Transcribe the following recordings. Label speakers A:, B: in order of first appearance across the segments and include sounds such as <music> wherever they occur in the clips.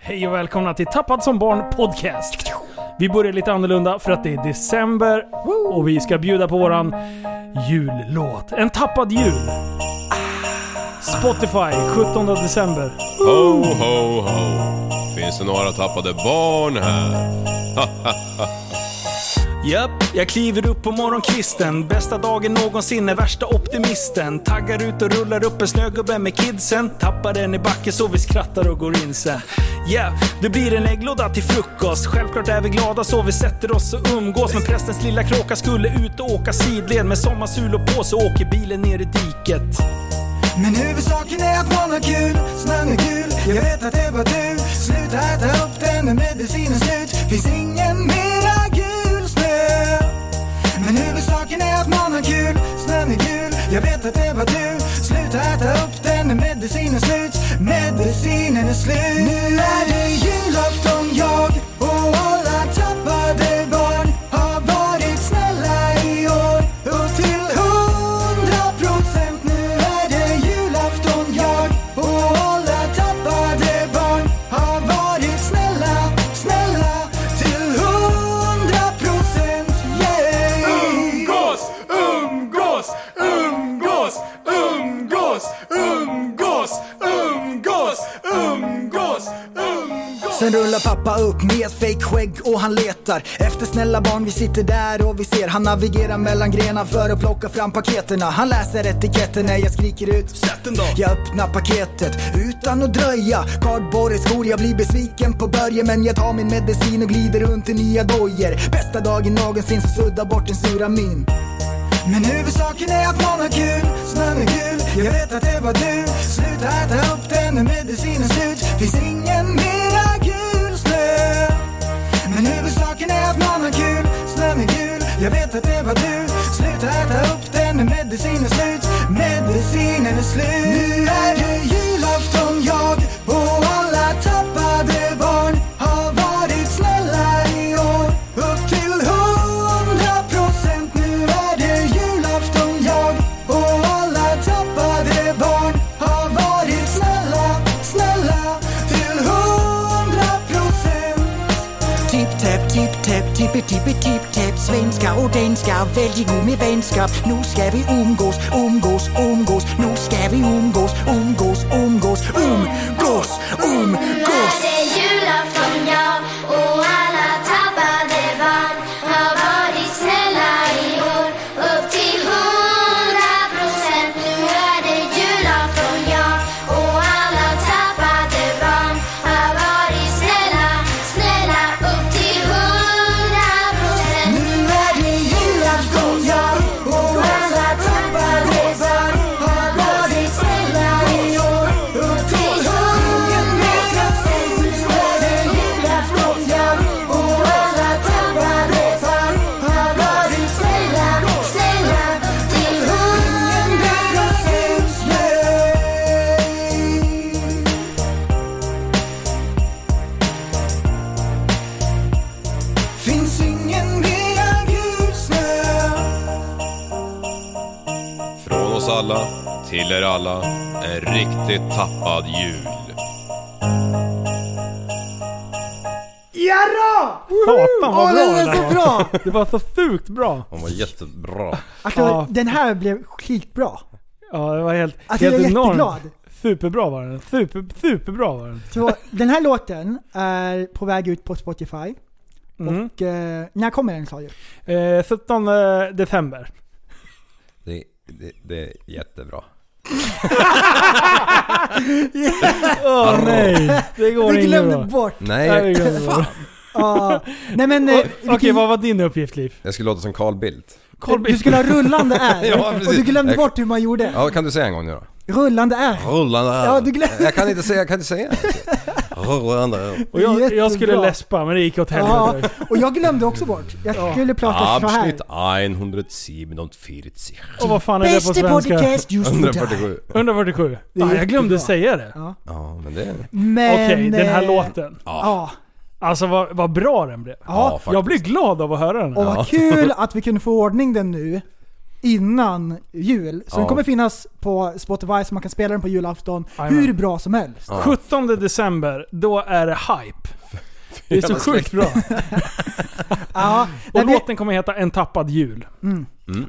A: Hej och välkomna till Tappad som barn podcast. Vi börjar lite annorlunda för att det är december och vi ska bjuda på våran jullåt. En tappad jul. Spotify 17 december.
B: Ho, ho, ho. Finns det några tappade barn här?
C: Japp, jag kliver upp på morgonkvisten. Bästa dagen någonsin är värsta optimisten. Taggar ut och rullar upp en snögubbe med kidsen. Tappar den i backen så vi skrattar och går in sen. Yeah, det blir en ägglåda till frukost. Självklart är vi glada så vi sätter oss och umgås. Men prästens lilla kråka skulle ut och åka sidled. Med sommarsulor på så åker bilen ner i diket.
D: Men huvudsaken är att man har kul, snön är gul Jag vet att det var du Sluta äta upp den när medicinen slut Finns ingen mera gul snö Men huvudsaken är att man har kul, snön är gul Jag vet att det var du Sluta äta upp den när medicinen är slut Medicinen är slut Nu är det julafton jag och alla tappade barn har varit snälla i år och till hundra procent nu är det julafton jag och alla tappade barn har varit snälla, snälla till hundra procent yeah!
B: Umgås, umgås, umgås, umgås, umgås, umgås, umgås, umgås.
D: Sen rullar pappa upp med ett fake skägg och han letar efter snälla barn. Vi sitter där och vi ser. Han navigerar mellan grenar för att plocka fram paketerna. Han läser etiketten när jag skriker ut.
C: Sätt den då!
D: Jag öppnar paketet utan att dröja. Cardboard skor, jag blir besviken på Börje. Men jag tar min medicin och glider runt i nya dojor. Bästa dagen någonsin, så sudda bort den sura min. Men huvudsaken är att man har kul, snön är gul Jag vet att det var du Sluta äta upp den när medicinen är slut Finns ingen mera gul snö Men huvudsaken är att man har kul, snön är gul Jag vet att det var du Sluta äta upp den när medicinen är slut Medicinen är slut Nu är det julafton jag och alla tappade barn har varit snälla i år upp till hundra procent nu är det julafton jag och alla tappade barn har varit snälla, snälla till hundra procent
E: Tip-tap, tip-tap, tippe-tippe-tip-tap Svenska och danska, väldigt god med vänskap Nu ska vi umgås, umgås, umgås Nu ska vi umgås, umgås, umgås Umgås, umgås
F: Nu är det julafton jag och alla tappade barn har varit snälla i år upp till hundra procent. Nu är det julafton jag och alla tappade barn har varit snälla, snälla upp till hundra procent.
D: Nu är det julafton jag och alla tappade barn har varit snälla i år upp till hundra procent Nu är det julafton jag och alla tappade barn har varit snälla, snälla upp till hundra procent yeah. Finns ingen mera gul snö
B: Från oss alla, till er alla, en riktigt tappad jul.
A: Satan vad
G: Åh,
A: bra
G: den
A: det
G: är
A: där
G: så
A: var.
G: bra!
A: <laughs> Det var så sjukt bra.
B: Han var jättebra.
G: Alltså,
A: Ja.
G: Den här blev skitbra.
A: Ja, det var helt,
G: Alltså,
A: helt
G: jag är
A: enormt.
G: jätteglad.
A: Superbra var den. Super, superbra var den.
G: Så, den här låten är på väg ut på Spotify.
A: Mm.
G: Och, eh, när kommer den sa du?
A: Eh, 17 december.
B: Det, det, det är jättebra.
A: Åh nej,
G: <laughs>
A: det går
G: Vi
A: inte
G: glömde
A: bra.
G: bort!
A: Nej, vi
B: Nej,
A: glömde <laughs> bort.
G: Ja.
A: <laughs>
G: nej men... eh,
A: Okej,
G: vilken-
A: vad var din uppgift Liv?
B: jag skulle låta som Carl Bildt.
G: du skulle ha
A: <laughs>
G: rullande är.
B: Ja, precis.
G: och du glömde
B: Jag-
G: bort hur man gjorde.
B: Ja, kan du säga en gång nu då?
G: Rullande är.
B: Rullande öl.
G: Ja, du glömde.
B: Jag kan inte säga, jag kan inte säga. <laughs> Rullande öl.
A: Och jag, jag skulle
G: Jättebra.
A: läspa men det gick åt
G: Ja,
A: helvete.
G: och jag glömde också bort. Jag skulle prata så här.
B: Avsnitt 147.
A: Och vad fan är det på
E: Bästa
A: svenska?
E: podcast just nu
B: 147.
A: 147.
G: är
A: Ja, jag glömde
G: jättebra.
A: säga det.
B: Ja, men det...
G: Men...
A: Okej, den här
G: eh,
A: låten.
G: Ja.
A: Alltså vad, vad bra den blev.
B: Ja,
A: jag blev glad av att höra den.
G: Och
A: här. <laughs>
G: vad kul att vi kunde få ordning den nu. innan jul. Så
H: Ja.
G: den kommer finnas på Spotify så man kan spela den på julafton
A: Jajamän.
G: hur bra som helst.
A: 17 december, då är det hype. Det är så sjukt bra.
G: <laughs> Ja,
A: Och
G: nej, vi,
A: låten kommer heta En tappad jul.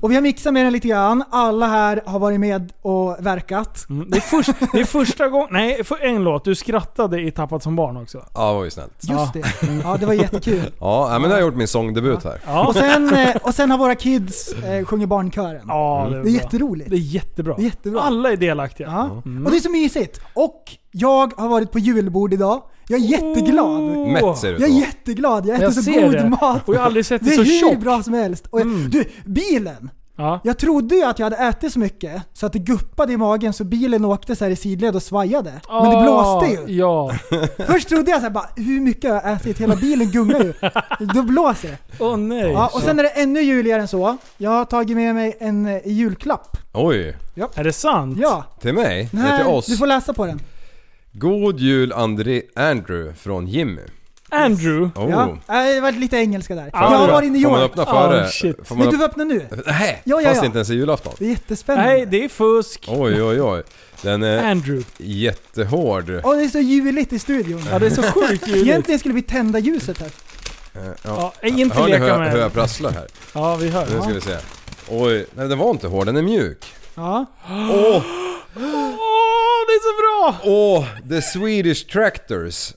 G: och vi har mixat med den lite grann. Alla här har varit med och verkat.
A: Mm. Det, är först, det är första gången... Nej, för en låt. Du skrattade i Tappad som barn också.
H: Ja, det var ju snällt.
G: Just det. Ja, det var jättekul.
H: Ja, nej, men nu har jag gjort min sångdebut här.
A: Ja,
G: Och sen, eh, och sen har våra kids eh, sjungit barnkören.
A: ja
H: Mm.
A: det är
G: Det
A: bra.
G: är jätteroligt.
A: Det är Mm. jättebra.
G: Det är jättebra.
A: Alla är delaktiga.
G: Ja. Och det är så mysigt. Och jag har varit på julbord idag. Jag är jätteglad.
A: Åh.
H: Mätt ser det ut
G: Jag är
H: att vara.
G: jätteglad. Jag äter
A: Oh. Jag
G: så
A: ser
G: god
A: det.
G: mat.
A: Och jag har aldrig sett
G: Det
A: dig
G: är
A: så
G: hur
A: tjock.
G: bra som helst. Och jag,
A: Mm.
G: Du, bilen.
A: Ja.
G: Jag trodde ju att jag hade ätit så mycket så att det guppade i magen så bilen åkte så här i sidled och svajade. Men det blåste ju.
A: Ja.
G: Först trodde jag så här, bara, hur mycket har jag ätit? Hela bilen gungar ju. Då blåser det.
A: Åh nej.
G: Ja, och sen är det ännu juligare än så. Jag har tagit med mig en eh, julklapp.
H: Oj,
A: Är det sant?
G: Ja,
H: till mig?
G: den
H: Nej, till
G: här,
H: oss?
G: du får läsa på den.
H: God jul André Andrew från Jimmy.
A: Andrew.
H: Oh.
G: Ja. Nej, Det var lite engelska där.
A: Ja,
G: Jag har
A: det-
G: varit i New
H: Får man
G: York.
H: öppna
A: Ah,
H: före?
A: shit.
H: Får man
G: Men du
H: öppna...
G: får öppna nu.
H: Nej,
G: Ja, ja,
H: fast
G: ja.
H: inte ens i julafton.
G: Det är jättespännande.
A: Nej, det är fusk.
H: Oj, oj, oj. Den är
A: Andrew.
H: jättehård.
G: Åh, det är så juligt i studion.
A: Ja, det är så sjukt ljudligt.
G: Egentligen skulle vi tända ljuset här.
H: Eh, Ja.
A: Ja, inte
H: Hör ni hur
A: leka
H: jag- hur jag
A: med.
H: prasslar här?
A: Ja, vi hör.
H: Nu ska vi se. Oj, nej den var inte hård, den är
G: <gasps>
H: mjuk.
G: Ja.
H: Åh,
A: Åh, det är så bra!
H: åh, the Swedish tractors.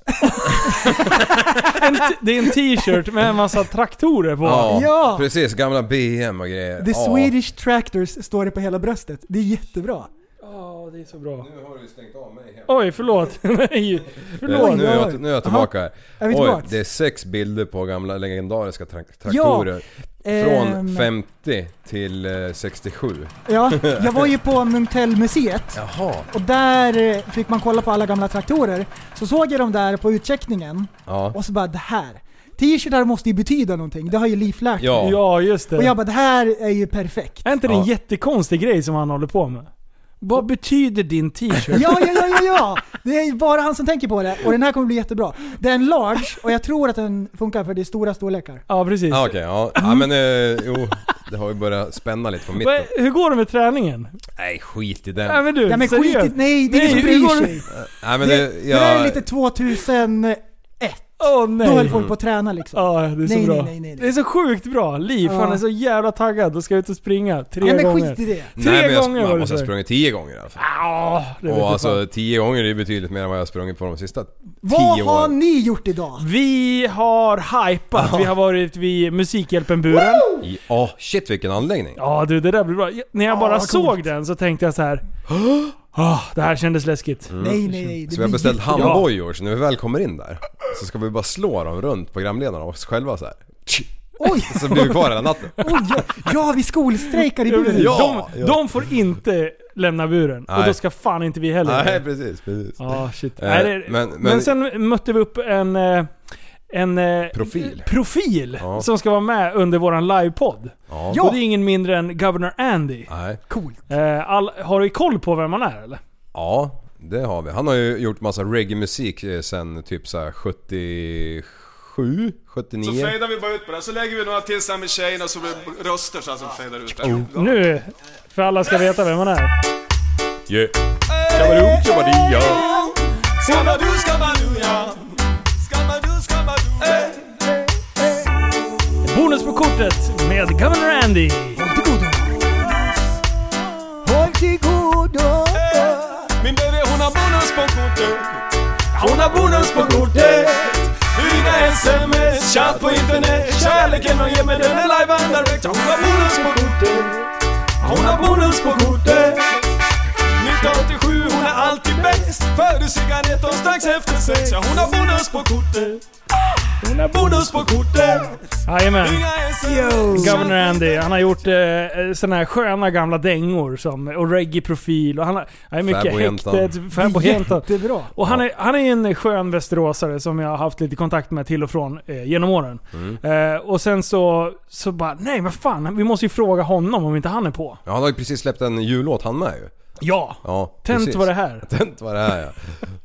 A: En t- det är en t-shirt med en massa traktorer på.
G: Ja.
H: precis. Gamla BM och grejer.
G: The
H: Ja.
G: Swedish Tractors står det på hela bröstet. Det är jättebra.
A: Ja, det är så bra.
H: Nu har du ju stängt av mig helt.
A: Oj, förlåt. <laughs> Nej,
H: Eh,
A: förlåt.
H: Nu är jag, nu är jag tillbaka här.
G: Är vi
H: Oj,
G: tillbaks?
H: det är sex bilder på gamla legendariska tra- traktorer. Från
G: Ehm.
H: 50 till eh, 67.
G: Ja, jag var ju på Munktellmuseet
H: Jaha.
G: och där eh, fick man kolla på alla gamla traktorer. Så såg jag dem där på utcheckningen
H: Ja.
G: och så bara det här. T-shirtar måste ju betyda någonting, det har ju Leif lärt mig.
H: Ja.
A: Ja, just det.
G: Och jag bara det här är ju perfekt.
A: Är inte det en
H: Ja.
A: jättekonstig grej som han håller på med? Vad betyder din t-shirt?
G: Ja, ja, ja, ja, ja! Det är ju bara han som tänker på det och den här kommer bli jättebra. Det är en large och jag tror att den funkar för det är stora storlekar.
A: Ja, precis.
H: Ah, Okej, ja. ja men eh, jo. Det har ju börjat spänna lite på mitten.
A: Va, hur går det med träningen?
H: Nej skit i
A: Nej
H: den.
A: men du,
G: Ja men skit
A: seriöst.
G: i, nej det är ingen som
A: Nej, hur
G: bryr
A: går det-
G: sig.
H: Nej men
G: Det,
H: det,
G: det där är
H: jag,
G: lite 2001.
A: Åh nej.
G: Då höll folk på att träna liksom.
A: Ja, det är så
G: Nej,
A: bra.
G: nej, nej, nej, nej.
A: Det är så sjukt bra. Liv,
G: Ja.
A: han är så jävla taggad och ska ut och springa tre
G: Nej men
A: gånger.
G: skit i det.
A: tre
H: nej, men jag,
A: gånger var
H: man
A: det
H: måste
A: så.
H: ha sprungit tio gånger i alla fall.
A: Ah, det vet jag
H: Och
A: fan.
H: alltså tio gånger är ju betydligt mer än vad jag har sprungit på de sista
G: Vad
H: tio
G: har
H: åren.
G: ni gjort idag?
A: Mm. Vi har hypat. Vi har varit vid Musikhjälpen-buren.
H: I- Ja, shit vilken anläggning.
A: Ja du, det där blir bra. Jag- När jag bara
G: Ah,
A: såg
G: coolt.
A: den så tänkte jag så här. Ah, det här kändes läskigt.
G: Nej nej, nej. det
H: Så vi har
G: blir
H: beställt
G: jättebra.
H: handbojor, så när vi väl kommer in där så ska vi bara slå dem runt programledarna och oss själva så här.
G: Oj,
H: Så blir vi kvar hela natten.
G: oj, ja. ja vi skolstrejkar i buren.
H: Ja.
A: de, de får inte lämna buren. Och
H: Nej.
A: då ska fan inte vi heller
H: Nej precis, precis.
A: Ja, shit.
H: Eh,
A: Nej, det, men,
H: men-
A: men,
H: men-
A: sen mötte vi upp en... eh, En eh,
H: Profil.
A: profil
H: Ja.
A: som ska vara med under våran livepodd.
H: Ja.
A: Och det är ingen mindre än Governor Andy.
H: Nej.
A: Eh, all, har du koll på vem han är eller?
H: Ja, det har vi. Han har ju gjort massa reggae-musik eh, sen typ så här 77, 79.
I: Så fejdar vi bara ut på den, så lägger vi några till sen med tjejerna så blir det röster så här som fejdar ut där.
A: Nu, för alla ska veta vem han är.
H: Yeah. Tjabadoo, tjabadia.
I: Skabadoo, skabadoo, ja. Skabadoo, skabadoo. Eh.
A: Bonus på kortet med Governor Andy.
G: Håll till godo.
I: Min baby hon har bonus på kortet. Hon har bonus på kortet. Dryga sms, chatt på internet. Kärleken hon ger mig den är live and direct. Hon har bonus på kortet. Hon har bonus på kortet. 1987, hon är alltid bäst. Före cigarettan strax efter sex. Ja, hon har bonus på kortet. Hon har bonus på kortet.
A: Jajamän.
I: Dryga sms.
A: Governor Andy, han har gjort eh, såna här sköna gamla dängor som, och reggae-profil och han har, han är mycket
H: Fäbodjäntan.
A: häktet, Fäbodjäntan.
G: Jättebra.
A: Och han är, han är en skön västeråsare som jag har haft lite kontakt med till och från eh, genom åren.
H: Mm.
A: Eh, och sen så, så bara, nej vad fan, vi måste ju fråga honom om inte han är på.
H: Ja, han har ju precis släppt en jullåt han med ju.
A: Ja!
H: Ja,
A: Tänt
H: precis.
A: var det här.
H: Tänt var det här ja.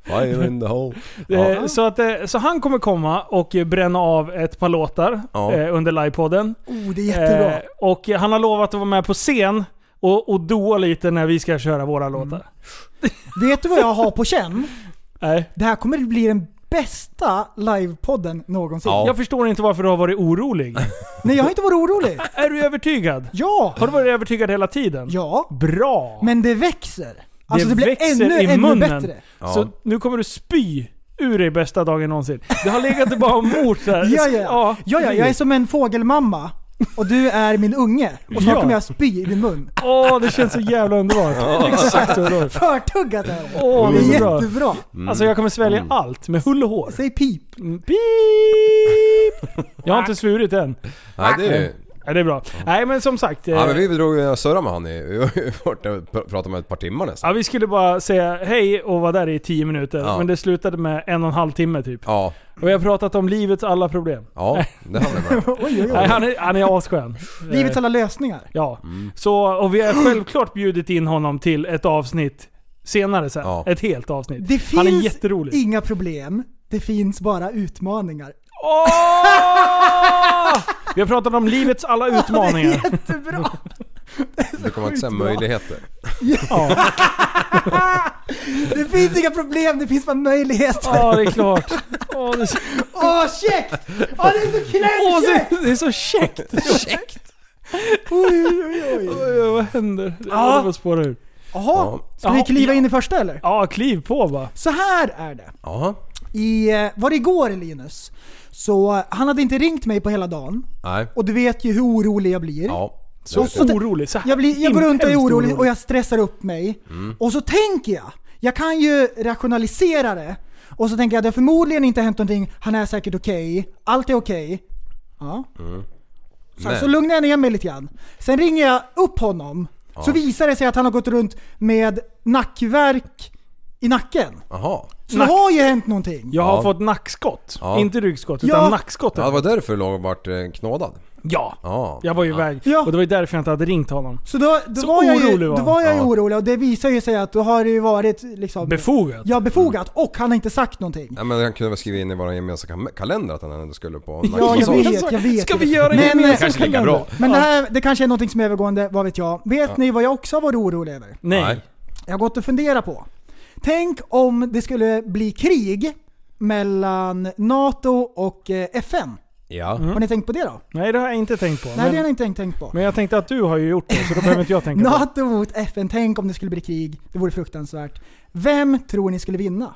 H: Fire in the hole.
A: Eh,
H: Ja.
A: Så, att, eh, så han kommer komma och eh, bränna av ett par låtar
H: Ja.
A: eh, under livepodden.
G: Oh, det är jättebra.
A: Eh, och han har lovat att vara med på scen och, och doa lite när vi ska köra våra
G: Mm.
A: låtar.
G: Vet du vad jag har på känn?
A: Nej.
G: Det här kommer bli den bästa livepodden någonsin.
H: Ja.
A: Jag förstår inte varför du har varit
G: <laughs>
A: orolig.
G: Nej, jag har inte varit orolig.
A: är du övertygad?
G: Ja!
A: Har du varit övertygad hela tiden?
G: Ja,
A: Bra!
G: men det växer. Alltså
A: Det
G: det, blir
A: växer
G: ännu,
A: i
G: ännu
A: munnen.
G: bättre.
H: Ja.
A: Så nu kommer du spy ur dig bästa dagen någonsin. Det har legat och bara och mort där.
G: Ja, ja. ja, ja, jag är som en fågelmamma och du är min unge. Och snart
A: Ja.
G: kommer jag spy i din mun.
A: Åh, det känns så jävla underbart. Exakt så underbart.
G: Förtuggat är det.
A: Åh,
G: Det
A: det
G: är
A: är så bra.
G: jättebra.
H: Mm.
A: Alltså jag kommer svälja allt med hull och hår.
G: Säg pip.
A: Mm, Beep! Jag har inte
G: <laughs>
A: svurit än.
H: Nej, det är ju...
A: Nej, det är bra. Nej men som sagt. eh,
H: Ja, men vi drog ju och surrade med han i... <laughs> Vi var ju borta och pr- pratade med ett par timmar nästan.
A: ja, vi skulle bara säga hej och vara där i tio minuter.
H: Ja.
A: Men det slutade med en och en halv timme typ.
H: Ja,
A: Och vi har pratat om livets alla problem.
H: ja det hade vi med.
A: Nej, han är, han är asskön.
G: Livets
A: Eh,
G: alla lösningar.
A: Ja.
H: Mm.
A: Så, och vi har självklart bjudit in honom till ett avsnitt senare sen.
H: Ja.
A: Ett helt avsnitt.
G: Det
A: han är
G: finns
A: jätterolig.
G: Inga problem. Det finns bara utmaningar.
A: Åh! Vi har pratat om livets alla utmaningar.
G: Jättebra!
H: Det kommer inte säga möjligheter.
A: Ja,
G: Det finns inga problem, det finns bara möjligheter.
A: ja det är klart. Åh, det, är så,
G: Åh, käckt! Åh, det är så
A: åh,
G: klämkäckt!
A: det, det är så käckt. Käckt?
G: Oj, oj, oj.
A: Oj, oj, vad händer? Jag
G: Ja.
A: håller på att spåra ur.
G: Jaha, ska
A: Ja.
G: vi kliva in i första eller?
A: Ja, kliv på bara.
G: Så här är det.
H: Jaha.
G: I, eh, var det igår Linus? Så eh, han hade inte ringt mig på hela dagen.
H: Nej.
G: Och du vet ju hur orolig jag blir.
H: Ja.
A: Så
H: Det- det-
A: orolig. Så här,
G: Jag, blir, jag går runt och är
A: hemskt
G: orolig och jag stressar upp mig. Och så tänker jag, jag kan ju rationalisera det. Och så tänker jag, det har förmodligen inte hänt någonting, han är säkert okej, allt är okej. Ja. Så,
H: Men-
G: så lugnar jag ner mig lite grann. Sen ringer jag upp honom, så visar det sig att han har gått runt med nackverk i nacken.
H: Jaha.
G: Så det har ju hänt någonting.
A: Jag har
H: Ja.
A: fått nackskott.
H: Ja.
A: Inte ryggskott,
G: Ja.
A: utan nackskott.
H: Ja, det var därför du låg och vart eh, knådad.
A: Ja.
H: Ja.
A: Jag var ju iväg.
G: Ja.
A: Och det var ju därför jag inte hade ringt honom.
G: Så då, då,
A: Så
G: var, jag ju,
A: orolig var
G: då
A: han.
G: var jag ju
H: Ja.
G: orolig och det visar ju sig att då har det ju varit liksom...
A: Befogat.
G: Ja, befogat.
A: Mm.
G: Och han har inte sagt någonting.
H: Ja, men han kunde väl skriva in i vår gemensamma kam- kalender att han ändå skulle på
A: <laughs>
G: Ja, jag
H: nackmassage.
G: vet, jag vet.
A: Ska vi göra
G: Men-
A: det gemensamt?
H: kanske lika bra.
G: Men det här, det kanske är någonting som är övergående, vad vet jag. Vet ni vad jag också har varit orolig över?
A: Nej.
H: Nej.
G: Jag har gått och funderat på. Tänk om det skulle bli krig mellan NATO och eh, FN.
H: Ja.
G: Har ni tänkt på det då?
A: Nej, det har jag inte tänkt på.
G: Nej, det har
A: men,
G: jag inte tänkt, tänkt på.
A: men jag tänkte att du har ju gjort det, så då behöver inte jag
G: <laughs>
A: tänka på det.
G: NATO mot FN, tänk om det skulle bli krig. Det vore fruktansvärt. Vem tror ni skulle vinna?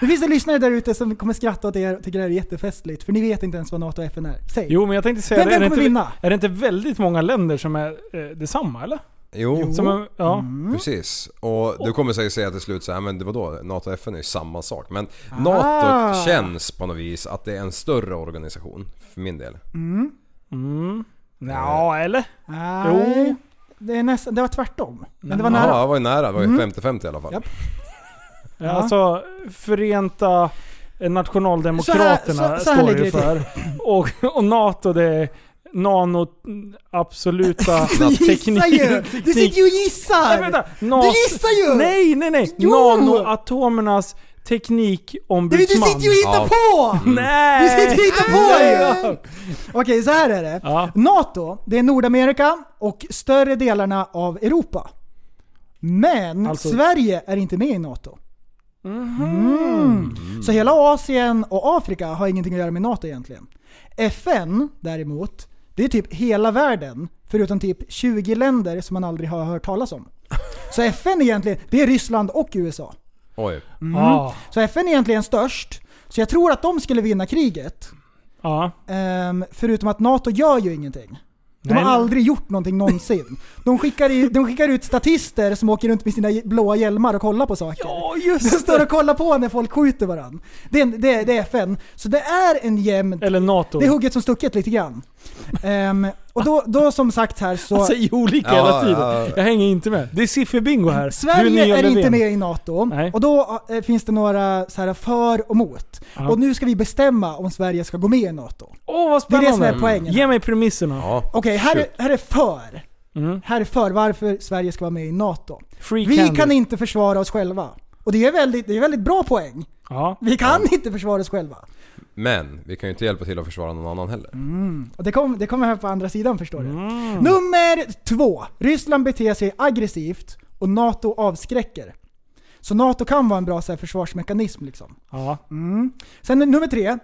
G: Det finns en lyssnare där ute som kommer skratta åt er och tycker det här är jättefestligt, för ni vet inte ens vad NATO och FN är. Säg.
A: Jo, men jag tänkte säga
G: Vem-
A: det.
G: vem
A: är, det
G: kommer
A: inte,
G: vinna?
A: är det inte väldigt många länder som är eh, detsamma, eller?
H: Jo,
A: Som, är- ja.
G: Mm.
H: precis. Och du kommer säkert säga till slut så här, men vadå? NATO och FN är ju samma sak. Men
G: Ah.
H: NATO känns på något vis att det är en större organisation, för min del.
A: Ja, Mm. eller?
G: Nej.
A: Jo.
G: Det, är nästan, det var tvärtom. Men det var
H: Jaha,
G: nära. Mm.
H: det var ju nära. Det var ju 50-50 i alla fall.
G: Japp.
A: Ja. Alltså, Förenta Nationaldemokraterna
G: Så här- så- så här
A: står ju
G: ligger det
A: för. Och, och NATO det är nano... absoluta
G: <laughs> Du
A: teknik...
G: gissar ju! Du sitter ju och gissar!
A: Nej, vänta! NATO,
G: gissar ju!
A: Nej, nej, nej!
G: Jo!
A: Nanoatomernas
G: Du, du
A: teknikombudsman.
G: sitter ju och
H: Ja.
G: hittar på!
A: Nej!
G: Du sitter och hittar på ju!
A: Ja.
G: Okej, så här är det.
A: Ja.
G: NATO, det är Nordamerika och större delarna av Europa. Men
A: Alltså-
G: Sverige är inte med i NATO. Mm. Så hela Asien och Afrika har ingenting att göra med NATO egentligen. FN däremot, det är typ hela världen förutom typ 20 länder som man aldrig har hört talas om. Så FN egentligen, det är Ryssland och USA.
H: Oj.
G: Mm.
A: Ja.
G: Så FN är egentligen störst, så jag tror att de skulle vinna kriget.
A: Ja.
G: Ehm, förutom att NATO gör ju ingenting. De
A: Nej,
G: har
A: nej.
G: aldrig gjort någonting någonsin. De skickar, i, de skickar ut statister som åker runt med sina blåa hjälmar och kollar på saker.
A: Ja,
G: de
A: just
G: står
A: det!
G: och kollar på när folk skjuter varandra. Det, är en- det, är- det är FN. Så det är en jämn...
A: Eller NATO.
G: Det är hugget som stucket lite grann. Ehm, och då, då som sagt här så...
A: Han säger olika
H: Ja,
A: hela tiden.
H: ja, ja.
A: Jag hänger inte med. Det är sifferbingo här.
G: Sverige
A: nya
G: är inte
A: Löfven.
G: med i NATO
A: Nej.
G: och då eh, finns det några så här för och mot.
A: Ja.
G: Och nu ska vi bestämma om Sverige ska gå med i NATO.
A: Åh, vad
G: Det är
A: spännande!
G: det som är poängen.
A: Ge mig premisserna.
H: Ja.
G: Okej, här, är-
H: Shoot.
G: här är för.
A: Mm.
G: härför varför Sverige ska vara med i NATO.
A: Free
G: Vi
A: candy.
G: kan inte försvara oss själva. Och det är väldigt, det är väldigt bra poäng.
A: Ja.
G: Vi kan inte försvara oss själva.
H: Men vi kan ju inte hjälpa till att försvara någon annan heller.
G: Mm. Och det, kom, det kommer här på andra sidan förstår du.
A: Mm.
G: Nummer två. Ryssland beter sig aggressivt och NATO avskräcker. Så NATO kan vara en bra så här, försvarsmekanism liksom.
A: ja.
G: Sen nummer tre.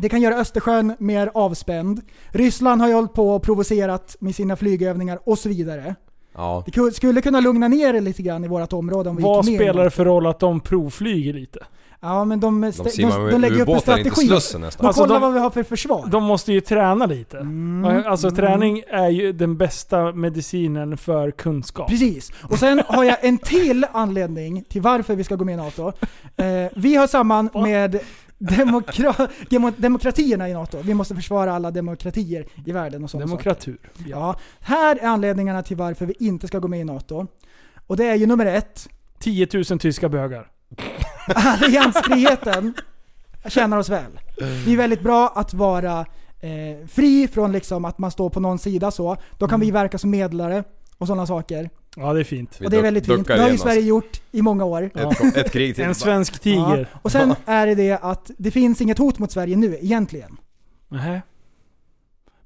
G: Det kan göra Östersjön mer avspänd. Ryssland har ju hållit på och provocerat med sina flygövningar och så vidare.
H: Ja.
G: Det ku- skulle kunna lugna ner det lite grann i vårt område om vi
A: Vad
G: gick med.
A: spelar det för roll att de provflyger lite?
G: Ja men de, stä-
H: De simmar
G: de,
H: med
G: de lägger upp en
H: ubåtar in till
G: strategi.
H: Slussen nästan.
G: De
A: Alltså,
G: kollar
A: de-
G: vad vi har för försvar.
A: De måste ju träna lite.
G: Mm.
A: Alltså träning är ju den bästa medicinen för kunskap.
G: Precis. Och sen har jag en till anledning till varför vi ska gå med i NATO. Eh, vi hör samman med demokra- demo- demokratierna i NATO. Vi måste försvara alla demokratier i världen och sånt.
A: Demokratur.
G: Ja. Här är anledningarna till varför vi inte ska gå med i NATO. Och det är ju nummer ett,
A: 10 000 tyska bögar.
G: alliansfriheten tjänar oss väl. Det är väldigt bra att vara eh, fri från liksom att man står på någon sida så. Då kan vi verka som medlare och sådana saker.
A: Ja, det är fint.
H: Mm. Vi
G: Och det är
H: duck-
G: väldigt fint.
H: duckar
G: Det har ju
H: igen,
G: Sverige gjort i många år.
H: alltså. Ett, ett krig till.
A: En svensk tiger.
G: Ja.
H: <laughs>
G: Och sen är det det att det finns inget hot mot Sverige nu egentligen.
A: Nähä.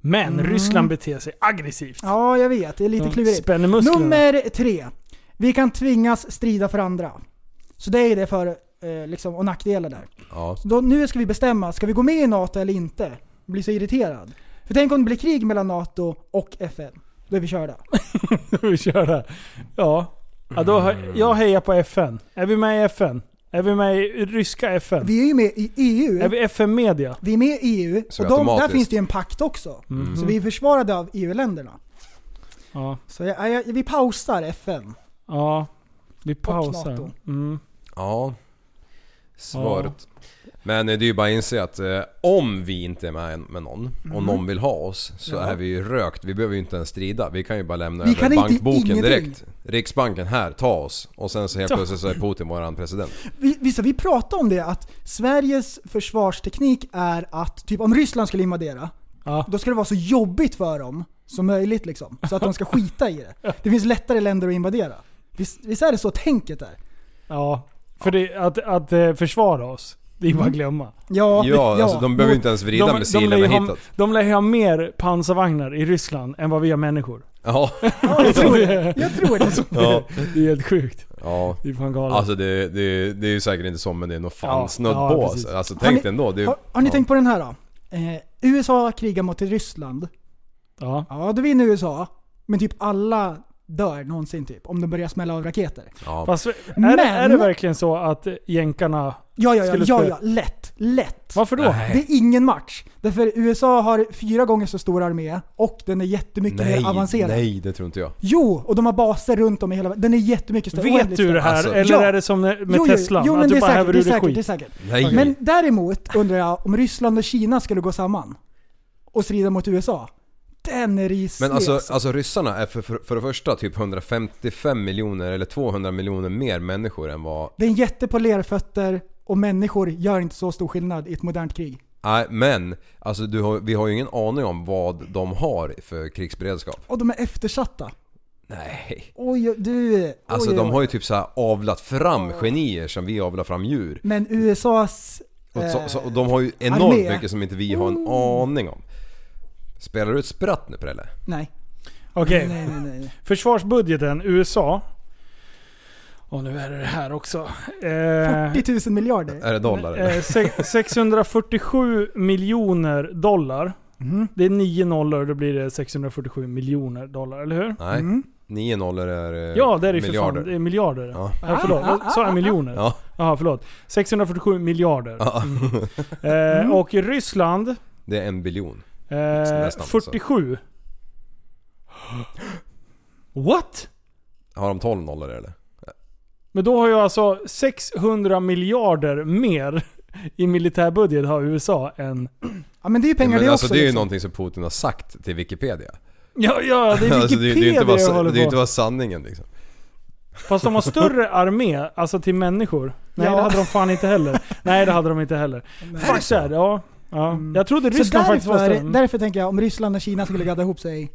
A: Men Ryssland beter sig aggressivt.
G: Mm. Ja, jag vet. Det är lite
A: De
G: klurigt.
A: Spänner musklerna. <laughs>
G: Nummer tre. Vi kan tvingas strida för andra. Så det är ju det för eh, liksom, och nackdelar där.
H: Ja.
G: Så då, nu ska vi bestämma, ska vi gå med i NATO eller inte? Jag blir så irriterad. För tänk om det blir krig mellan NATO och FN. Då är vi körda.
A: vi köra. Ja. ja då, he- jag hejar på FN. Är vi med i FN? Är vi med i ryska FN?
G: Vi är ju med i
A: Är
G: EU.
A: vi FN-media?
G: Vi är med i EU.
H: Så
G: Och
H: vi
G: de, där
H: automatiskt-
G: finns det ju en pakt också.
A: Mm.
G: Så vi är försvarade av EU-länderna.
A: Ja.
G: Så jag, jag, vi pausar FN.
A: ja. Vi
G: NATO.
A: pausar. Mm.
H: Ja. Svaret. Men eh, det är ju bara att inse att eh, om vi inte är med med någon
G: Mm.
H: och någon vill ha oss så är vi ju rökt. Vi behöver ju inte ens strida. Vi kan ju bara lämna
G: Vi
H: över
G: kan inte-
H: bankboken
G: ingenting.
H: direkt. Riksbanken, här, ta oss. Och sen så helt plötsligt så är Putin våran president.
G: Vi, vi, så vi pratade om det, att Sveriges försvarsteknik är att typ om Ryssland skulle invadera,
A: Ja.
G: då ska det vara så jobbigt för dem som möjligt liksom. Så att de ska skita i det. Det finns lättare länder att invadera. Visst, visst är det så tänket är?
A: Ja. För det, att, att eh, försvara oss, det är bara att
G: Mm.
A: glömma.
G: Ja,
H: Ja, alltså de behöver ju inte ens vrida
A: De-
H: missilerna
A: de lär ju ha-
H: hitåt.
A: De lär ju ha mer pansarvagnar i Ryssland än vad vi har människor.
H: <laughs> Ja.
A: <laughs>
G: ja, jag tror det. Jag tror det.
H: ja.
A: Det är helt sjukt.
H: ja.
A: Det är fan galet.
H: Alltså det, det, det är ju säkert inte så men det är nog fan
A: Ja,
H: snudd
A: ja,
H: på.
A: precis.
H: alltså. Alltså
G: Har ni-
H: tänk dig ändå. <laughs> Det är, ju-
G: Har, har ni
H: ja.
G: tänkt på den här då? Eh, USA krigar mot Ryssland.
A: ja.
G: Ja, då vinner USA. Men typ alla dör någonsin typ, om de börjar smälla av raketer.
H: Ja.
A: Fast, är,
G: Men-
A: det, är det verkligen så att jänkarna...
G: Ja, ja, ja,
A: Skulle
G: ja,
A: spela-
G: ja, lätt, lätt.
A: Varför då?
G: Det är ingen match. Därför USA har fyra gånger så stor armé och den är jättemycket
H: Nej,
G: mer avancerad.
H: nej det tror inte jag.
G: Jo, och de har baser runt om i hela världen. Den är jättemycket större.
A: Vet
G: oändligt
A: du det här?
H: Alltså-
A: Eller
G: Ja.
A: är det som när- med
G: jo, jo,
A: Tesla?
G: Jo,
A: att
G: men
A: du
G: det är
A: bara häver
G: säkert. Det är
A: ur dig
G: säkert, det
A: skit?
G: är säkert.
H: Nej.
G: Men däremot undrar jag om Ryssland och Kina skulle gå samman och strida mot USA. Den är risig.
H: Men alltså, alltså ryssarna är för, för, för det första typ 155 miljoner eller 200 miljoner mer människor än vad...
G: Det är en jätte på lerfötter och människor gör inte så stor skillnad i ett modernt krig.
H: Nej men, alltså du har, vi har ju ingen aning om vad de har för krigsberedskap.
G: Och de är eftersatta.
H: Nej.
G: Oj, du. Oj,
H: Alltså
G: oj,
H: de
G: oj.
H: har ju typ så här avlat fram genier som vi avlar fram djur.
G: Men USAs...
H: Och, så,
G: eh,
H: så, och de har ju enormt
G: armé.
H: mycket som inte vi har
A: Mm.
H: en aning om. Spelar du ett spratt nu Prelle?
G: Nej.
A: Okej.
G: Nej, nej, nej.
A: Försvarsbudgeten, USA. Och nu är det det här också. Eh,
G: 40 000 miljarder.
H: Är det dollar eller?
A: eh, se- 647 miljoner dollar. Det är nio nollor och då blir det 647 miljoner dollar, eller hur?
H: Nej. Nio nollor är eh,
A: mm. Ja, det är det ju för
H: miljarder.
A: fan. Det är miljarder. Ja.
H: Ja.
A: förlåt, sa jag miljoner?
H: Ja.
A: Jaha, förlåt. 647 miljarder. Mm.
H: <laughs>
A: Eh, och Ryssland, eh,
H: Det är en biljon. Nästan, alltså.
A: 47. What?
H: Har de 12 nollor eller?
A: Men då har ju alltså 600 miljarder mer i militärbudget har USA än...
G: Ja men det är ju pengar
H: men
G: det
H: alltså,
G: också.
H: det är ju
G: liksom.
H: någonting som Putin har sagt till Wikipedia.
A: Ja, ja det är Wikipedia
H: <laughs> alltså, det, är- det är ju inte
A: jag
H: vad,
A: håller
H: det är ju
A: på.
H: inte vad sanningen liksom.
A: Fast de har
H: <laughs>
A: större armé, alltså till människor. Nej
G: Ja.
A: det hade de fan inte heller. Nej det hade de inte heller. Fuck that, ja. ja. Jag trodde
G: Så
A: Ryssland faktiskt var
G: därför,
A: större.
G: därför tänker jag om Ryssland och Kina skulle gadda ihop sig.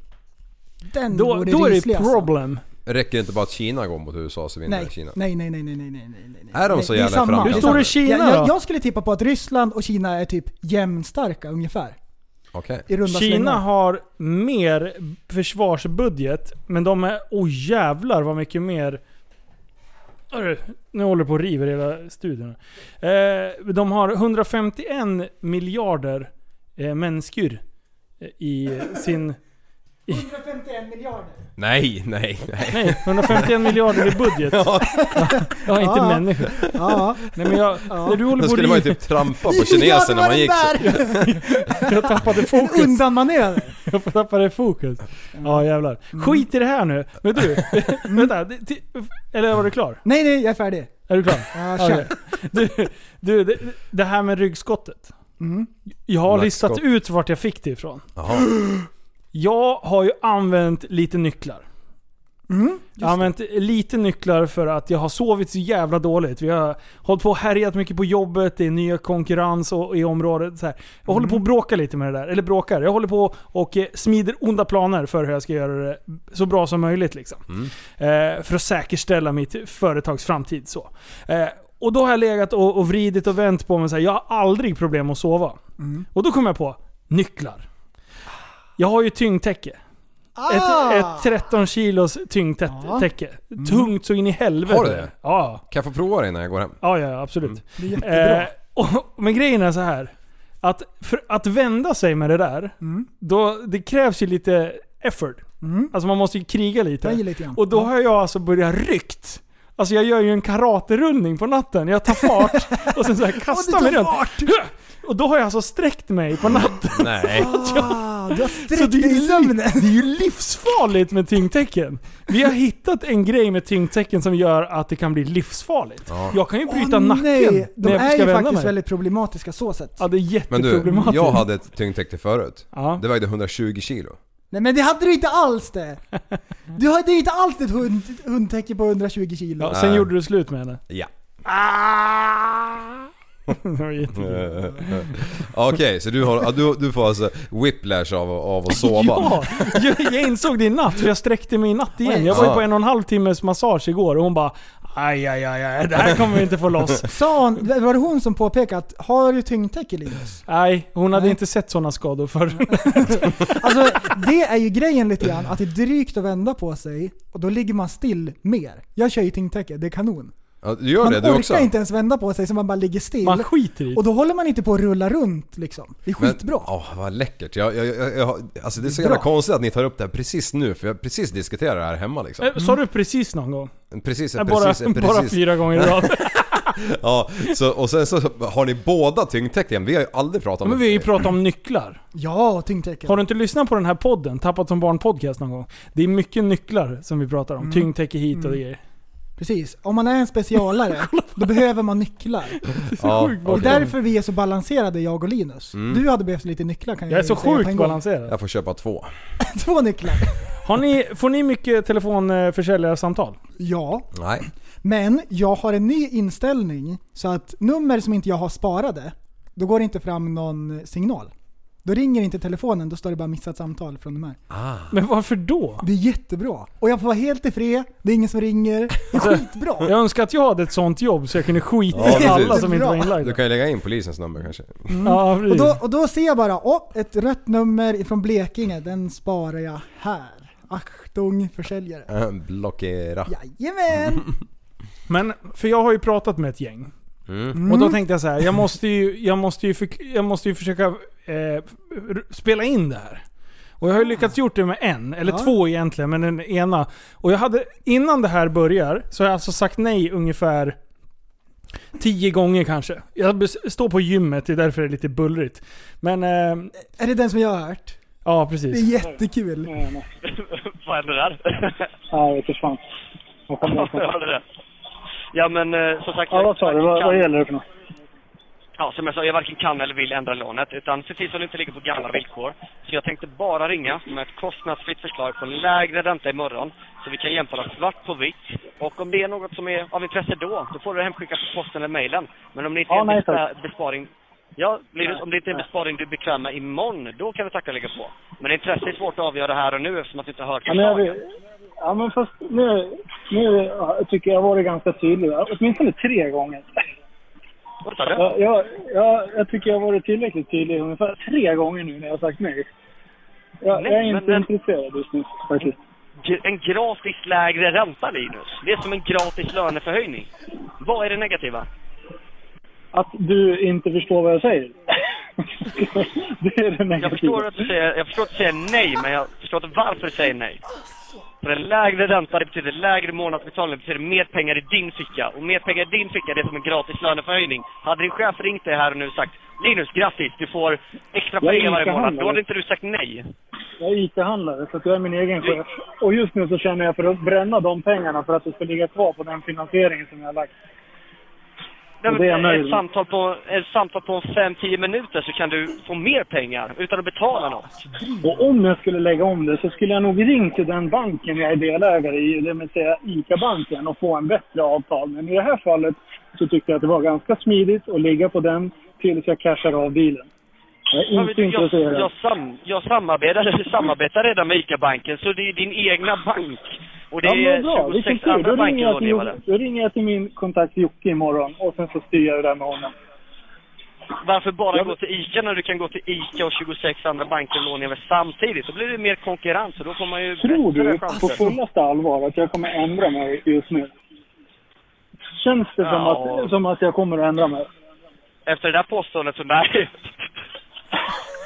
G: Den
A: Då,
G: vore
A: då är
G: ryslig,
A: det
G: alltså.
A: problem.
H: Räcker det inte bara att Kina går mot USA så vinner
G: Nej,
H: Kina?
G: nej, nej, nej, nej, nej, nej, nej, nej.
H: Är de
G: Nej,
H: så
G: det är
H: jävla
G: samma.
H: framkantade?
A: Hur står det i Kina
G: jag, jag,
A: då?
G: jag skulle tippa på att Ryssland och Kina är typ jämnstarka ungefär.
H: Okej.
G: I runda
A: Kina <laughs>
G: slängar.
A: har mer försvarsbudget, men de är... Oj oh, jävlar vad mycket mer... Hörru, Nu håller du på och river hela studion. Eh, de har 151 miljarder eh, människor eh, i sin...
G: 151 miljarder.
H: Nej, nej, nej.
A: Nej, 151 miljarder i budget. Ja, inte
G: Ja.
A: människor.
G: Ja.
A: Nej men jag... När du håller
H: Då
A: på och
H: skulle man ju
A: river...
H: typ
G: <laughs>
H: trampa på kineser när man gick
A: <laughs>
H: så.
A: Jag tappade fokus.
G: En undanmanöver.
A: Jag får tappa det fokus. Ja jävlar. Skit i det här nu. Men du, vänta. det- ti- Eller var du klar?
G: Nej, nej, jag är färdig.
A: Är du klar?
G: Ja,
A: Ja,
G: kör.
A: okej. Du, du det, det här med ryggskottet.
G: Mm.
A: Jag har
H: Nackskott.
A: listat ut vart jag fick det ifrån.
H: Jaha.
A: Jag har ju använt lite nycklar.
G: Mm.
A: Jag har använt lite nycklar för att jag har sovit så jävla dåligt. Vi har hållit på och härjat mycket på jobbet, det är nya konkurrens och, i området. Så här. Jag håller på
H: Mm.
A: att bråka lite med det där. Eller bråkar. Jag håller på och eh, smider onda planer för hur jag ska göra det så bra som möjligt. Liksom.
H: Mm.
A: Eh, för att säkerställa mitt företags framtid. Så. Eh, och då har jag legat och, och vridit och vänt på mig. Så här. Jag har aldrig problem att sova.
H: Mm.
A: Och då kom jag på nycklar. Jag har ju tyngdtäcke.
G: Ah!
A: Ett, ett 13 kilos tyngdtäcke. Tungt så in i helvete.
H: Har du det?
A: Ja,
H: Kan jag få prova det innan jag går hem?
A: ja, ja absolut.
G: Mm. Det är jättebra.
A: Eh, och, men grejen är så här. Att för att vända sig med det där, då, det krävs ju lite effort.
G: Mm.
A: Alltså man måste ju kriga lite.
G: Jag gillar lite grann.
A: Och då har jag alltså börjat ryckt. Alltså jag gör ju en karaterullning på natten. Jag tar fart
G: <laughs>
A: och sen så här kastar mig runt. <laughs> Och då har jag alltså sträckt mig på
G: <laughs>
A: natten.
H: Nej.
G: Ah, du har
A: Så
G: sträckt
A: det, är
G: dig i
A: ju,
G: sömnen.
A: det är ju livsfarligt med tyngdtecken. Vi har hittat en grej med tyngdtecken som gör att det kan bli livsfarligt.
H: Ja.
A: Jag kan ju bryta
G: Åh,
A: nacken
G: nej,
A: när
G: de
A: jag
G: är
A: ska
G: ju
A: vända
G: faktiskt
A: mig.
G: väldigt problematiska så sett.
A: Ja, det är
H: Men du,
A: jätteproblematiskt.
H: jag hade ett tyngdtäcke förut.
A: Ja.
H: Det vägde 120 kilo.
G: Nej men det hade du inte alls det! Du hade ju inte alls ett hund, hundtäcke på 120 kilo.
A: Ja, sen
H: Nej.
A: gjorde du slut med henne.
G: <laughs>
H: Ja.
A: Det var jättekul.
H: Okej, så du, har, ja, du, du får alltså whiplash av, av
G: <laughs>
H: att sova?
A: Ja, jag, jag insåg det i natt för jag sträckte mig i natt igen. Jag var ju
H: Ja.
A: på en och en halv timmes massage igår och hon bara aj, aj, aj, aj det här kommer vi inte få loss.
H: <laughs>
G: Sa hon, var det hon som påpekade att har du tyngdtäcke Linus?
A: Nej, hon hade
G: Nej.
A: inte sett sådana skador
H: <laughs>
A: förr.
G: <laughs> Alltså det är ju grejen lite grann, att det är drygt att vända på sig och då ligger man still mer. Jag kör ju tyngdtäcke, det är kanon.
H: Ja, du gör
G: Man
H: det du
G: orkar
H: också?
G: inte ens vända på sig så man bara ligger still.
A: Man skiter i
G: och
A: det.
G: då håller man inte på att rulla runt liksom. Det är
H: Men-
G: skitbra.
H: Ja, vad läckert. Jag, jag, jag, jag, alltså det är så jävla
G: Bra.
H: konstigt att ni tar upp det här precis nu, för jag precis diskuterar det här hemma liksom.
A: Eh, Sa du precis någon gång?
H: Precis,
A: Nej,
H: precis,
A: bara, <laughs>
H: precis.
A: bara fyra gånger i
H: <laughs>
A: rad.
H: Ja, så, och sen så har ni båda tyngdtäcken. Vi har ju aldrig pratat om
A: Men vi har ju pratat om nycklar.
G: Ja, tyngdtäcke.
A: Har du inte lyssnat på den här podden, Tappat som barn podcast någon gång? Det är mycket nycklar som vi pratar om.
H: Mm.
A: Tyngdtäcke hit och det grejer.
G: Precis. Om man är
A: <laughs>
G: en specialare, då behöver
H: <laughs>
G: man nycklar.
H: ja,
A: sjukt
H: okej. Mm.
G: Det är därför vi är så balanserade jag och Linus. Du hade behövt lite nycklar kan jag
A: Jag är så
G: säga på en
A: sjukt
G: gång.
A: balanserad.
H: Jag får köpa två.
G: <laughs> Två nycklar.
A: Har ni, får ni mycket telefonförsäljarsamtal?
G: Ja,
H: Nej.
G: men jag har en ny inställning så att nummer som inte jag har sparade, då går det inte fram någon signal. Då ringer inte telefonen, då står det bara missat samtal från de här.
A: Men varför då?
G: Det är jättebra. Och jag får vara helt i fred, det är ingen som ringer. Det är skitbra.
A: Jag önskar att jag hade ett sånt jobb så jag kunde skita
H: Ja,
A: i
H: precis.
A: alla som inte var
H: Du
A: inlagda.
H: kan ju lägga in polisens nummer kanske. <laughs>
A: Ja, precis.
G: Och då, och då ser jag bara, åh, ett rött nummer ifrån Blekinge, den sparar jag här. Achtung försäljare.
H: Eh, Blockera.
G: Jajamän!
A: Men, för jag har ju pratat med ett gäng.
H: Mm.
A: Och
G: Mm.
A: då tänkte jag så här, jag måste ju, jag måste ju, förk- jag måste ju försöka eh, r- spela in det här. Och jag har ju lyckats gjort det med en, eller
G: Ah. Ja.
A: två egentligen, men den ena. Och jag hade, innan det här börjar, så har jag alltså sagt nej ungefär tio gånger kanske. Jag bes- står på gymmet, det är därför det är lite bullrigt. Men, eh,
G: Är det den som jag har hört?
A: ja
G: Det är
A: precis.
G: jättekul.
J: Vad händer
K: <laughs>
J: där?
K: Nej, jag vet inte fan. Jag kommer inte ihåg.
J: Hörde det? Ja men eh, som sagt,
K: Ja, vad sa du? Vad, vad
J: kan,
K: gäller det för något?
J: ja, som jag sa, jag varken kan eller vill ändra lånet. Utan se till så det inte ligger på gamla villkor. Så jag tänkte bara ringa med ett kostnadsfritt förslag på en lägre ränta imorgon. Så vi kan jämföra svart på vitt. Och om det är något som är av intresse då, då får du det hemskickat på posten eller mejlen. Men om det inte
K: Ja,
J: är en
K: nej,
J: besta- besparing Ja, blir det, om det inte är en besparing du är bekväm med imorgon, då kan vi tacka och lägga på. Men intresse är svårt att avgöra här och nu eftersom att vi inte har hört
K: Ja, men, jag,
J: förslagen.
K: vill- ja, men fast nu, nu tycker jag jag har varit ganska tydlig. Åtminstone tre gånger.
J: Vad sa
K: Jag,
J: du?
K: jag, jag, jag tycker jag har varit tillräckligt tydlig ungefär tre gånger nu när jag har sagt nej. Jag,
J: Nej,
K: jag är inte
J: men- men-
K: intresserad just nu faktiskt.
J: Gr- En gratis lägre ränta, Linus. Det är som en gratis löneförhöjning. Vad är det negativa?
K: Att du inte förstår vad
J: <laughs>
K: jag säger. det är det negativa.
J: Jag förstår att du säger, jag förstår att du säger nej, men jag förstår inte varför du säger nej. För en lägre ränta, det betyder lägre månadsbetalning, det betyder mer pengar i din ficka. Och mer pengar i din ficka, det är som en gratis löneförhöjning. Hade din chef ringt dig här och nu sagt Linus, grattis, du får extra
K: Jag är
J: pengar varje månad.
K: ICA-handlare.
J: Då hade inte du sagt nej.
K: Jag är IT-handlare så att jag är min egen chef. Och just nu så känner jag för att bränna de pengarna för att det ska ligga kvar på den finansiering som jag har lagt.
J: Nej,
K: Och det är
J: men
K: nöjd
J: ett,
K: med.
J: samtal på, ett samtal på 5-10 minuter så kan du få mer pengar utan att betala något.
K: Och om jag skulle lägga om det så skulle jag nog ringa till den banken jag är delägare i, det vill säga ICA-banken, och få en bättre avtal. Men i det här fallet så tyckte jag att det var ganska smidigt att ligga på den tills jag cashar av bilen. Jag är
J: Ja, men
K: inte
J: du,
K: intresserad.
J: Jag, jag, sam, jag samarbetar, samarbetar redan med ICA-banken, så det är din egna bank. Och det
K: Ja, men
J: är
K: bra. Vilken
J: 26
K: tur. Då
J: andra
K: ringer, jag till,
J: bankinrådgivare.
K: min- då ringer jag till min kontakt Jocke imorgon och sen så styr jag det där med honom.
J: Varför bara gå till ICA när du kan gå till ICA och 26 andra bankinrådgivare samtidigt? Då blir det mer konkurrens och då får man ju
K: Tror du
J: bättre
K: på
J: chanser.
K: fullaste allvar att jag kommer ändra mig just nu? Känns det som,
J: Ja.
K: att, som att jag kommer att ändra mig?
J: Efter det där påståendet så nej.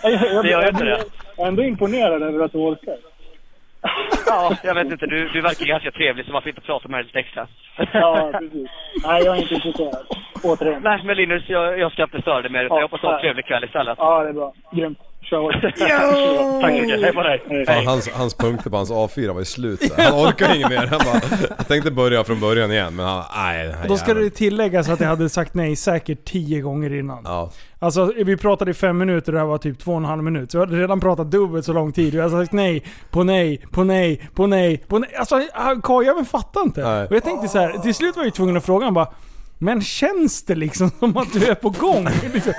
K: Jag,
J: Det gör ju inte det.
K: jag är ändå imponerad över att du orkar.
J: Ja, jag vet inte. Du, du verkar ganska trevlig, så varför inte prata med dig lite extra?
K: Ja, precis. Nej, jag är inte intresserad. Återigen.
J: Nej, men Linus, jag, jag ska inte störa dig mer. Utan
K: Ja,
J: jag hoppas du har en
K: nej.
J: trevlig kväll istället.
K: Ja, det är bra. Grymt. Kör hårt.
J: Tack så mycket. Hej på dig.
H: Fan, hans, hans punkter på hans A4 var ju slut där. Han orkar inget mer. Han bara, jag tänkte börja från början igen men han, nej den här
A: Då ska
H: jäveln."
A: det tilläggas att jag hade sagt nej säkert tio gånger innan.
H: Ja.
A: Alltså vi pratade i fem minuter och det här var typ två och en halv minut. Så jag hade redan pratat dubbelt så lång tid och jag hade sagt nej, på nej, på nej, på nej, på nej. Alltså han- karljäveln fattade inte.
H: Nej.
A: Och jag tänkte så här, till slut var jag ju tvungen att fråga han bara men känns det liksom som att du är på gång? <laughs> Liksom.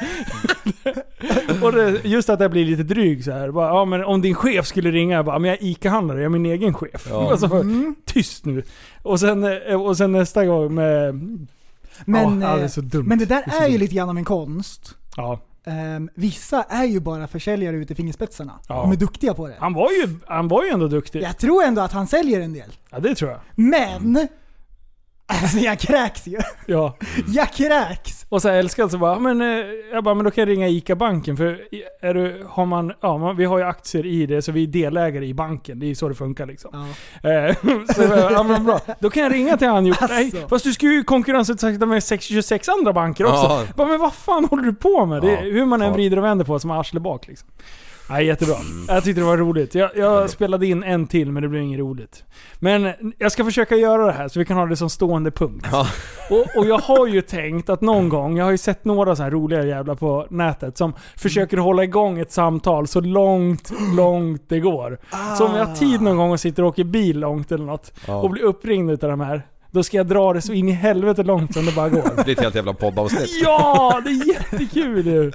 A: och det, just att jag blir lite dryg så här. Bara, ja, men om din chef skulle ringa, jag bara, men jag är ICA-handlare, jag är min egen chef.
H: Ja.
A: Alltså,
G: Mm.
A: Tyst nu. Och sen, eh, och sen nästa gång med...
G: Men,
A: ja, det är
G: eh,
A: så dumt.
G: men det där
A: är så
G: är ju
A: dumt.
G: lite grann av en konst.
A: Ja.
G: Ehm, vissa är ju bara försäljare ute i fingerspetsarna.
A: Ja.
G: De är duktiga på det.
A: Han var ju, han var ju ändå duktig.
G: Jag tror ändå att han säljer en del.
A: Ja, det tror jag. Mm.
G: Men! <laughs> Alltså jag kräks ju.
A: Ja.
G: Jag kräks!
A: Och så här älskade så bara, men, eh, jag bara, men då kan jag ringa ICA-banken för är du, har man, ja, man, vi har ju aktier i det så vi är delägare i banken. Det är ju så det funkar liksom.
G: Ja.
A: Eh, <laughs> så jag bara, ja, men bra. Då kan jag ringa till han Jocke. Nej,
G: Alltså.
A: fast du ska ju konkurrensutsätta med 6, 26 andra banker också.
H: Ja.
A: Bara, men vad fan håller du på med? Det,
H: Ja.
A: är hur man än
H: Ja. Mm.
A: vrider och vänder på det, som arsle bak liksom. Nej, jättebra. Jag tyckte det var roligt. Jag, jag spelade in en till men det blev inget roligt. Men jag ska försöka göra det här så vi kan ha det som stående punkt.
H: Ja.
A: Och, och jag har ju tänkt att någon gång, jag har ju sett några så här roliga jävlar på nätet som försöker
H: Mm.
A: hålla igång ett samtal så långt, långt det går. Så om jag har tid någon gång och sitter och åker bil långt eller något
H: Ja.
A: och blir uppringd utav de här, då ska jag dra det så in i helvete långt som det bara går.
H: Det blir ett helt jävla poddavsnitt.
A: <laughs> Ja, det är jättekul ju!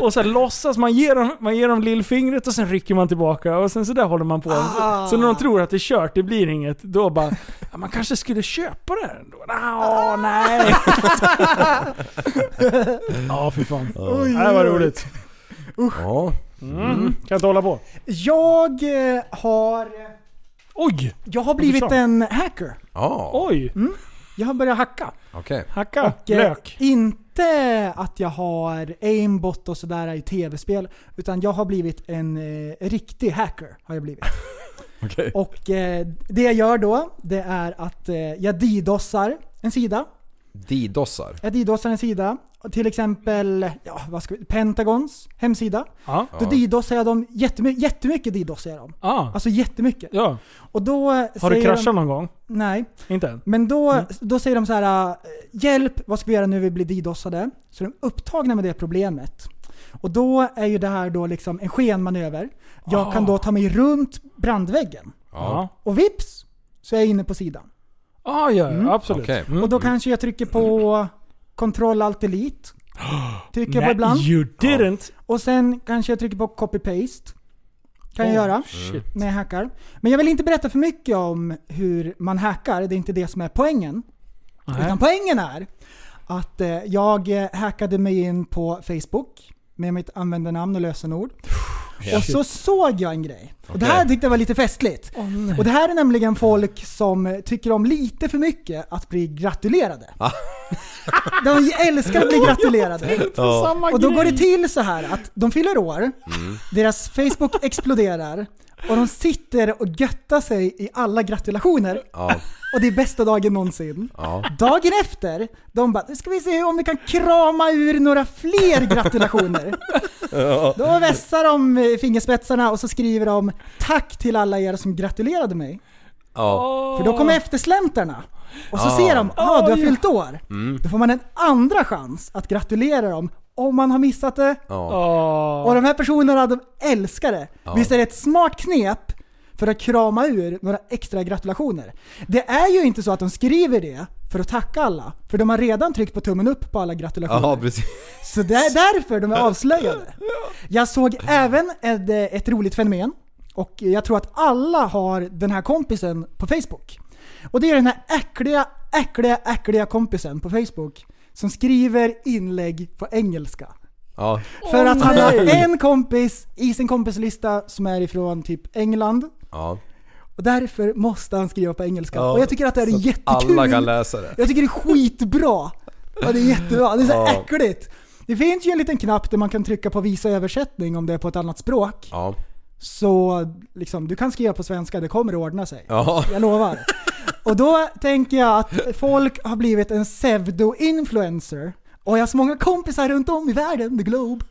A: Och så här låtsas man ger dem, man ger dem lillfingret och sen rycker man tillbaka och sen så där håller man på.
G: Ah.
A: Så när de tror att det är kört, det blir inget, då bara ja, man kanske skulle köpa det här ändå? Nå,
G: <laughs>
A: nej. Ja, fy fan. Det här var roligt.
H: Ja.
A: Mm. Kan inte hålla på.
G: Jag eh, har...
A: Oj!
G: Jag har blivit
A: försvann.
G: en hacker.
H: Ja.
A: Oj!
G: Jag har börjat hacka.
H: Okej.
A: Hacka.
G: Mm. Och, eh,
A: Lök.
G: Inte att jag har aimbot och sådär i tv-spel, utan jag har blivit en eh, riktig hacker. har jag blivit.
H: Okej.
G: Och eh, det jag gör då, det är att eh, jag didossar en sida.
H: Didossar.
G: Jag didossar en sida, och till exempel ja, vad ska vi, Pentagons hemsida.
A: Ja.
G: Då didossar jag dem jättemy- jättemycket. didossar jag dem.
A: Ah.
G: Alltså jättemycket.
A: Ja.
G: Och då
A: Har du kraschat Mm. någon gång?
G: De, nej.
A: Inte än?
G: Men då, då säger de så här eh, “Hjälp, vad ska vi göra nu? Vi blir didossade”. Så de är upptagna med det problemet. Och då är ju det här då liksom en skenmanöver. Jag
A: Ah.
G: kan då ta mig runt brandväggen.
A: Ja.
G: Och vips så är jag inne på sidan.
A: Ah, ja, ja, absolut.
H: Okej.
A: Mm.
G: Och då kanske jag trycker på Ctrl Alt Delete. Trycker jag
A: Nej,
G: på ibland.
A: you didn't.
G: Och sen kanske jag trycker på copy-paste. Kan jag
A: Oh,
G: göra.
A: shit.
G: När jag hackar. Men jag vill inte berätta för mycket om hur man hackar. Det är inte det som är poängen.
A: Nej.
G: Utan poängen är att eh, jag eh, hackade mig in på Facebook med mitt användarnamn och lösenord.
A: Ja.
G: Och så
A: Shit.
G: såg jag en grej. Och det här
A: Okej.
G: tyckte jag var lite festligt.
A: nej.
G: och det här är nämligen folk som eh, tycker om lite för mycket att bli gratulerade.
A: Ah.
G: De älskar att bli gratulerade.
I: tänkte på Ja. samma
G: Och då
I: grej.
G: går det till så här att de fyller år,
H: Mm.
G: deras Facebook exploderar och de sitter och göttar sig i alla gratulationer.
H: Ja.
G: Och det är bästa dagen någonsin.
H: Ja.
G: Dagen efter, de bara nu ska vi se om vi kan krama ur några fler gratulationer. Då vässar de eh, fingerspetsarna och så skriver de tack till alla er som gratulerade mig.
H: Ja.
G: För då kommer eftersläntarna. Och så
H: Ah.
G: ser de, ah du har
H: Oj.
G: fyllt år.
H: Mm.
G: Då får man en andra chans att gratulera dem om man har missat det.
H: Ja.
G: Och de här personerna, de älskar det.
H: Ja.
G: Visst är det ett smart knep för att krama ur några extra gratulationer? Det är ju inte så att de skriver det för att tacka alla, för de har redan tryckt på tummen upp på alla gratulationer.
H: Ja, precis.
G: Så det är därför de är avslöjade. Jag såg även ett, eh, ett roligt fenomen. Och jag tror att alla har den här kompisen på Facebook. Och det är den här äckliga, äckliga, äckliga kompisen på Facebook som skriver inlägg på engelska.
H: Ja.
G: För att han har en kompis i sin kompislista som är ifrån typ England.
H: Ja.
G: Och därför måste han skriva på engelska.
H: Ja,
G: och jag tycker att det här är
H: så att
G: jättekul.
H: alla kan läsa det.
G: Jag tycker det är skitbra. Ja, det är jättebra. Det är så
H: Ja.
G: äckligt. Det finns ju en liten knapp där man kan trycka på visa översättning om det är på ett annat språk.
H: Ja.
G: Så liksom, du kan skriva på svenska, det kommer att ordna sig.
H: Ja.
G: Jag lovar. Och då tänker jag att folk har blivit en pseudo-influencer. Och jag har så många kompisar runt om i världen, the globe.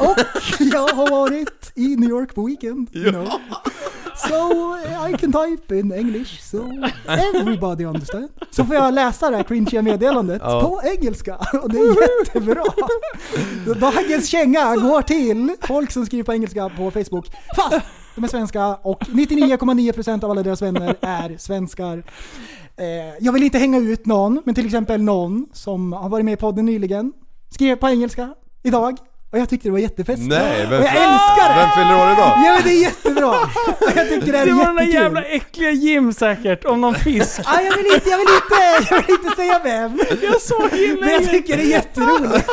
G: Och jag har varit i New York på weekend. You know. So I can type in English so everybody understand. Så får jag läsa det här cringiga meddelandet
I: Ja.
G: på engelska och det är jättebra. Dagens känga går till folk som skriver på engelska på Facebook. Fast de är svenska och 99,9% av alla deras vänner är svenskar. Eh, jag vill inte hänga ut någon, men till exempel någon som har varit med i podden nyligen skrev på engelska idag. Och jag tyckte det var jättefestligt.
H: Nej,
G: och
H: vem
G: jag älskar det!
H: Vem fyller år idag?
G: Ja men det är jättebra! Och jag tycker det här är
A: Det var den där
G: jättekul.
A: jävla äckliga Jim säkert, om någon fisk.
G: Ah, jag, vill inte, jag, vill inte, jag vill inte säga vem.
A: <laughs> Jag såg inlägget.
G: Men jag tycker det är jätteroligt.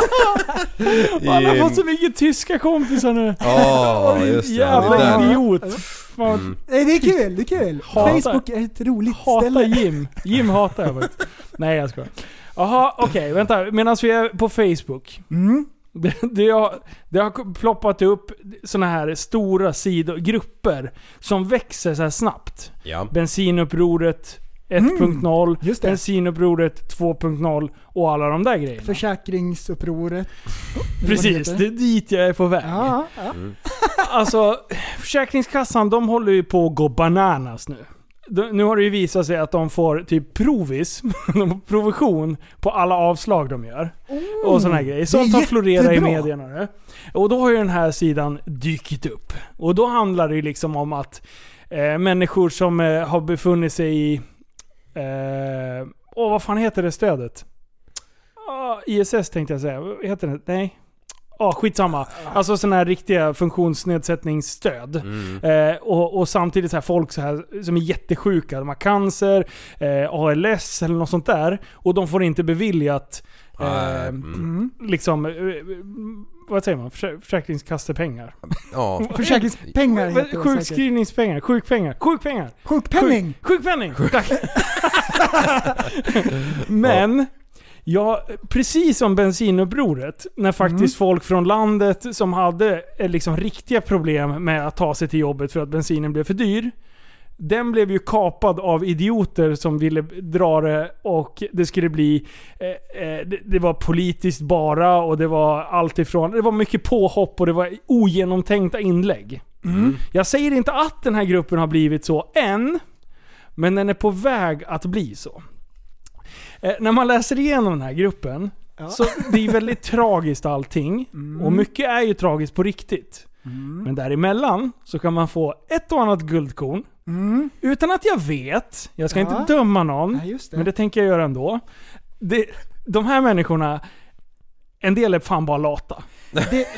A: Och alla har
H: Jim.
A: fått så mycket tyska kompisar nu.
H: Ja,
A: Oj,
H: just det.
A: Jävla
H: Han är där. Mm.
A: idiot. Fan.
G: Nej, Eh, det är kul, det är kul.
A: Hatar-
G: Facebook är ett roligt
A: Hatar
G: ställe.
A: Jim. Jim hatar jag faktiskt. Nej jag skojar. Jaha, okej vänta. Medan vi är på Facebook.
G: Mm,
A: Det, det, har, det har ploppat upp såna här stora sidogrupper som växer så här snabbt.
H: Ja.
A: Bensinupproret 1.0, Bensinupproret 2.0 och alla de där grejerna.
G: Försäkringsupproret.
A: Precis, det är dit jag är på väg.
I: <laughs>
G: Ja, ja.
A: Alltså, Försäkringskassan de håller ju på att gå bananas nu. De- Nu har det ju visat sig att de får typ provis, <laughs> de får provision på alla avslag de gör. Och sådana här grejer. Sånt
I: det är
A: har florerat i
I: jättebra.
A: medierna nu. Och då har ju den här sidan dykt upp. Och då handlar det ju liksom om att eh, människor som eh, har befunnit sig i... Eh, åh, vad fan heter det stödet? Ah, ISS tänkte jag säga. Vad Heter det? Nej. Ja, skitsamma. Alltså sådana här riktiga funktionsnedsättningsstöd. Eh, och, och samtidigt så här folk så här, som är jättesjuka. De har cancer, eh, ALS eller något sånt där. Och de får inte beviljat eh, liksom, eh, vad säger man? Försä- Försäkringskassepengar.
H: Ja.
G: Försäkringspengar
A: Eh,
G: heter det
A: Sjukskrivningspengar. Sjukpengar. Sjukpengar.
G: Sjukpenning!
A: Sjuk, sjukpenning! Tack! Men, ja, precis som bensinupproret, när faktiskt folk från landet som hade eh, liksom riktiga problem med att ta sig till jobbet för att bensinen blev för dyr. Den blev ju kapad av idioter som ville dra det och det skulle bli... Eh, eh, det, det var politiskt bara och det var allt ifrån... Det var mycket påhopp och det var ogenomtänkta inlägg. Jag säger inte att den här gruppen har blivit så än, men den är på väg att bli så. Eh, när man läser igenom den här gruppen, så det är väldigt tragiskt allting. Och mycket är ju tragiskt på riktigt. Men däremellan så kan man få ett och annat guldkorn. Utan att jag vet, jag ska
I: Ja.
A: inte döma någon, men det tänker jag göra ändå. Det, de här människorna En del är fan bara lata.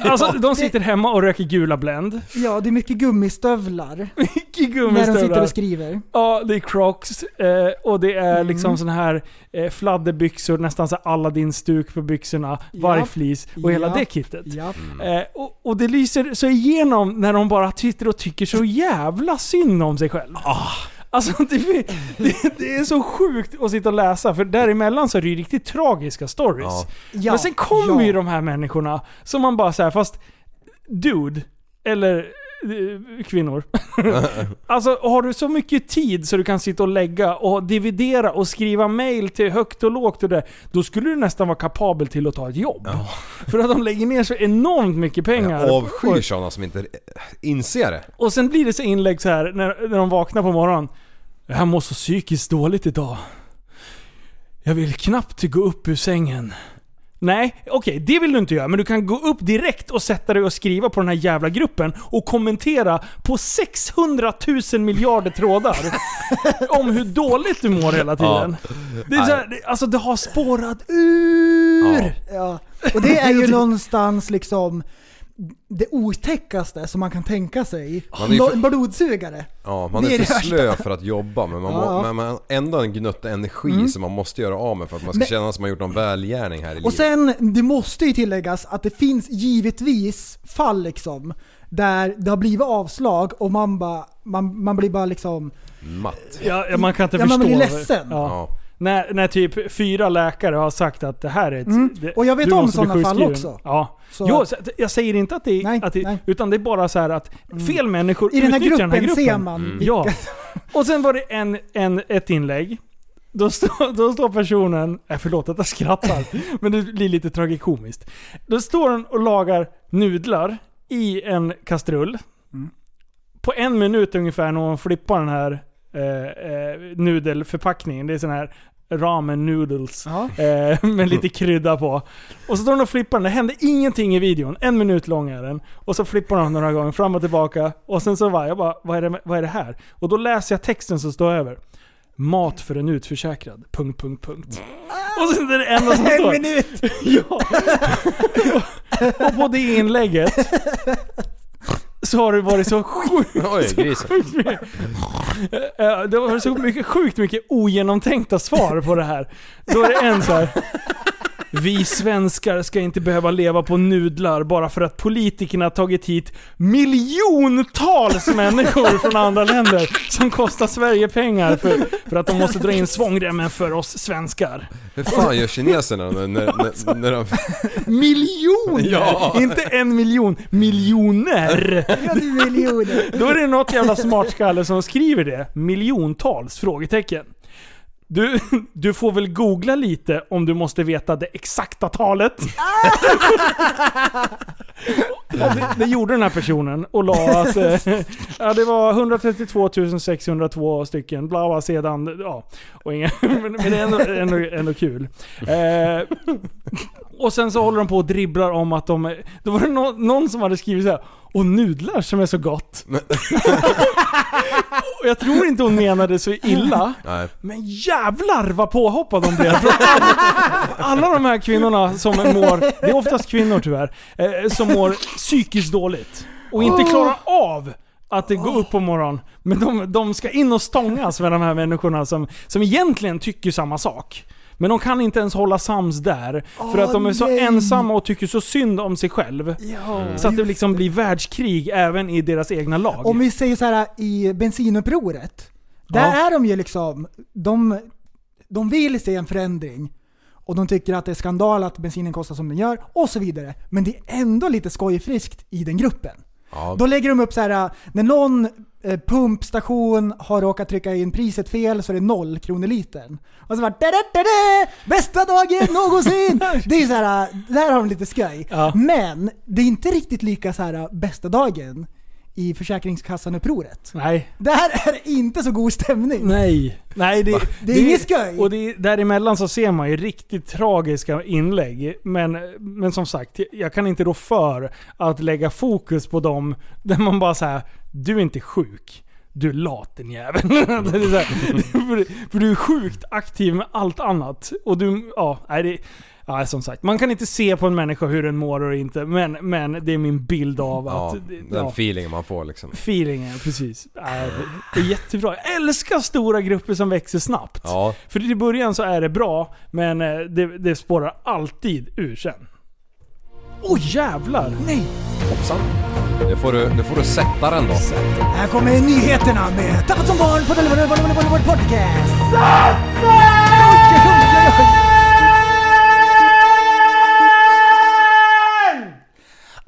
A: alltså, de sitter hemma och röker gula Blend.
G: Ja, det är mycket gummistövlar.
A: mycket
G: När
A: gummistövlar.
G: de sitter och skriver.
A: Ja, det är crocs eh, och det är
G: Mm.
A: liksom sån här eh, fladderbyxor, nästan så här Aladdin-stuk på byxorna, vargflis och hela
G: Ja.
A: det kittet.
G: Ja.
H: Mm.
A: Eh, och, och det lyser så igenom när de bara sitter och tycker så jävla synd om sig själv.
G: Ah.
A: Alltså det, det, det är så sjukt att sitta och läsa, för däremellan så är det ju riktigt tragiska stories.
G: Ja,
A: Men sen kommer
G: ja.
A: ju de här människorna som man bara säger fast dude, eller eh, kvinnor. alltså har du så mycket tid så du kan sitta och lägga och dividera och skriva mail till högt och lågt och det, då skulle du nästan vara kapabel till att ta ett jobb. För att de lägger ner så enormt mycket pengar.
H: Jag avskyr sådana som inte inser det.
A: Och sen blir det så inlägg så här när, när de vaknar på morgonen. Jag mår så psykiskt dåligt idag. Jag vill knappt gå upp ur sängen. Nej, okej, det vill du inte göra. Men du kan gå upp direkt och sätta dig och skriva på den här jävla gruppen och kommentera på 600 000 miljarder trådar
G: <laughs>
A: om hur dåligt du mår hela tiden. Det är så här, det, alltså det har spårat ur.
G: Ja. Och det är ju någonstans liksom det otäckaste som man kan tänka sig.
H: Man är ju
G: Nå-
H: för-
G: Blodsugare.
H: Ja, man
G: Det
H: är,
G: är det
H: för
G: värsta.
H: slö för att jobba men man,
G: Ja. Mm.
H: må, men man har ändå en gnutta energi som man måste göra av med för att man ska
G: Men-
H: känna att man har gjort någon välgärning här i
G: Och
H: livet.
G: sen, det måste ju tilläggas att det finns givetvis fall liksom där det har blivit avslag och man bara, man, man blir bara liksom...
H: Matt.
A: Ja, ja, man kan inte
G: Ja,
A: förstå.
G: man blir
A: det.
G: ledsen.
A: Ja.
H: Ja.
A: När, när typ fyra läkare har sagt att det här är ett...
G: Mm.
A: det-
G: Och jag vet
A: du
G: om
A: måste bli
G: sådana fall
A: sjukskriven.
G: också.
A: Ja.
G: Så
A: jo,
G: att-
A: så att jag säger inte att det är...
G: Nej,
A: att det,
G: nej. Mm.
A: utan det är bara så här att fel människor
G: I den här
A: utnyttjar den här
G: gruppen
A: gruppen.
G: ser man
H: Mm.
G: vilka-
A: Ja. <laughs> Och sen var det en, en, ett inlägg. Då, står- då står personen... Äh, förlåt att jag
G: <laughs>
A: skrattar. men det blir lite tragikomiskt. Då står den och lagar nudlar i en kastrull.
G: Mm.
A: På en minut ungefär när hon flippar den här eh, eh, nudelförpackningen. Det är sån här ramen noodles.
G: Ja.
A: Eh, med lite krydda på. Och så står hon och flippar den. Det hände ingenting i videon. En minut lång är den. Och så flippar hon några gånger fram och tillbaka. Och sen så var jag bara, vad är, det, med- vad är det här? Och då läser jag texten som står över. Mat för en utförsäkrad. Punkt, punkt, punkt. Och sen är det enda som
G: En
A: står.
G: minut!
A: Ja. <laughs> Och på det inlägget så har det varit
G: <laughs>
A: så sjukt
H: Oj, grisen.
A: Eh, Det var så mycket, sjukt mycket ogenomtänkta svar på det här. Då är det en så här. Vi svenskar ska inte behöva leva på nudlar bara för att politikerna tagit hit miljontals människor från andra länder som kostar Sverige pengar för, för att de måste dra in svångremmen för oss svenskar.
H: Hur fan gör kineserna när, när, när, när de...
G: <laughs>
A: Miljoner!
H: Ja.
A: Inte en miljon, miljoner!
G: Ja, det är miljoner.
A: Då är det något jävla smartskalle som skriver det. Miljontals? Frågetecken. Du, du får väl googla lite om du måste veta det exakta talet.
G: <laughs>
A: Ja, det, det gjorde den här personen och la att eh, ja, det var 132 602 stycken, bla bla sedan. Ja, och inga, <laughs> men, men det är ändå, ändå, ändå kul. Eh, och sen så håller de på och dribblar om att de... Då var det nå- någon som hade skrivit så här. Och nudlar som är så gott. <laughs> och jag tror inte hon menade så illa.
H: Nej.
A: Men jävlar vad påhoppad de blev. Från alla- Alla de här kvinnorna som mår, det är oftast kvinnor tyvärr, eh, som mår psykiskt dåligt. Och
G: Oh.
A: inte klarar av att det går upp på morgonen. Men de, de ska in och stångas med de här människorna som, som egentligen tycker samma sak. Men de kan inte ens hålla sams där. För
G: Åh,
A: att de är så
G: nej.
A: ensamma och tycker så synd om sig själv.
G: Ja.
A: Så att det liksom blir världskrig även i deras egna lag.
G: Om vi säger så här äh, i bensinupproret. Där
A: Ja.
G: är de ju liksom, de, de vill se en förändring. Och de tycker att det är skandal att bensinen kostar som den gör och så vidare. Men det är ändå lite skojfriskt i den gruppen.
H: Ja.
G: Då lägger de upp så här äh, när någon eh, pumpstation har råkat trycka in priset fel så är det noll kronor litern. Och så bara da, da, da, da, Bästa dagen någonsin! det är så här, äh, där har de lite skoj.
A: Ja.
G: Men det är inte riktigt lika så här äh, bästa dagen i Försäkringskassan-upproret.
A: Nej.
G: Där är det inte så god stämning.
A: Nej. Nej, det,
G: Det är inget skoj.
A: Och det, däremellan så ser man ju riktigt tragiska inlägg. Men, men som sagt, jag kan inte rå för att lägga fokus på dem där man bara säger du är inte sjuk. Du är lat din jävel. <laughs> Det är så här, för, för du är sjukt aktiv med allt annat. Och du, ja, nej, det, ja, som sagt. Man kan inte se på en människa hur den mår och inte. Men, men det är min bild av att...
H: Ja, den
A: ja.
H: feelingen man får liksom.
A: Feelingen, precis. Äh, Det är jättebra. Jag älskar stora grupper som växer snabbt.
H: Ja.
A: För i början så är det bra, men eh, det, det spårar alltid ur sen. Åh oh, jävlar!
G: Nej!
H: Hoppsan. Det får du, det får du sätta den då.
G: Här kommer nyheterna med Tappat som barn på Delivery Podcast. Oj, oj, oj, oj.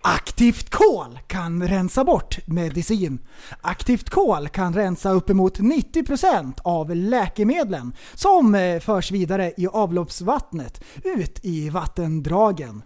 G: Aktivt kol kan rensa bort medicin. Aktivt kol kan rensa uppemot 90% av läkemedlen som eh, förs vidare i avloppsvattnet ut i vattendragen.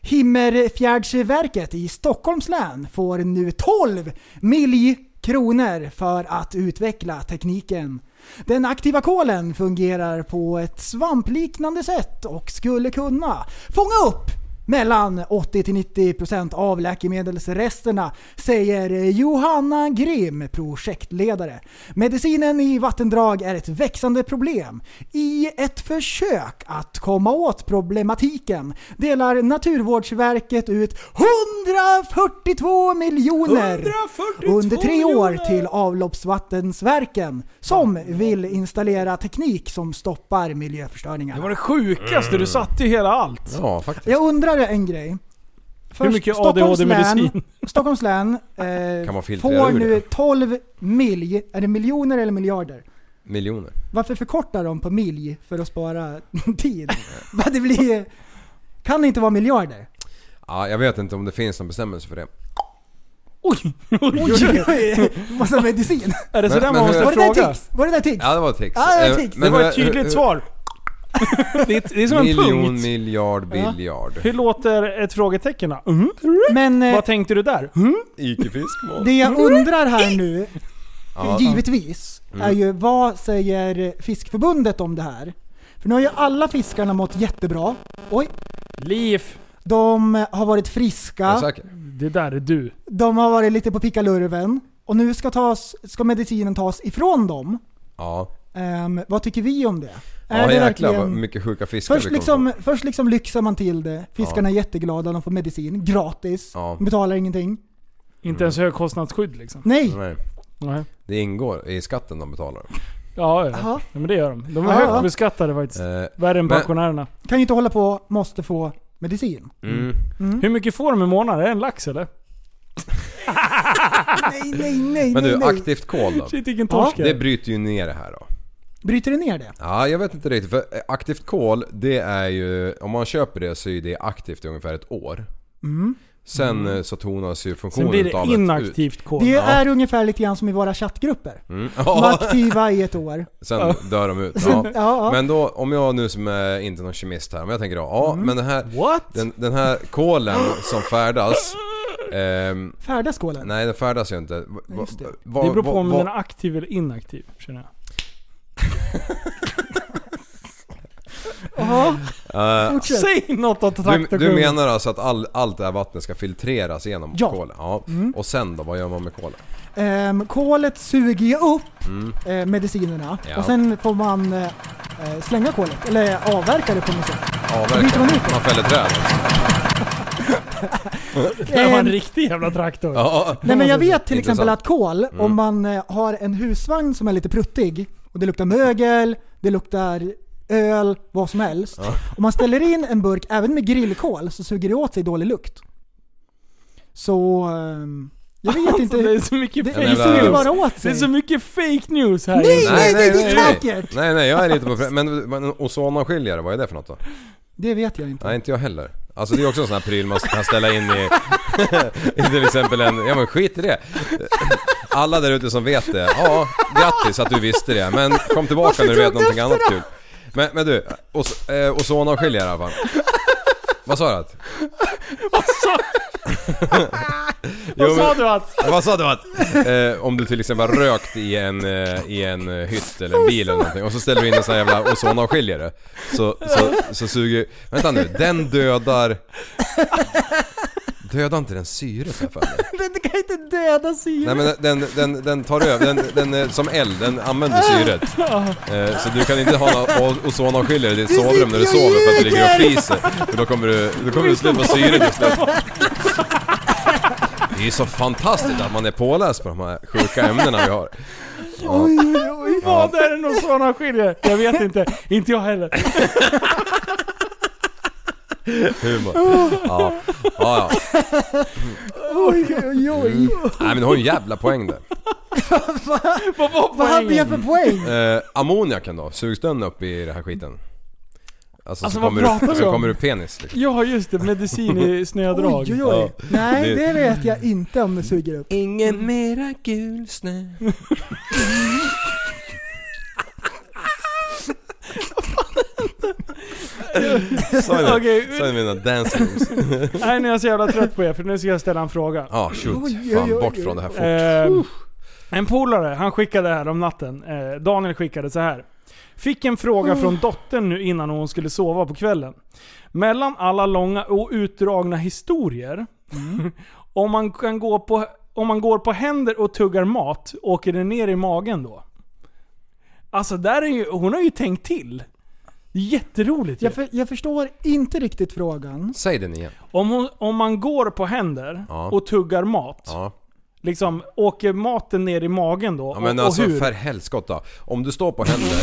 G: Himmerfjärdsverket i Stockholms län får nu 12 milj kronor för att utveckla tekniken. Den aktiva kolen fungerar på ett svampliknande sätt och skulle kunna fånga upp mellan 80-90% av läkemedelsresterna, säger Johanna Grym, projektledare. Medicinen i vattendrag är ett växande problem. I ett försök att komma åt problematiken delar Naturvårdsverket ut 142 miljoner
A: 142
G: under tre år
A: miljoner!
G: till avloppsvattensverken som vill installera teknik som stoppar miljöförstöringar.
A: Det var det sjukaste,
H: Mm.
A: du satte ju hela allt.
H: Ja, faktiskt.
G: Jag undrar en grej.
A: mycket
G: Stockholms
A: ADHD-medicin?
G: län, <laughs> Stockholms län eh,
H: Kan man filtrera
G: får
H: ur det?
G: nu 12 milj. Är det miljoner eller miljarder?
H: Miljoner.
G: Varför förkortar de på milj för att spara <laughs> tid? Vad det blir... Kan det inte vara miljarder?
H: Ja, jag vet inte om det finns någon bestämmelse för det.
G: Oj, oj, oj. <laughs> Massa medicin.
A: Är det
H: Men-
A: sådär
H: men
A: man måste
H: hur-
G: Var det där
A: fråga?
G: tics? Var det där tics?
H: Ja, det var ett tics.
G: Ja, det var ett
H: Eh,
G: tics.
A: Det
H: men
A: var ett
H: hur-
A: tydligt
H: hur- <laughs>
A: svar. Det är, det är som en
H: Miljon,
A: punkt.
H: miljard, biljard.
A: Hur låter ett frågetecken då? Mm.
G: Men eh,
A: Vad tänkte du där? Mm.
H: Ikefiskmål.
G: det jag undrar här nu,
H: Ja. Mm.
G: givetvis, är ju vad säger Fiskförbundet om det här? För nu har ju alla fiskarna mått jättebra. Oj.
A: Liv.
G: De har varit
H: Är du
G: friska,
H: säker?
A: Det där är du.
G: de har varit lite på pickalurven och nu ska, tas, ska medicinen tas ifrån dem.
H: Ja.
G: Ehm, vad tycker vi om det?
H: Ja jäklar vad mycket sjuka fiskar
G: Först
H: vi kommer
G: liksom,
H: på.
G: först liksom lyxar man till det, fiskarna är jätteglada, de får medicin gratis,
H: Ja.
G: betalar ingenting.
A: Inte ens högkostnadsskydd liksom.
G: Nej!
H: Nej.
A: Nej.
H: Det ingår i skatten de betalar.
A: Ja, ja.
G: Jaha.
A: ja, men det gör de. De är
G: Ja.
A: högt beskattade faktiskt.
H: Eh,
A: Värre än
H: Men-
A: pensionärerna.
G: Kan ju inte hålla på, måste få medicin.
H: mm.
A: Hur mycket får de i månaden? Är det en lax eller?
G: Nej, nej, nej,
H: Men
G: nej,
H: du,
G: nej.
H: aktivt kol då?
A: Shit vilken torsk
H: Det
A: ja,
H: bryter ju ner det här då.
G: Bryter det ner det?
H: Ja, jag vet inte riktigt. För eh, aktivt kol, det är ju... Om man köper det så är det aktivt i ungefär ett år. Sen eh, så tonas ju
A: Mm. Sen
H: funktionen
A: blir
H: utav
A: det inaktivt kol.
G: Det
A: Ja.
G: är ungefär lite grann som i våra chattgrupper.
H: Mm.
A: <laughs>
G: De är
H: <laughs> Ja,
G: aktiva i ett år.
H: sen dör de ut.
G: Ja,
H: Ja.
G: ja.
H: Men då, om jag nu som är inte någon kemist här, om jag tänker då, ja
A: Mm.
H: men den här,
A: What?
H: den, den här kolen som färdas, ehm,
G: Färda skålen.
H: nej den färdas ju inte. Va-
G: Just det.
H: va-
A: det beror på
H: va-
A: om
H: va-
A: den är aktiv eller inaktiv, känner jag.
G: Jaha,
H: Eh,
A: <laughs>
G: fortsätt.
A: Säg något att
H: Du,
A: traktorn...
H: du menar alltså att all, allt det här vattnet ska filtreras genom
G: Ja.
H: kolen? Ja.
A: Mm.
H: Och sen då, vad gör man med kolen?
G: Ehm, kolet suger ju upp eh, medicinerna
H: Mm. Ja.
G: och sen får man eh, eh, slänga kolet, eller avverka det på
A: <laughs>
G: något sätt. byter
H: Avverkar?
G: man ut det.
H: Man fäller träd?
A: Det var en
G: Ehm,
A: riktig jävla traktor. <laughs>
H: Ja.
G: Nej men jag vet till exempel
H: Intressant. Mm.
G: att kol, om man eh, har en husvagn som är lite pruttig och det luktar mögel, det luktar öl, vad som helst. Om man ställer in en burk även med grillkol så suger det åt sig dålig lukt. Så... ehm, jag vet inte.
A: Alltså, Det är
G: hur-
A: så mycket
G: Det,
A: fake
G: det
H: jävla-
G: suger bara
A: news.
G: åt
A: Det
G: sig.
A: är så mycket fake news här
G: Nej,
A: inne.
G: nej, nej, det är säkert!
H: Nej nej, jag är lite på fre- Men, men ozonavskiljare, vad är det för något då?
G: Det vet jag
A: <laughs>
G: inte.
H: Nej inte jag heller. Alltså det är också en sån här pryl man kan ställa in i, <laughs> i till exempel en, ja men skit i det. Alla där ute som vet det, ja grattis att du visste det men kom tillbaka när du vet
G: tog du
H: någonting
G: efter
H: annat kul. Men, men du, os, eh, ozonavskiljare i alla fall. Vad sa du att?
A: Vad
H: Jo,
A: sa
H: men-
A: du att...
H: Vad sa du att? Eh, om du till exempel har rökt i en, eh, i en eh, hytt eller en bil eller någonting och så ställer du in en sån här jävla ozonavskiljare. Så, så, så suger... Vänta nu, den dödar... Döda inte den syret här för mig.
G: Den kan inte döda
H: Nej
G: syret.
H: men den, den, den tar över, den, den är som eld, den använder syret. Eh, Så du kan inte ha någon o- ozonavskiljare i ditt sovrum när du sover för att du ligger och fryser. För då kommer du, då kommer du slut på syret till slut. Det är ju så fantastiskt att man är påläst på de här sjuka ämnena vi har. Ja.
A: Oj, oj, oj. Vad är det någon sån skiljer? Jag vet inte. Inte jag heller.
H: <laughs> Humor. Ja. Ja, ja.
G: Oj, oj, oj.
H: Nej men du har ju en jävla poäng där.
A: Vad var
G: Vad hade jag för poäng?
H: Eh, ammoniaken då? Sugs den upp i den här skiten? Alltså,
A: Alltså,
H: så
A: vad
H: kommer
A: pratar
H: du,
A: vi om?
H: så kommer du penis liksom.
A: Ja just det, medicin i snödrag.
G: Oj, oj, oj.
H: Ja.
G: Nej,
H: Det-
G: det vet jag inte om det suger upp.
H: Ingen mera gul snö. Sa
A: Okej.
H: ni mina dance moves?
A: Nej nu är jag så jävla trött på er för nu ska jag ställa en fråga.
H: Ja, shoot.
G: Oj,
H: Fan,
G: oj, oj,
H: bort
G: oj.
H: från det här fort.
A: Eh, en polare, han skickade här om natten. Eh, Daniel skickade så här. Fick en fråga
H: Mm.
A: från dottern nu innan hon skulle sova på kvällen. Mellan alla långa och utdragna historier.
H: Mm.
A: <laughs> om, man kan gå på, om man går på händer och tuggar mat, åker det ner i magen då? Alltså där är ju, hon har ju tänkt till. Jätteroligt ju.
G: Jag, för, jag förstår inte
A: Mm.
G: riktigt frågan.
H: Säg den igen.
A: om, hon, om man går på händer
H: Ja.
A: och tuggar mat.
H: Ja.
A: Liksom, åker maten ner i magen då?
H: ja men
A: och,
H: alltså
A: och hur?
H: för helskotta. Om du står på händer,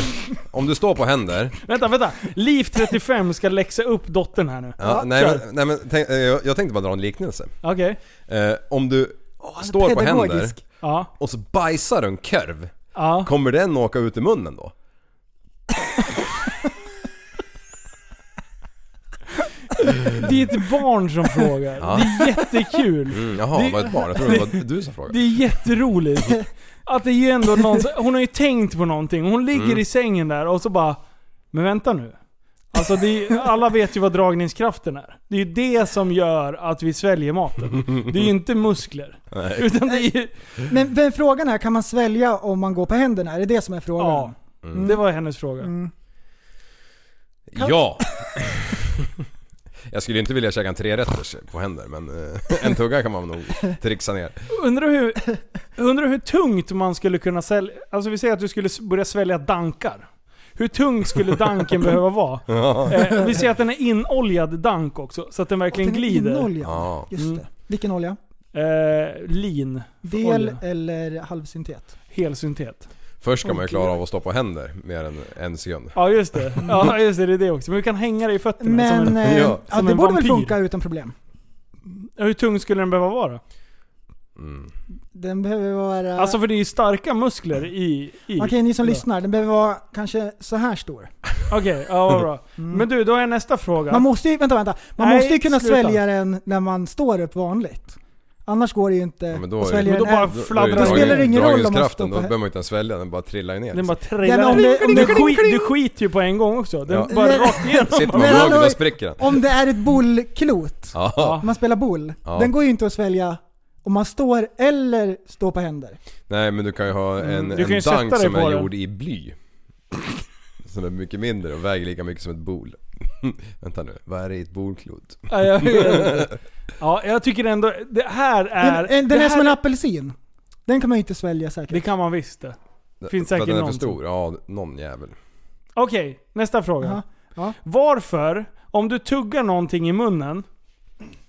H: om du står på händer
A: Vänta, vänta. Liv35 ska läxa upp dottern här nu.
H: Ja, nej,
A: kör.
H: men, nej, men tänk, eh, jag, jag tänkte bara dra en liknelse.
A: Okej.
H: Eh, om du står på händer
G: pedagogisk.
A: Ja.
H: och så bajsar du en korv,
A: Ja.
H: kommer den åka ut i munnen då?
A: Det är ett barn som frågar.
H: Ja.
A: Det är jättekul.
H: Mm, jaha,
A: Det-
H: det var ett barn? Jag trodde det var du som frågade.
A: Det är jätteroligt. Att det är ju ändå någon, hon har ju tänkt på någonting. Hon ligger
H: Mm.
A: i sängen där och så bara, men vänta nu. Alltså det är, alla vet ju vad dragningskraften är. Det är ju det som gör att vi sväljer maten. Det är ju inte muskler. Utan det är ju,
G: Men, men frågan är, kan man svälja om man går på händerna? Är det det som är frågan?
A: ja.
H: Mm.
A: Det var hennes fråga.
H: Ja! <laughs> Jag skulle inte vilja käka en trerätters på händer men eh, en tugga kan man nog trixa ner.
A: Undrar hur, undrar hur tungt man skulle kunna sälja... Alltså vi säger att du skulle s- börja svälja dankar. Hur tung skulle danken behöva vara? Eh, vi säger att den är inoljad dank också, så att den verkligen
G: Den är
A: glider. Mm.
G: inolja.
H: Ja.
G: Just det. Vilken olja?
A: Eh, lin.
G: Del
A: Olja.
G: eller halvsyntet?
A: Helsyntet.
H: Först ska man ju klara av att stå på händer mer än en sekund.
A: Ja just det. Ja just det, det är det också. Men vi kan hänga det i fötterna.
G: Men
A: som en,
G: eh,
H: ja,
G: ja,
A: som
G: det
A: en
G: borde
A: vampyr.
G: väl funka utan problem? eh,
A: hur tung skulle den behöva vara?
H: Mm.
G: Den behöver vara...
A: Alltså för det är ju starka muskler i... i.
G: Okej, ni som
A: Ja.
G: lyssnar. Den behöver vara kanske så här stor.
A: Okej, ja vad bra. Men du, då är nästa fråga.
G: Mm. Man måste ju, vänta, vänta. Man
A: Nej,
G: måste ju kunna
A: sluta.
G: svälja den när man står upp vanligt. Annars går det ju inte
H: Ja, men då är
G: att
H: det-
G: svälja
A: Men då
G: den
A: bara
G: här.
A: fladdrar
G: Då spelar det ingen roll om man
H: Dragningskraften,
G: står
H: då
G: på-
H: behöver man ju inte ens svälja, den bara trillar ju ner.
A: Den bara
H: liksom.
A: trillar
G: men om
A: ner.
G: det- om
A: Den
G: det-
A: skit- Du skiter ju på en gång också. Den
H: Ja.
A: bara rakt igenom.
H: Sitter man på
G: Men
H: hugg,
G: hallå-
H: då spricker den.
G: Om det är ett bollklot,
H: Ja.
G: om man spelar boll,
H: Ja.
G: den går ju inte att svälja om man står eller står på händer.
H: Nej men du kan ju ha en,
A: Du kan ju
H: en
A: sätta
H: dank
A: dig
H: som
A: på
H: är
A: den.
H: gjord i bly. <laughs> Som är mycket mindre och väger lika mycket som ett bol. <laughs> Vänta nu, vad är det i ett bolklot?
A: Ja, jag vet inte. Ja, jag tycker ändå... Det här är...
G: Den, den
A: det,
G: är
A: här,
G: som en apelsin. Den kan man ju inte svälja säkert.
A: det kan man visst det. Finns
H: För att
A: säkert
H: den är för
A: någon som-
H: stor? Ja, någon jävel.
A: Okej, nästa fråga.
G: Jaha. Ja.
A: Varför, om du tuggar någonting i munnen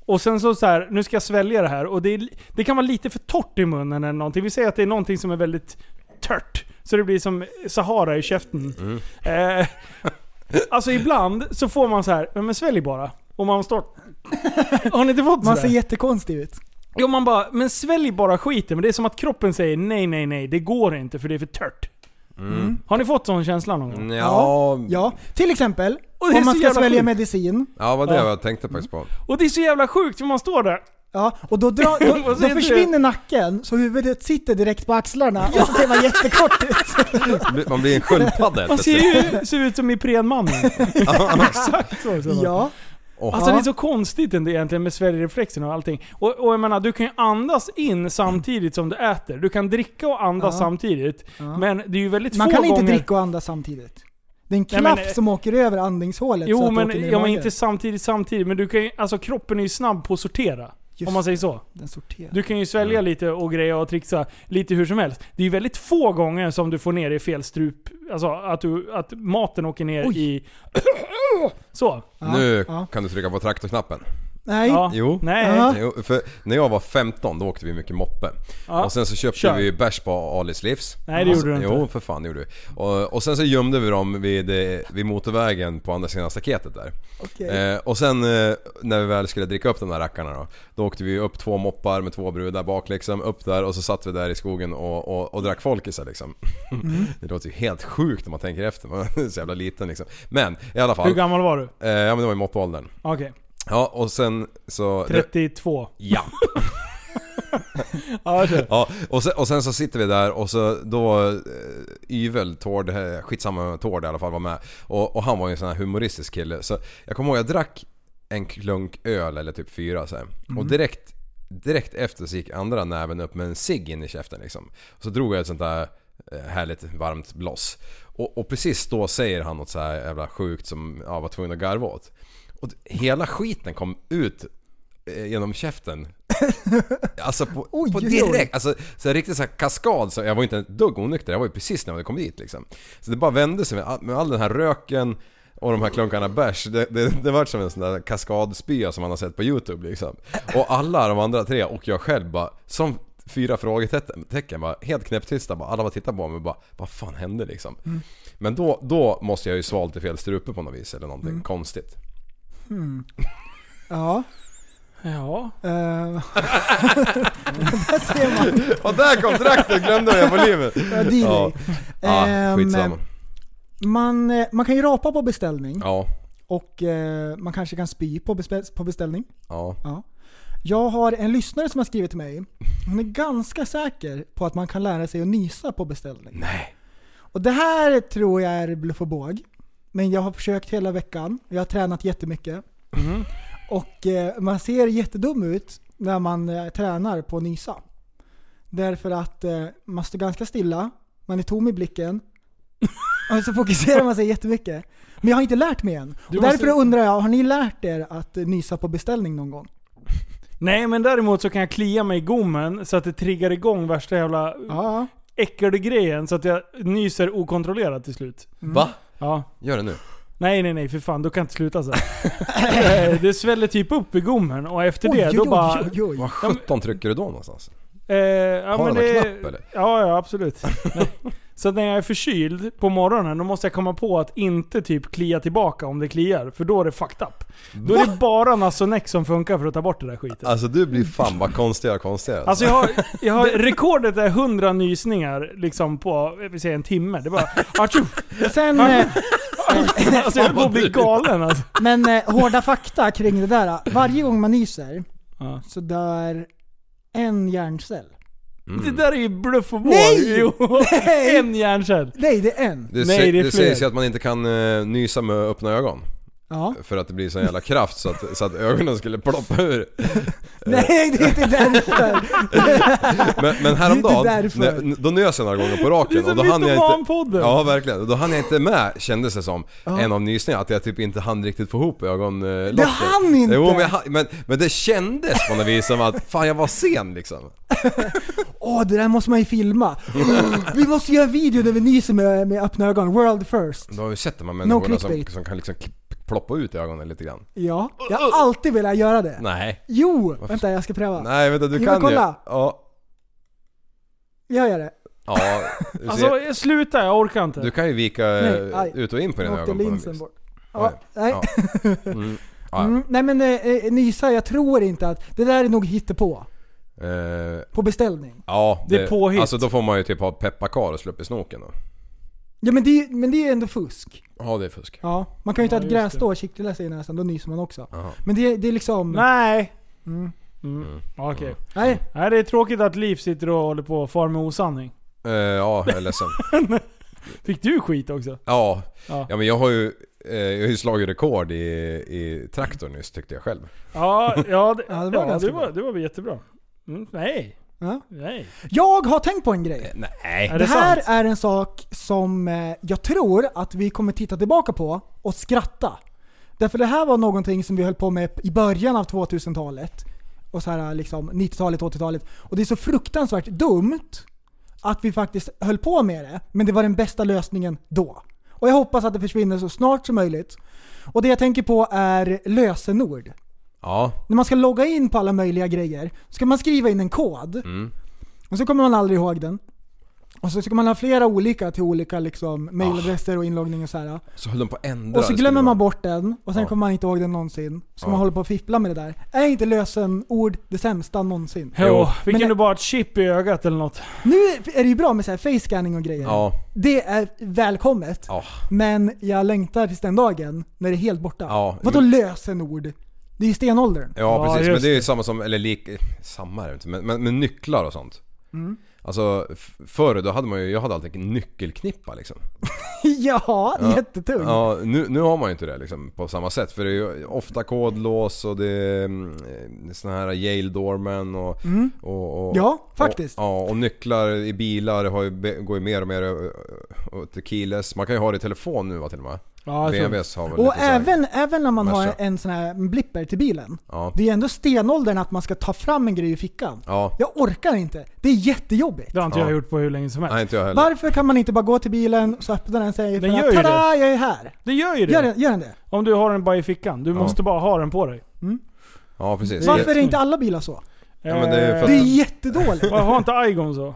A: och sen så, så här, nu ska jag svälja det här och det, är, det kan vara lite för torrt i munnen eller någonting. Vi säger att det är någonting som är väldigt tört. Så det blir som Sahara i käften. Eh, alltså ibland så får man så här, men svälj bara. Och man
G: <laughs>
A: står... Har ni inte fått
G: Man
A: sådär?
G: ser jättekonstig ut.
A: Jo man bara, men svälj bara skiten. Men det är som att kroppen säger nej, nej, nej, det går inte för det är för tört.
G: Mm.
A: Har ni fått sån känsla någon
H: Mm.
A: gång?
H: Ja, ja.
G: Ja, till exempel
A: Och det är
G: om man
A: så
G: ska
A: jävla
G: svälja
A: sjukt.
G: medicin.
H: vad det var jag tänkte faktiskt på.
A: Och det är så jävla sjukt för man står där.
G: Ja, och
A: <laughs>
G: då, dra,
A: Vad
G: då, då
A: säger du?
G: försvinner nacken så huvudet sitter direkt på axlarna och så ser man jättekort
A: <laughs>
G: ut.
H: Man blir en sköldpadda helt
A: Man ser
H: plötsligt.
A: ju ser ut som Iprenmannen. <laughs> Exakt så. så.
G: Ja,
A: Alltså det är så konstigt ändå egentligen med sväljreflexen och allting. Och, och jag menar, du kan ju andas in samtidigt som du äter. Du kan dricka och andas
G: Ja.
A: samtidigt. Men det är ju väldigt
G: man
A: få
G: kan inte
A: gånger...
G: dricka och andas samtidigt. Det är en
A: Nej,
G: knapp
A: men- eh,
G: som åker över andningshålet så
A: Jo
G: att det åker
A: men,
G: ner i
A: ja, men
G: magen.
A: inte samtidigt samtidigt. Men du kan ju, alltså kroppen är ju snabb på att sortera.
G: Just
A: om man säger så.
G: Den sorterar.
A: Du kan ju svälja lite och greja och trixa lite hur som helst. Det är ju väldigt få gånger som du får ner i fel strup, alltså att, du, att maten åker ner
G: Oj.
A: i... <coughs> så.
H: nu
G: ja.
H: kan du trycka på traktorknappen.
G: Nej.
A: Ja.
H: Jo.
A: Nej.
G: Ja.
H: Jo, för när jag var 15 då åkte vi mycket moppe.
A: Ja.
H: Och sen så köpte
A: Kör.
H: vi bärs på Alis Livs.
A: Nej, det
H: Och-
A: gjorde du inte.
H: Jo för fan det gjorde vi. Och, och sen så gömde vi dem vid, eh, vid motorvägen på andra sidan staketet där.
G: Okej.
H: Eh, och sen eh, när vi väl skulle dricka upp de där rackarna då. Då åkte vi upp två moppar med två brudar bak liksom. Upp där och så satt vi där i skogen och, och, och drack folkisar liksom.
A: Mm.
H: <laughs> Det låter ju helt sjukt om man tänker efter. Man är så jävla liten liksom. Men i alla fall.
A: Hur gammal var du?
H: Eh, ja men det var i moppeåldern.
A: Okej.
H: Ja och sen så...
A: 32.
H: Ja.
A: Ja, kör.
H: <laughs> Ja, och sen, och sen så sitter vi där och så då eh, Yvel, Tord, eh, skitsamma Tord i alla fall var med. Och, och han var ju en sån här humoristisk kille. Så jag kommer ihåg jag drack en klunk öl eller typ fyra så här. Och direkt, direkt efter så gick andra näven upp med en cigg in i käften liksom. Så drog jag ett sånt där eh, härligt varmt bloss. Och, och precis då säger han något så här jävla sjukt som jag var tvungen att garva åt. Och d- hela skiten kom ut eh, genom käften Alltså på,
G: Oj,
H: på
G: oj, oj.
H: direkt, alltså så här, riktigt så här kaskad, så jag var inte ett dugg onykter, jag var ju precis när jag kom dit liksom. Så det bara vände sig med, all- med all den här röken och de här klunkarna bärs, det, det, det var som en sån där kaskadspya som man har sett på YouTube liksom. Och alla de andra tre och jag själv bara, som fyra frågetecken bara, helt knäpptysta bara, alla bara tittar på mig och bara, vad fan hände liksom?
G: Mm.
H: Men då, då måste jag ju svalt i fel strupe på något vis eller någonting
G: Mm.
H: konstigt.
G: Ja.
A: Ja.
G: eh, <laughs> där ser man.
H: Och där kom traktorn, glömde jag på livet!
G: <laughs> Ja, det är
H: Ja. Ja,
G: Ehm,
H: skitsamma.
G: Man, eh, man kan ju rapa på beställning
H: Ja,
G: och eh, man kanske kan spy på, bespe- på beställning.
H: ja.
G: Ja. Jag har en lyssnare som har skrivit till mig. Hon är ganska säker på att man kan lära sig att nysa på beställning.
H: Nej.
G: Och det här tror jag är bluff och båg. Men jag har försökt hela veckan. Jag har tränat jättemycket. Och eh, man ser jättedum ut när man eh, tränar på att nysa. Därför att eh, man står ganska stilla, man är tom i blicken. <laughs> Och så fokuserar man sig jättemycket. Men jag har inte lärt mig än. Och
A: Du måste-
G: därför undrar jag, har ni lärt er att eh, nysa på beställning någon gång?
A: Nej men däremot så kan jag klia mig i gommen så att det triggar igång värsta jävla
G: Ja.
A: äckelgrejen så att jag nyser okontrollerat till slut.
H: Va?
A: Ja.
H: Mm. Gör det nu.
A: Nej nej nej för fan, då kan jag inte sluta så. här.
G: <laughs>
A: Eh, det sväller typ upp i gommen och efter det då bara...
G: oj, oj.
H: Vad sjutton trycker du då någonstans?
A: Eh, ja,
H: Har
A: men
H: de en
A: det,
H: knapp, eller?
A: Ja, ja
H: <laughs>
A: absolut. Nej. Så att när jag är förkyld på morgonen, då måste jag komma på att inte typ klia tillbaka om det kliar. För då är det fucked up. Då är det bara Nasonex som funkar för att ta bort det där skiten.
H: Alltså du blir fan vad konstigare och konstigare.
A: Alltså jag har, jag har rekordet är 100 nysningar liksom på, vi säger en timme. Det är
H: <laughs>
A: bara atjo,
G: Sen, eh,
A: Alltså jag höll på att bli galen alltså.
G: <laughs> men eh, hårda fakta kring det där. Varje gång man nyser
A: Ja.
G: så dör en hjärncell.
H: Mm.
A: Det där är ju bluff och båg.
G: Nej!
A: Jo,
G: Nej!
A: en hjärncell.
G: Nej, det är en.
H: det,
A: nej,
H: sä-
A: det är
H: det
A: fler.
H: sägs ju att man inte kan eh, nysa med öppna ögon.
G: Ja.
H: För att det blir sån jävla kraft så att, så att ögonen skulle ploppa ur.
G: Nej, det är inte därför.
H: Men, men
G: Det är
H: häromdagen,
G: inte därför.
H: när, då nös jag några gånger på
A: Det är
H: raken och
A: som
H: då hann jag inte...
A: Mytomanpodden.
H: Ja verkligen, då hann jag inte med kändes det som. En av nysningarna, att jag typ inte hann riktigt få ihop ögonlocken.
G: Det hann inte.
H: Jo men, jag, hann- men, men det kändes på något vis som att fan jag var sen liksom.
G: Åh, det där måste man
H: <laughs>
G: ju filma. Vi måste göra en video där vi nyser med, med öppna ögon. World first.
H: Du har ju sett de här
G: No
H: människorna som,
G: clickbait.
H: som kan liksom klipp- ploppa ut i ögonen lite grann.
G: Ja, jag har alltid velat göra det.
H: Uh, Nej.
G: Jo! Vänta, jag ska pröva.
H: Nej vänta du
G: Jo, men
H: kan ju.
G: kolla.
H: Ja.
G: Jag gör det.
H: Ja, du, ser,
A: Alltså sluta, jag orkar inte.
H: du kan ju vika eh,
G: Nej, aj.
H: ut och in på
G: Nu
H: dina
G: åkte
H: ögon på något
G: linsen
H: vis.
G: bort. Ja,
H: Oj.
G: nej.
H: Ja. Mm. Ja, ja.
G: <laughs> Mm, nej men eh, eh, nysa, jag tror inte att... Det där är nog hittepå.
H: Eh,
G: På beställning.
H: ja,
A: Det är påhitt.
H: Alltså då får man ju typ ha pepparkar och slå upp i snoken då.
G: Ja men det, är- men det är ändå fusk.
H: Ja det är fusk.
G: Ja, man kan ju inte
A: Ja,
G: ha ett
A: just
G: grässtrå och kittla sig i näsan, då nyser man också.
H: Jaha.
G: Men det, det är liksom...
A: Nej.
G: Mm.
A: Mm. Okej.
G: Nej.
A: Nej, det är tråkigt att Liv sitter och håller på och far med osanning.
H: Eh, ja, jag är
G: <laughs>
H: ledsen.
A: Fick du skit också?
H: Ja.
A: Ja.
H: ja men jag har ju, eh, jag har ju slagit rekord i, i traktorn nyss tyckte jag själv.
A: Ja, ja, det,
G: Ja,
A: ja,
G: det
A: det,
G: var
A: var,
G: ganska
A: det,
G: bra.
A: var, jättebra. Mm, nej,
G: Ja.
A: nej.
G: Jag har tänkt på en grej.
H: Nej.
A: Är
G: Det
A: det
G: här
A: sant?
G: är en sak som eh, jag tror att vi kommer titta tillbaka på och skratta. Därför det här var någonting som vi höll på med i början av 2000-talet. och så här liksom 90-talet, 80-talet. Och det är så fruktansvärt dumt att vi faktiskt höll på med det, men det var den bästa lösningen då. Och jag hoppas att det försvinner så snart som möjligt. Och det jag tänker på är lösenord.
H: Ja.
G: När man ska logga in på alla möjliga grejer, ska man skriva in en kod.
H: Mm.
G: Och så kommer man aldrig ihåg den. Och så ska man ha flera olika till olika liksom, mailadresser och inloggning och så här.
H: Så höll de på att ändra.
G: Och så
H: det skulle
G: glömmer
H: vara.
G: man bort den och sen
H: Ja.
G: kommer man inte ihåg den någonsin. Så
H: Ja.
G: man håller på att fippla med det där. Är inte lösenord det sämsta någonsin?
A: Jo, vi
G: Men
A: kunde bara ha ett chip i ögat eller något.
G: nu är det ju bra med så här face scanning och grejer.
H: Ja.
G: Det är välkommet.
H: Ja.
G: Men jag längtar tills den dagen när det är helt borta.
H: Ja,
G: Vadå
H: men-
G: lösenord? Det är ju stenåldern.
H: Ja,
A: Ja,
H: precis. Men
A: just
H: det är ju samma som, eller lik, samma är det inte, men, men, men nycklar och sånt. Alltså f- förr då hade man ju, jag hade alltid en nyckelknippa liksom.
G: <laughs> ja, jättetung.
H: Ja, nu, nu har man ju inte det liksom på samma sätt. För det är ju ofta kodlås och det är mm, såna här Yale Doorman och, och, och...
G: Ja, faktiskt.
H: Och, ja, och nycklar i bilar har ju, be- går ju mer och mer ö- åt det keyless. Man kan ju ha det i telefon nu va till och med.
A: Ja, jag tror-
H: BMWs har väl
G: Och
H: lite så här-
G: även, även när man har
H: Merca.
G: en sån här blipper till bilen.
H: Ja.
G: Det är ändå stenåldern att man ska ta fram en grej ur fickan.
H: Ja.
G: Jag orkar inte. Det är jättejobbigt.
A: det har inte
H: Ja.
A: jag gjort på hur länge som helst.
H: Nej, inte jag heller.
G: Varför kan man inte bara gå till bilen och så öppnar den sig
A: Den
G: för
A: gör ju
G: att tada, jag är här.
A: Det gör ju det.
G: Gör den, gör den det?
A: Om du har den bara i fickan. Du måste bara ha den på dig.
H: Ja, precis.
G: Varför är inte alla bilar så?
H: Ja, men det är för att-
G: Det
A: <laughs>
G: är jättedåligt.
A: Eh, har inte Igon så?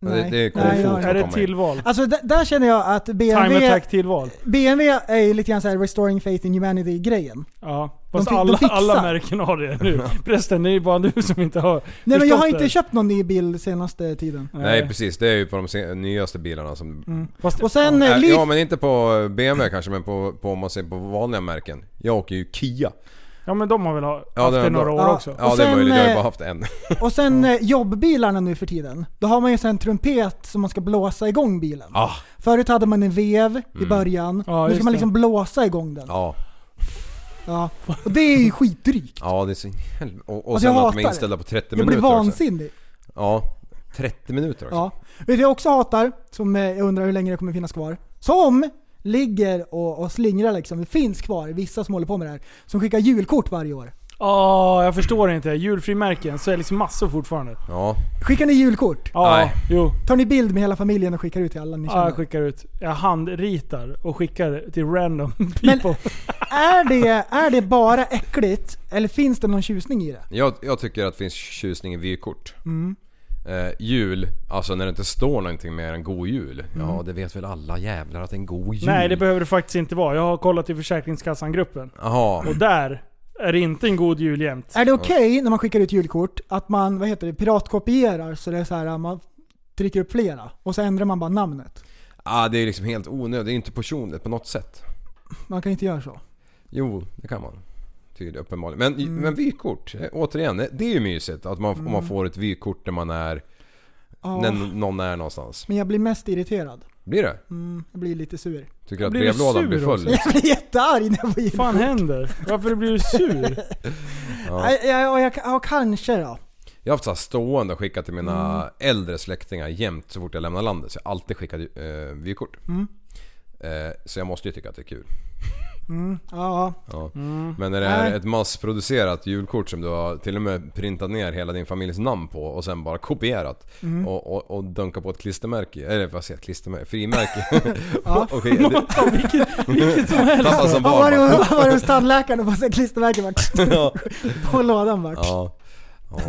H: Ja, det- det är
G: <laughs> Nej, jag
H: komfort.
G: har inte.
A: Är det ett
H: kommer in.
A: tillval?
G: Alltså d- där känner jag att
A: Time
G: BMW,
A: attack tillval.
G: BMW är ju lite grann så här restoring faith in humanity-grejen.
A: Ja. Fast
G: fi- de
A: alla,
G: fixar.
A: alla märken har det nu. Resten, det är ju bara du som inte har
G: Nej men jag har
A: förstått
G: inte
A: det.
G: köpt någon ny bil senaste tiden.
H: Nej, precis. Det är ju på de sen- nyaste bilarna som
A: Fast,
G: Och sen eh,
H: Nej,
G: Leaf
H: Ja men inte på BMW kanske men på, på om man ser på vanliga märken. Jag åker ju KIA.
A: ja men de har väl ha,
H: Ja,
A: haft
H: det
A: det,
H: har de.
A: några år
G: Ja.
A: också?
H: Ja
G: Och
H: det är
G: sen,
H: möjligt, jag har ju
G: eh,
H: bara
A: <laughs>
H: haft en.
G: Och sen eh, jobbbilarna nu för tiden. Då har man ju sen en trumpet som man ska blåsa igång bilen.
H: Ah.
G: Förut hade man en vev i början.
A: Ja,
G: nu
A: just
G: ska man
A: det.
G: liksom blåsa igång den. Mm. Ja.
H: Ja,
G: Och det är ju skitdrygt.
H: ja det är så jävla... Och, och
G: Alltså, jag
H: sen att
G: hatar
H: de är
G: det.
H: inställda på 30
G: Jag blir
H: minuter också.
G: vansinnig.
H: Ja, 30 minuter också.
G: Ja. Vet du vad jag också hatar? Som eh, jag undrar hur länge det kommer finnas kvar. Som ligger och, och slingrar liksom. Det finns kvar vissa som håller på med det här. Som skickar julkort varje år.
A: Ja, Ah, jag förstår inte. Julfrimärken säljs massor fortfarande.
H: Ja.
G: Skickar ni julkort?
A: Ja,
H: Nej.
A: jo.
G: Tar ni bild med hela familjen och skickar ut till alla ni
A: Ja,
G: känner?
A: jag skickar ut. Jag handritar och skickar till random <laughs> people.
G: Men är det, är det bara äckligt? Eller finns det någon tjusning i det?
H: Jag, jag tycker att det finns tjusning i vykort.
G: Mm.
H: Eh, jul, alltså när det inte står någonting mer än God Jul. Ja
G: Mm.
H: det vet väl alla jävlar att det är en God Jul.
A: Nej, det behöver det faktiskt inte vara. Jag har kollat i Försäkringskassan-gruppen.
H: Jaha.
A: Och där är det inte en god jul jämt.
G: Är det okej när man skickar ut julkort att man, vad heter det, piratkopierar så det är så här, man trycker upp flera och så ändrar man bara namnet?
H: Ah, det är liksom helt onödigt. Det är inte personligt på något sätt.
G: Man kan inte göra så.
H: Jo, det kan man. Tydligt, uppenbarligen. Men, men vykort, eh, återigen, eh, det är ju mysigt. Att man, om man får ett vykort när man är...
G: Ja,
H: När n- någon är någonstans.
G: Men jag blir mest irriterad.
H: Blir det?
G: Mm, jag blir lite sur. <laughs>
H: Tycker du att
A: Blir du
H: brevlådan
A: sur
H: blir full?
G: Jag blir jättearg när jag får
A: Vad fan
G: julkort.
A: händer? Varför blir du
H: <laughs>
A: sur?
G: Ja, ja, ja, jag- ja, kanske då.
H: Jag har haft så här stående och skickat till mina äldre släktingar jämt så fort jag lämnar landet. Så jag har alltid skickat eh, vykort. Eh, så jag måste ju tycka att det är kul.
G: Ja,
H: Ja. Men när det är
G: Mm. Nej.
H: ett massproducerat julkort som du har till och med printat ner hela din familjs namn på och sen bara kopierat
G: Mm.
H: och, och, och dunkat på ett klistermärke, eller vad säger jag, klistermärke,
G: <laughs>
H: frimärke. <laughs> och, och, skickat- Tappat som
G: ja. Var,
H: barn.
G: det,
H: bara.
G: <laughs> var det hos tandläkaren och bara så här klistermärken vart
H: <laughs>
G: <laughs>
H: Ja.
G: på lådan vart.
H: Ja. Ja.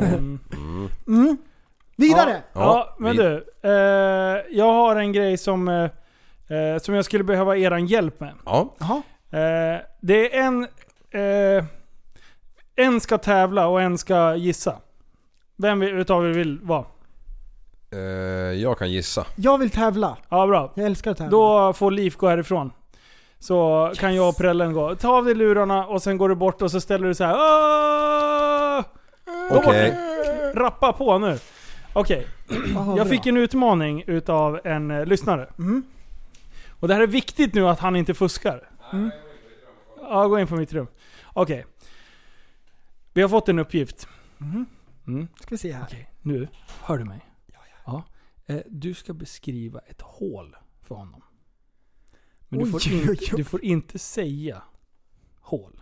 G: Vidare!
A: Ja, ja men
H: vi-
A: du. Eh, jag har en grej som, eh, eh, som jag skulle behöva eran hjälp med.
H: Ja.
G: Jaha.
A: Eh, det är en... Eh, en ska tävla och en ska gissa. Vem vi- utav er vill vara?
H: Eh, jag kan gissa.
G: Jag vill tävla.
A: Ja, bra.
G: Jag älskar att tävla.
A: Då får Liv gå härifrån. Så kan jag och prällen gå. Ta av dig lurarna och sen går du bort och så ställer du så här. "Åh!"
G: Mm.
A: Gå bort.
H: Okej.
A: Rappa på nu. Okej.
G: Jaha,
A: Jag
G: bra. Mm.
A: fick en utmaning utav en eh, lyssnare. Och det här är viktigt nu att han inte fuskar. Mm. Ja, gå in på mitt rum. Okej. Vi har fått en uppgift.
G: Mm-hmm.
A: Mm.
G: Ska vi se här.
A: Okej, nu. Hör du mig? Ja. Eh, Du ska beskriva ett hål för honom. Men du
G: Oj,
A: får,
G: oj,
A: inte,
G: oj.
A: du får inte säga hål.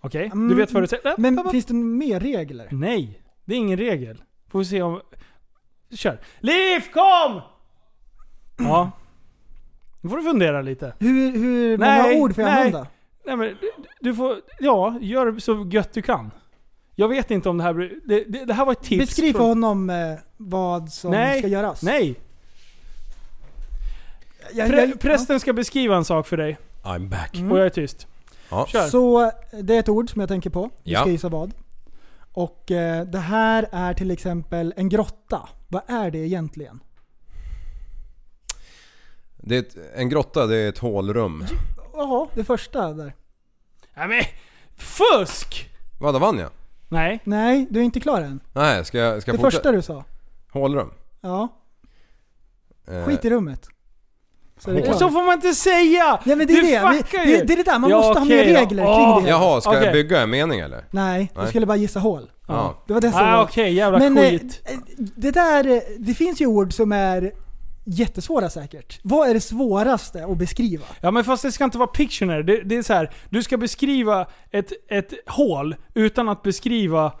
A: Okej? Du
G: Mm,
A: vet förutsättningarna?
G: Men finns det mer regler?
A: Nej, det är ingen regel. Får vi se om... Kör. Liv, kom! Ja. Nu får du fundera lite.
G: Hur, hur många ord får jag använda?
A: Nej, men du, du får... Ja, gör så gött du kan. Jag vet inte om det här blir... Det, det, det här var ett tips.
G: Beskriv för
A: från-
G: honom eh, vad som
A: Nej,
G: ska göras.
A: Nej!
G: Jag-
A: Prä,
G: jag-
A: prästen ska beskriva en sak för dig.
H: I'm back.
G: Mm.
A: Och jag är tyst.
H: Ja.
A: Kör.
G: Så eh, det är ett ord som jag tänker på. Vi
H: Ja.
G: ska gissa vad. Och eh, det här är till exempel en grotta. Vad är det egentligen?
H: Det är ett, en grotta, det är ett hålrum.
G: Jaha, det första där.
A: Nej men... Fusk!
H: Vadå, vann jag?
A: Nej.
G: Nej, du är inte klar än.
H: Nej, ska jag, ska
G: Det
H: jag fortsätta?
G: första du sa.
H: Hålrum.
G: Ja,
H: Eh,
G: skit i rummet. Så är det
A: Och så
G: klart.
A: får man inte säga!
G: Ja men det är det.
A: du
G: Vi-
A: fuckar ju!
G: det, det är det där, man
A: Ja,
G: måste ha mer
A: okej, ja.
G: regler
A: Åh.
G: kring det.
H: Eh, Jaha, ska
A: Okej.
H: jag bygga en mening eller?
G: Nej, du
H: Nej.
G: skulle bara gissa hål.
H: Ja.
G: Det var det som
A: Nej
G: var.
A: Ah, okej, jävla
G: Men eh,
A: skit.
G: det där, eh, det finns ju ord som är jättesvåra säkert. Vad är det svåraste att beskriva?
A: Ja men fast det ska inte vara Pictionary. Det, det är så här, du ska beskriva ett, ett hål utan att beskriva...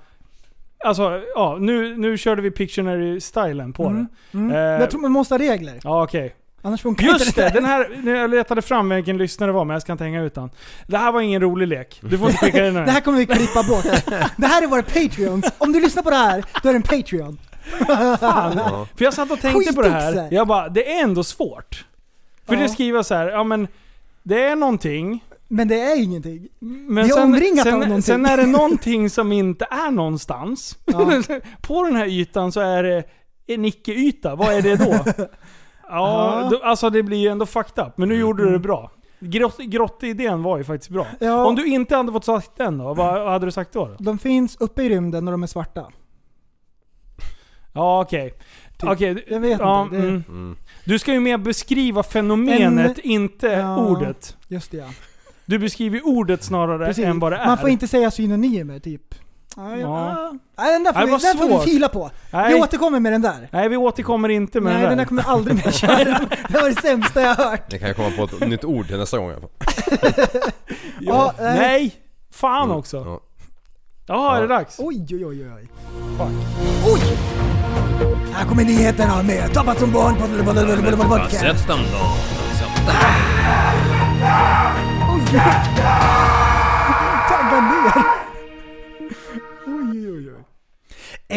A: Alltså, ja, nu, nu körde vi Pictionary-stylen på det.
G: Mm.
A: Eh,
G: jag tror man måste ha regler.
A: Ja okej.
G: Annars funkar
A: Just
G: inte
A: det! Den här, när jag letade fram vilken lyssnare det var, men jag ska inte hänga ut den. Det här var ingen rolig lek. Du får inte skicka in den.
G: <laughs> Det här kommer vi klippa bort. Det här är våra Patreons. Om du lyssnar på det här, då är det en Patreon.
H: Ja.
A: För jag satt och tänkte på det här.
G: Skitoxe.
A: Jag bara, det är ändå svårt. För
G: Ja.
A: det skriver så här, ja men... Det är någonting.
G: Men det är ingenting.
A: Men
G: Vi är
A: sen,
G: omringat av
A: sen,
G: någonting.
A: sen
G: <laughs>
A: är det någonting som inte är någonstans.
G: Ja.
A: <laughs> På den här ytan så är det en icke-yta. Vad är det
G: <laughs>
A: då? ja,
G: Ja. Mm.
A: då, alltså det blir ju ändå fucked up. Men nu gjorde du det bra. Grott, grottidén var ju faktiskt bra.
G: Ja. Mm.
A: Om du inte hade fått sagt den då, vad, vad hade du sagt då? då?
G: De finns uppe i rymden och de är svarta.
A: Ja okej.
G: Typ.
A: Okej, du-
G: Jag vet
A: ja,
G: inte. Det,
A: mm.
H: Mm.
A: Du ska ju mer beskriva fenomenet, inte
G: Ja.
A: ordet.
G: Just det ja.
A: Du beskriver ju ordet snarare
G: Precis.
A: än vad det är.
G: Man får inte säga synonymer typ. Ja,
A: Ja.
G: ja. Nej, den där får,
A: Nej,
G: vi,
A: vad
G: den får
A: svårt.
G: vi fila på. Vi
A: Nej,
G: återkommer med den där.
A: nej, vi återkommer inte med den
G: Nej,
A: där.
G: den där kommer jag aldrig
A: <laughs>
G: mer köra. Det var det sämsta jag har hört.
H: Ni kan ju komma på ett nytt ord till nästa gång i alla fall.
A: Ja,
G: Ja, eh,
A: nej.
G: nej.
A: Fan
H: Mm,
A: också.
H: ja.
A: Jaha, är det dags?
G: Oj, oj, oj, oj.
E: Oj! Här kommer nyheterna med Tappat som barn på podcast.
B: Sätt dem då.
G: Tagga ner. Oj, oj, oj.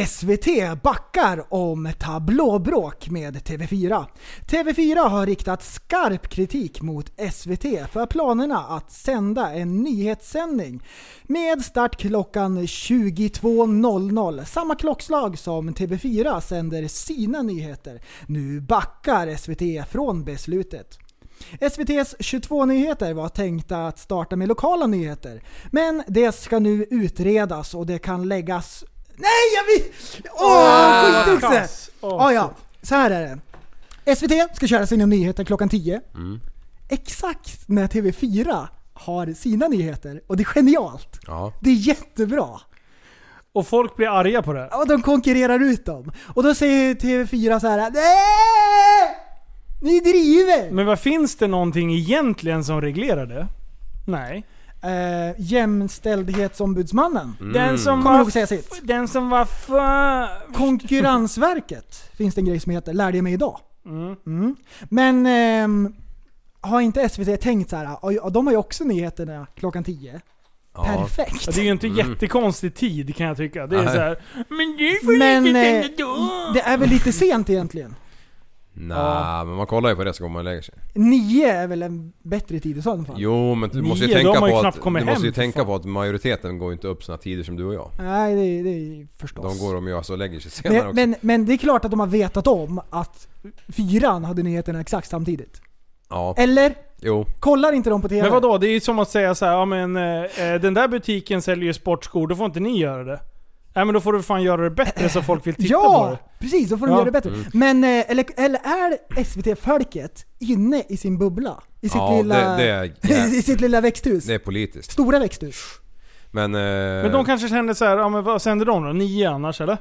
G: SVT backar om tablåbråk med TV4. TV4 har riktat skarp kritik mot SVT för planerna att sända en nyhetssändning med start klockan 22.00, samma klockslag som TV4 sänder sina nyheter. Nu backar SVT från beslutet. SVTs 22-nyheter var tänkta att starta med lokala nyheter. Men det ska nu utredas och det kan läggas... Nej, jag vill... Åh, skitoxe!
A: Kass. Åh,
G: Ja, ja. Så här är det. SVT ska köra sina nyheter klockan 10. Exakt när TV4 har sina nyheter. Och det är genialt.
H: Ja.
G: Det är jättebra.
A: Och folk blir arga på det.
G: Och de konkurrerar ut dem. Och då säger TV4 så här. Nej! Ni driver!
A: Men vad finns det någonting egentligen som reglerar det? Nej.
H: Mm.
G: eh, jämställdhetsombudsmannen.
A: Den som
G: Kommer
A: var...
G: ihåg säga sitt.
A: Den som var för...
G: Konkurrensverket finns det en grej som heter Lärde jag mig idag. Mm. Men ehm, har inte SVT tänkt så här, "Ja, ja, de har ju också nyheterna klockan 10.
H: Ja.
A: Ja,
G: Perfekt.
A: Det är ju inte jättekonstig tid kan jag tycka. Det är
H: Mm. Nej.
A: så här. Men du får
G: Men,
A: inte
G: eh,
A: tända då.
G: Det är väl lite sent egentligen.
H: Nej, men man kollar ju på det så går man och lägger sig.
G: Nio är väl en bättre tid i sådana fall?
H: Jo, men du måste ju
A: Nio, då har
H: tänka
A: man ju
H: på
A: knappt
H: att,
A: kommit
H: du måste
A: hem,
H: ju
A: för
H: tänka
A: fan.
H: på att majoriteten går ju inte upp såna tider som du och jag.
G: Nej, det är, det är förstås.
H: De går och mjösar och lägger sig senare
G: men,
H: också.
G: men, men det är klart att de har vetat om att fyran hade nyheterna exakt samtidigt.
H: Ja,
G: Eller?
H: jo.
G: Kollar inte de på TV?
A: Men vadå? Det är ju som att säga så här, ja men eh, eh, den där butiken säljer ju sportskor, då får inte ni göra det. Nej men då får du fan göra det bättre så folk vill titta på
G: Ja,
A: det.
G: precis. Då får de
A: Ja. Mm.
G: göra det bättre. Men, eh, eller, eller är SVT-folket inne i sin bubbla? I sitt,
H: Ja,
G: lilla,
H: det, det, är,
G: <laughs> i sitt lilla växthus?
H: det är politiskt.
G: Stora växthus?
H: Men... eh,
A: Men de kanske kände så här, ja men vad sänder de då? Nio annars eller?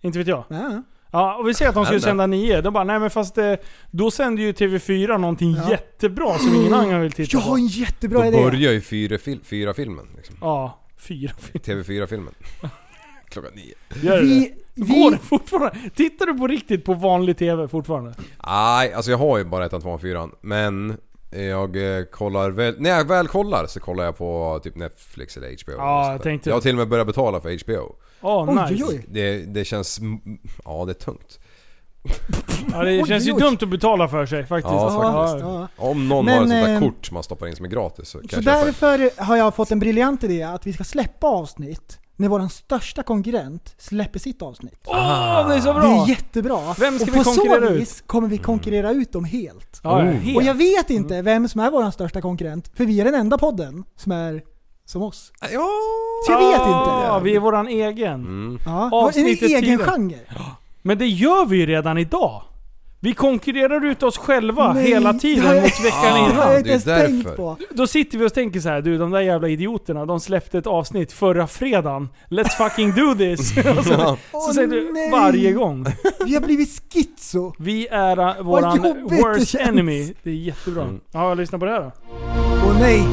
A: Inte vet jag.
G: Ja.
A: Ja, och vi säger att de skulle
H: Nej, nej.
A: sända nio. De bara, nej men fast eh, då sänder ju TV4 någonting jättebra som ingen annan vill titta
G: Jag har
A: på.
G: en jättebra
H: då
G: idé.
H: börjar ju fyra, fil, fyra filmen liksom.
A: Ja. Fyra. <laughs>
H: TV4-filmen. Klockan nio.
A: Gör
G: Vi-
A: vi, det? Så
G: vi-
A: Går det fortfarande? Tittar du på riktigt på vanlig TV fortfarande?
H: Nej, alltså jag har ju bara ettan, tvåan, fyran. Men jag eh, kollar väl... När jag väl kollar så kollar jag på typ Netflix eller HBO. eller
A: Ja,
H: sånt
A: jag
H: där.
A: tänkte-
H: jag har till och med börjat betala för HBO.
A: Åh,
G: Oj,
A: nice.
G: oj, oj.
H: Det, det känns... mm, Ja, det är tungt.
A: Ja, det
G: Oj,
A: känns ju
G: oj.
A: dumt att betala för sig faktiskt.
H: Ja, faktiskt.
A: Ja.
G: Ja.
H: Om någon
G: Men,
H: har ett sånt där
G: eh,
H: kort man stoppar in som är gratis så
G: Så
H: kanske jag... får-
G: därför har jag fått en briljant idé att vi ska släppa avsnitt när vår största konkurrent släpper sitt avsnitt.
A: Åh, det är så
G: Det
A: bra!
G: är jättebra.
A: Vem ska
G: och
A: vi
G: på
A: konkurrera
G: så
A: ut?
G: vis kommer vi konkurrera ut dem helt.
A: Ja, ja,
G: Och
A: helt. Mm.
G: jag vet inte vem som är vår största konkurrent, för vi är den enda podden som är som oss.
H: Ja!
G: Så jag vet
A: Ja,
G: inte.
A: vi är våran egen.
H: Mm.
G: Ja. och En
A: Avsnittet
G: egen
A: tiden.
G: genre.
A: Men det gör vi ju redan idag. Vi konkurrerar ut oss själva
G: Nej,
A: hela
G: det har
A: tiden
G: jag-
A: mot
G: Det
A: veckan
H: Ah,
G: har
A: innan.
G: jag
H: det
G: inte
H: är
G: ens
H: därför.
G: tänkt på.
A: Då sitter vi och tänker så här, du de där jävla idioterna, de släppte ett avsnitt förra fredagen. Let's fucking do this! Och så, så
G: Åh,
A: säger du
G: nej.
A: varje gång.
G: Vi har blivit schizo.
A: Vi är uh, våran
G: jobbigt det
A: worst
G: känns.
A: enemy. Det är jättebra. Ja, lyssna på det här då.
G: Och nej,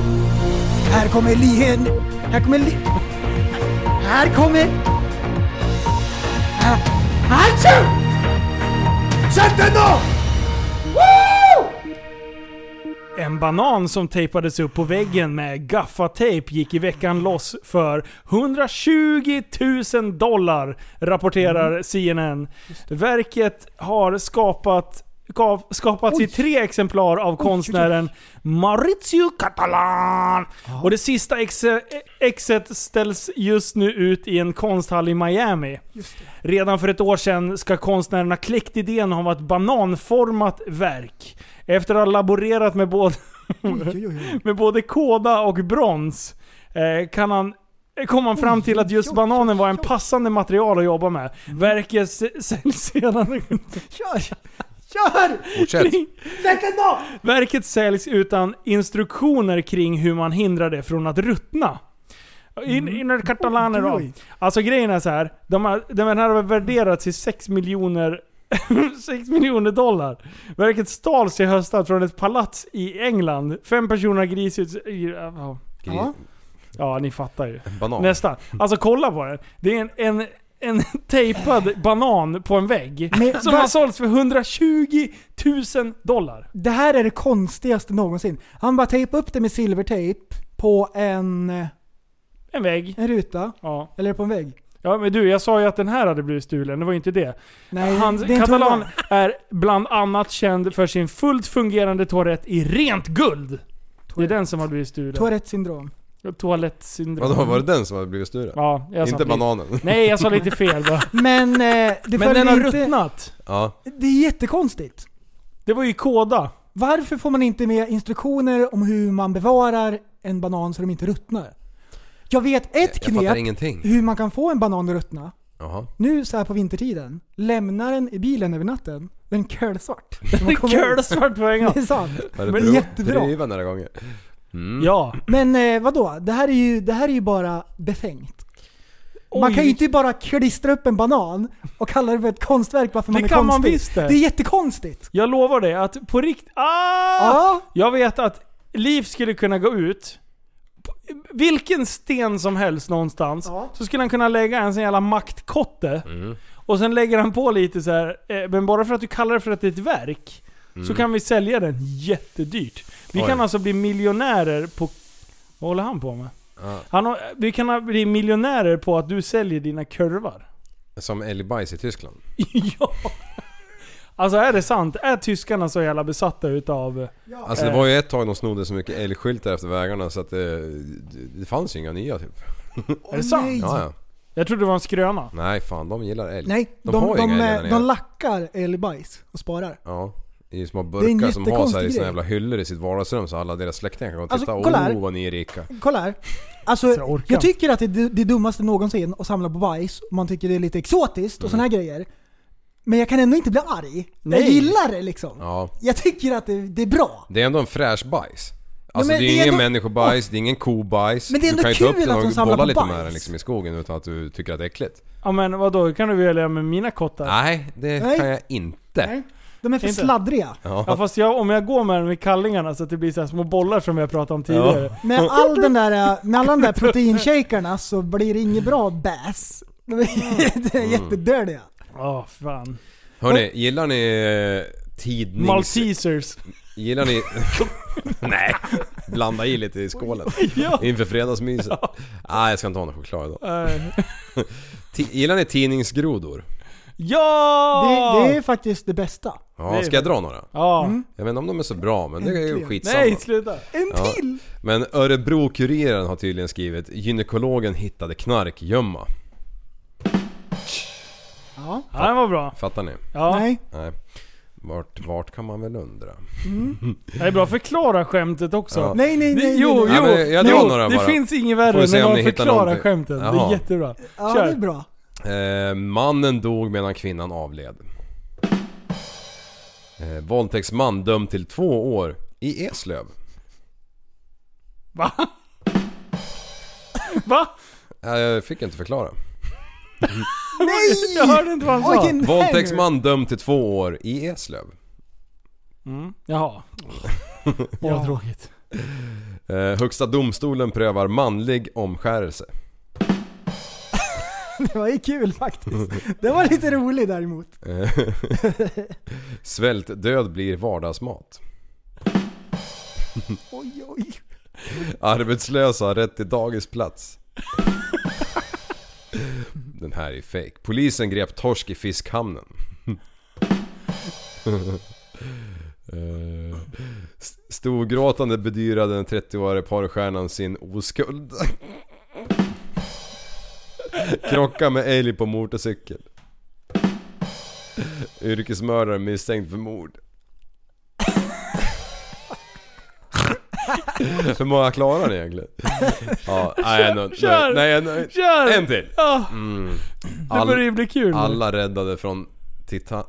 G: här kommer lihen... Här kommer li... Här kommer... Här- Hachu! Sätt den då! Woo!
A: En banan som tejpades upp på väggen med gaffatejp gick i veckan loss för 120 000 dollar, rapporterar CNN. Verket har skapat gav- skapats i tre exemplar av konstnären Maurizio Catalan. Och det sista exe- exet ställs just nu ut i en konsthall i Miami. Redan för ett år sedan ska konstnären ha kläckt idén om ett bananformat verk. Efter att ha laborerat med både,
G: Oj, oj, oj.
A: <laughs> med både kåda och brons eh, kan han eh, kom han fram till att just bananen var en passande material att jobba med. Verket s- säljs sedan...
G: Mm. Kör! Kör!
H: Fortsätt.
G: Sätt den då!
A: Verket säljs utan instruktioner kring hur man hindrar det från att ruttna. In, inner katalaner då.
G: Mm. Oj.
A: Alltså grejen är så här. De här, de här har värderats till 6 miljoner <laughs> 6 miljoner dollar. Verket stals i höstas från ett palats i England. Fem personer har grisits... ja,
H: Gri-
A: Ja, ni fattar ju.
H: Banan.
A: Nästa. Alltså kolla på den. Det är en, en, en tejpad banan på en vägg.
G: Men
A: som
G: va-
A: har sålts för 120 000 dollar.
G: Det här är det konstigaste någonsin. Han bara tejpade upp det med silvertejp på en,
A: En vägg.
G: en ruta,
A: Ja.
G: eller på en vägg.
A: Ja men du, jag sa ju att den här hade blivit stulen, det var ju inte det.
G: Nej,
A: Hans
G: det är en
A: Catalan
G: toalett.
A: är bland annat känd för sin fullt fungerande toalett i rent guld. Det är den som har blivit stulen.
G: Tourettes syndrom.
A: Toalettsyndrom.
H: Vadå, var det den som hade blivit stulen?
A: Ja, jag sa
H: Inte
A: lite-
H: bananen.
A: Nej, jag sa lite fel va.
G: Men eh, det
A: Men den har
G: följer inte...
A: ruttnat.
H: Ja.
G: Det är jättekonstigt.
A: Det var ju kåda.
G: Varför får man inte med instruktioner om hur man bevarar en banan så de inte ruttnar? Jag vet ett
H: Jag fattar
G: knep
H: ingenting.
G: hur man kan få en banan att ruttna.
H: Jaha.
G: Nu så här på vintertiden, lämna den i bilen över natten. Den är curlsvart. När man kommer ut.
A: Curlsvart på en gång.
G: Det är sant.
H: Var det
G: Men
H: driv-
G: jättebra.
H: driva några gånger? Mm.
A: Ja.
G: Men eh, vadå? Det här är ju, det här är ju bara befängt. man
A: Oj,
G: kan ju inte bara klistra upp en banan och kalla det för ett konstverk bara för
A: Det
G: man är
A: kan
G: konstig.
A: man visst det.
G: det! är jättekonstigt!
A: Jag lovar dig att på riktigt... Ah!
G: Ja,
A: Jag vet att Liv skulle kunna gå ut, på vilken sten som helst någonstans,
G: Ja.
A: så skulle han kunna lägga en sån jävla maktkotte.
H: Mm.
A: Och sen lägger han på lite så här. eh, men bara för att du kallar det för att det är ett verk, så kan vi sälja den jättedyrt. Vi
H: Mm. Oj.
A: kan alltså bli miljonärer på... Vad håller han på med?
H: Ja.
A: Han har, vi kan bli miljonärer på att du säljer dina
H: <laughs>
A: kurvar.
H: Som älgbajs i Tyskland.
A: ja! Alltså är det sant? Är tyskarna så jävla besatta utav...
H: Alltså
A: Eh.
H: det var ju ett tag de snodde så mycket älgskyltar efter vägarna så att det, det fanns ju inga nya typ.
A: är det sant?
H: Ja, ja.
A: Jag trodde det var en skröna.
H: Nej fan, de gillar älg.
G: nej.
H: de,
G: De,
H: har
G: de,
H: ju inga
G: de,
H: älgar där
G: eh,
H: nere.
G: de lackar älgbajs och sparar.
H: Ja. I små
G: Det är
H: burkar
G: en
H: som har så här i
G: jättekonstig
H: sina
G: grej.
H: jävla hyllor i sitt vardagsrum så alla deras släktingar kan gå och
G: Alltså,
H: titta.
G: kolla här.
H: oh vad ni är rika.
G: Kolla här. Alltså,
A: jag
G: jag,
A: orkar inte.
G: tycker att det är det dummaste någonsin att samla på bajs. Man tycker det är lite exotiskt
A: Mm.
G: och såna här grejer. Men jag kan ändå inte bli arg. Jag
A: Nej.
G: gillar det liksom.
H: Ja.
G: Jag tycker att det, det är bra.
H: Det är ändå en fräsch bajs. Alltså
G: men
H: det är
G: det är
H: ingen
G: ändå-
H: människobajs, det är ingen kobajs.
G: Men det är
H: du
G: ändå
H: kan ju ta upp
G: kul
H: den
G: att de
H: och
G: samlar
H: bolla
G: på
H: lite
G: bajs.
H: med den liksom i skogen utan att du tycker att det är äckligt.
A: Ja men vadå, kan du välja med mina kottar?
H: Nej, det
G: Nej.
H: kan jag inte.
G: De är för
A: Inte?
G: sladdriga.
A: Ja, fast jag, om jag går med den med kallingarna så att det blir så här små bollar som vi har pratat om tidigare.
G: Med, all den där, eh, med alla
A: <laughs>
G: de där proteinshakarna så blir det inget bra bäs. <laughs> De är mm. jättedöliga.
A: Ja, fan.
H: Hörni, gillar ni eh, tidnings...
A: Maltesers.
H: Gillar
G: <laughs>
H: ni... Nej! Blanda i lite i skålen.
A: Ja.
H: Inför fredagsmyset. Nej, jag ska inte ha någon choklad idag.
A: Eh,
H: <laughs> Ti- Gillar ni tidningsgrodor?
A: Ja! Ah.
G: Det, det är faktiskt det bästa.
A: Det är-
H: Ja, ska jag dra några?
A: Ja.
H: Jag vet inte om de är så bra, men det är ju
G: Äntligen.
H: skitsamma.
A: Nej, sluta.
H: Ja. Men Örebro-Kuriren har tydligen skrivit Gynekologen hittade knarkgömma.
G: Ja.
A: Ja, den var bra.
H: Fattar ni?
A: Ja.
G: Nej.
H: Nej. Vart, vart kan man väl undra?
A: Det är bra. Förklara skämtet också.
H: Ja.
G: Nej, nej,
A: Det,
G: nej.
A: jo,
G: nej,
A: jo.
G: nej.
H: Ja, men jag drar
A: jo
H: några
A: det
H: bara.
A: finns inget
H: Får vi se
A: värre än
H: om
A: någon
H: ni hittar
A: förklarar
H: någonting.
A: skämten. Det är
H: Jaha.
A: jättebra.
G: Ja,
A: Kör.
G: det är bra.
H: Eh, mannen dog medan kvinnan avled. Eh, våldtäktsman dömd till två år i Eslöv.
A: Va? <laughs> Va?
H: Eh, Jag fick inte förklara.
A: Jag hörde inte vad han sa.
G: Oj, <laughs> nej.
H: Våldtäktsman dömd till två år i Eslöv. <laughs>
A: Jaha. Åh, vad tråkigt.
H: Eh, högsta domstolen prövar manlig omskärelse.
G: Det var ju kul faktiskt. Det var lite rolig däremot.
H: Eh, <laughs> Svältdöd blir vardagsmat.
G: Oj, oj.
H: Arbetslösa har rätt till dagisplats. Den här är fake. Polisen grep torsk i fiskhamnen. Eh, st- Storgråtande bedyrade den 30-årige porrstjärnan sin oskuld. Krocka med älg på motorcykel. Yrkesmördare misstänkt för mord. Hur många klarar ni egentligen? Ja, nej, jag är nöjd.
A: Kör!
H: Nej, jag är nöjd.
A: Kör!
H: En till!
A: Ja, det börjar
H: All,
A: ju bli kul. nu.
H: alla räddade från... Titan...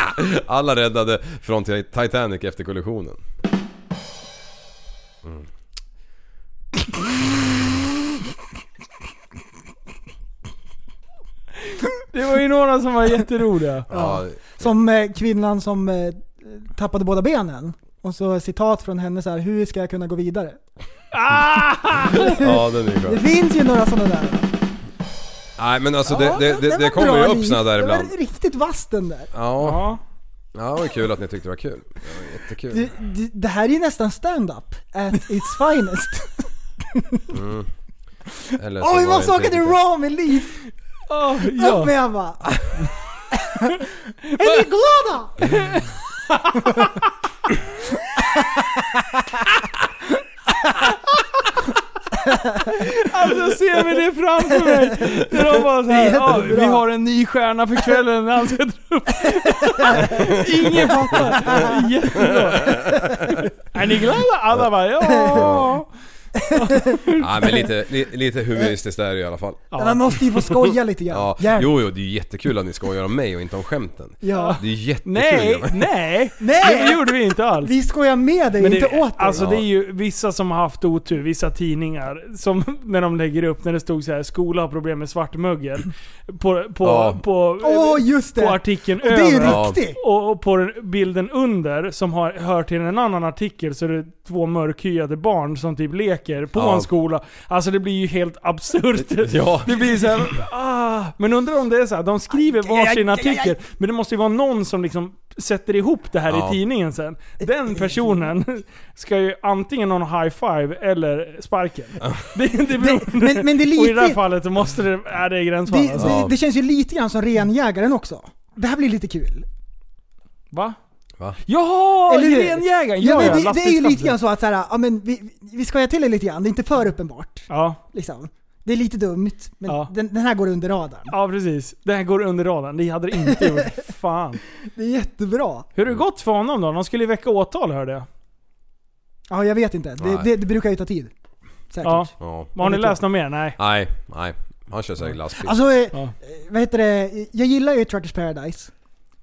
H: <laughs> Alla räddade från Ti- Titanic efter kollisionen.
A: Det var ju några som var jätteroliga.
H: Ja,
G: Som eh, kvinnan som eh, tappade båda benen. Och så citat från henne så här, hur ska jag kunna gå vidare?
H: ja den är
G: <laughs> Det
H: skön.
G: finns ju några sådana där.
H: Nej men alltså
G: Ja,
H: det, det, det,
G: den
H: det
G: var
H: kommer ju
G: bra,
H: upp
G: Liv.
H: såna där ibland.
G: Den var riktigt vass den där.
H: <laughs> Ja,
A: Ja.
H: ja det var kul att ni tyckte det var kul. Det var jättekul.
G: Det, det, det här är ju nästan stand-up at
H: <laughs>
G: its finest.
H: Eller så
G: Oj,
H: var
G: vad
H: det
G: saker
H: inte
G: det
H: riktigt.
G: raw med liv!
A: Oh,
G: Upp
A: ja.
G: med han bara. Är ni glada?
A: Alltså ser vi det framför mig. När de bara
G: <laughs>
A: såhär, ja
G: Jättebra.
A: vi har en ny stjärna för kvällen. Han ska dra
G: <laughs>
A: upp. Ingen fattar.
G: <laughs>
A: Jättebra. Är ni glada? Alla bara, ja.
H: Nej men lite, li, lite humoristiskt där i alla fall.
G: Men Man måste ju få skoja lite grann.
H: Ja,
G: Gärna.
H: jo, jo, det är ju jättekul att ni skojar om mig och inte om skämten.
G: Ja.
H: Det är ju jättekul.
A: Nej,
H: grabbar.
A: nej.
G: Nej!
A: Det gjorde vi inte alls.
G: Vi skojar med dig,
A: Men
G: inte
A: det,
G: åt dig.
A: alltså det är ju vissa som har haft otur, vissa tidningar, som när de lägger upp, när det stod så här skola har problem med svartmögel. På, på,
H: Ja.
A: på,
G: Åh, just det!
A: på artikeln
G: det är ju
A: över.
G: riktigt!
A: Och, och på den bilden under, som har, hör till en annan artikel, så är det två mörkhyade barn som typ leker på
H: Ja.
A: en skola. Alltså det blir ju helt
G: <laughs>
A: absurt.
H: Ja.
A: Det blir såhär, ah. Men undrar om det är så här, de skriver varsin artikel, men det måste ju vara någon som liksom sätter ihop det här
H: Ja.
A: i tidningen sen. Den personen <laughs> ska ju antingen ha en high five eller sparken. Det, det beror,
G: Men, men det
A: <laughs>
G: är
A: och i det här
G: lite...
A: fallet så måste det, är det gränsfall
G: Det,
A: alltså.
G: det, det känns ju lite grann som renjägaren också. Det här blir lite kul.
A: Va?
H: Va?
A: Jaha!
G: Eller hur?
A: Grenjägaren!
G: Ja,
A: Ja,
G: men det, det är ju
A: lastbilskampen.
G: lite grann så att så här, ja, men vi, vi skojar till det lite grann, det är inte för uppenbart.
A: Ja.
G: Liksom. Det är lite dumt, men
A: Ja.
G: den, den här går under radarn.
A: ja, precis. Det här går under radarn. Det hade det inte
G: <laughs>
A: gjort. Fan.
G: Det är jättebra.
A: Hur har det gått för honom då? De skulle ju väcka åtal hörde jag.
G: Ja, jag vet inte. Det,
H: Nej.
G: det, det brukar ju ta tid. Säkert.
A: Ja.
H: Ja.
A: Har ni läst något mer? Nej.
H: Nej, nej. Han kör säkert lastbil.
G: Alltså, eh,
A: Ja.
G: vad heter det? Jag gillar ju Truckers Paradise.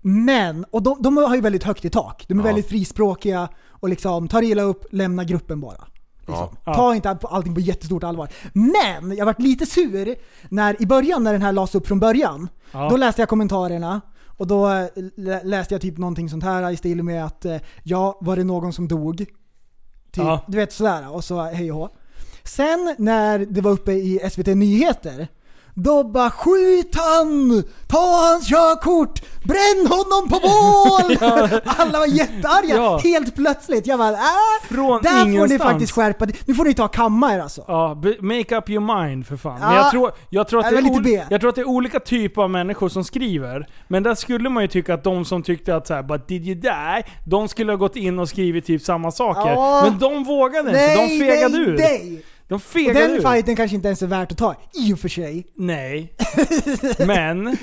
G: Men, och de, de har ju väldigt högt i tak. De är
H: Ja.
G: väldigt frispråkiga och liksom tar illa upp, lämna gruppen bara. Liksom.
A: Ja.
G: Ta inte all- allting på jättestort allvar. Men jag vart lite sur när i början när den här lades upp från början.
A: Ja.
G: Då läste jag kommentarerna Och då eh, lä- läste jag typ någonting sånt här i stil med att eh, ja, var det någon som dog? Typ,
A: Ja.
G: Du vet sådär. Och så hej och hå. Sen när det var uppe i SVT Nyheter då bara skjut han! Ta hans körkort! Bränn honom på
A: <laughs>
G: bål! Alla var jättearga
A: Ja.
G: helt plötsligt. Jag bara äh,
A: Från
G: Där får ni
A: ingenstans.
G: faktiskt skärpa Nu får ni ta kamma er alltså.
A: Ja, be- make up your mind för fan. Men
G: Ja,
A: jag, tror, jag, tror att
G: det är
A: det är
G: väl lite
A: ol-
G: B.
A: jag tror att det är olika typer av människor som skriver. Men där skulle man ju tycka att de som tyckte att så här, bara did you die? De skulle ha gått in och skrivit typ samma saker.
G: Ja.
A: Men de vågade inte, de fegade ur.
G: nej!
A: De
G: Och
A: fegade
G: den
A: ur.
G: fighten kanske inte ens är värt att ta, i och för sig. <laughs>
A: Nej. Men, äh,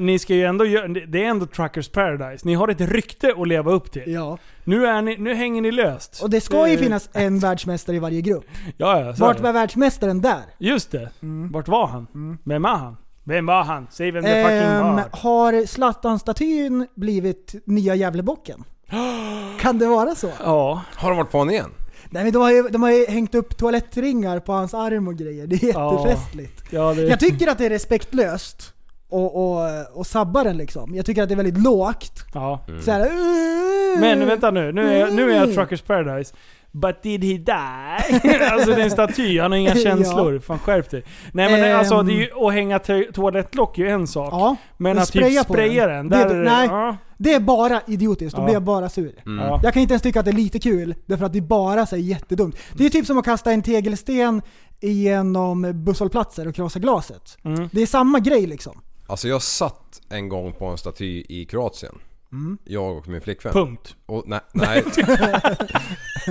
A: ni ska ju ändå göra, det är ändå Truckers Paradise. Ni har ett rykte att leva upp till.
G: Ja.
A: Nu, är ni, nu hänger ni löst.
G: Och det ska ju
A: Eh,
G: finnas en världsmästare i varje grupp.
A: Ja, ja, så är
G: Vart
A: det.
G: var Mm. världsmästaren där?
A: Just det. Vart var han? Vem är han? Vem var han? Säg vem det
G: Ehm,
A: fucking var.
G: har Zlatan-statyn blivit nya Gävlebocken? <gasps> Kan det vara så?
A: Ja.
H: Har de varit på honom igen?
G: Nej men de har, ju, de har ju hängt upp toalettringar på hans arm och grejer. Det är
A: Ja.
G: jättefestligt.
A: Ja, det...
G: Jag tycker att det är respektlöst och, och, och sabba den liksom. Jag tycker att det är väldigt lågt.
A: ja.
G: Så här,
A: Men
G: Mm.
A: vänta nu, nu är, jag, nu är jag Truckers Paradise. But did he die? <laughs> alltså det är en staty, han har inga
G: <laughs> Ja.
A: känslor. Fan skärp dig. Nej men
G: Ehm.
A: alltså det är ju, att hänga to- toalettlock är ju en sak.
G: Ja,
A: men
G: men
A: att spraya
G: spraya
A: typ
G: på
A: spraya den,
G: den.
A: där
G: Det-
A: är
G: nej.
A: Ja,
G: Det är bara idiotiskt, då
A: Ja.
G: blir jag bara sur.
H: Mm.
A: ja.
G: Jag kan inte ens tycka att det är lite kul, därför att det är bara så här jättedumt. Det är typ som att kasta en tegelsten genom busshållplatser och krossa glaset.
A: Mm.
G: Det är samma grej liksom.
H: Alltså jag satt en gång på en staty i Kroatien.
A: Mm.
H: Jag och min flickvän. <laughs>
A: Punkt.
H: Och, nej, nej.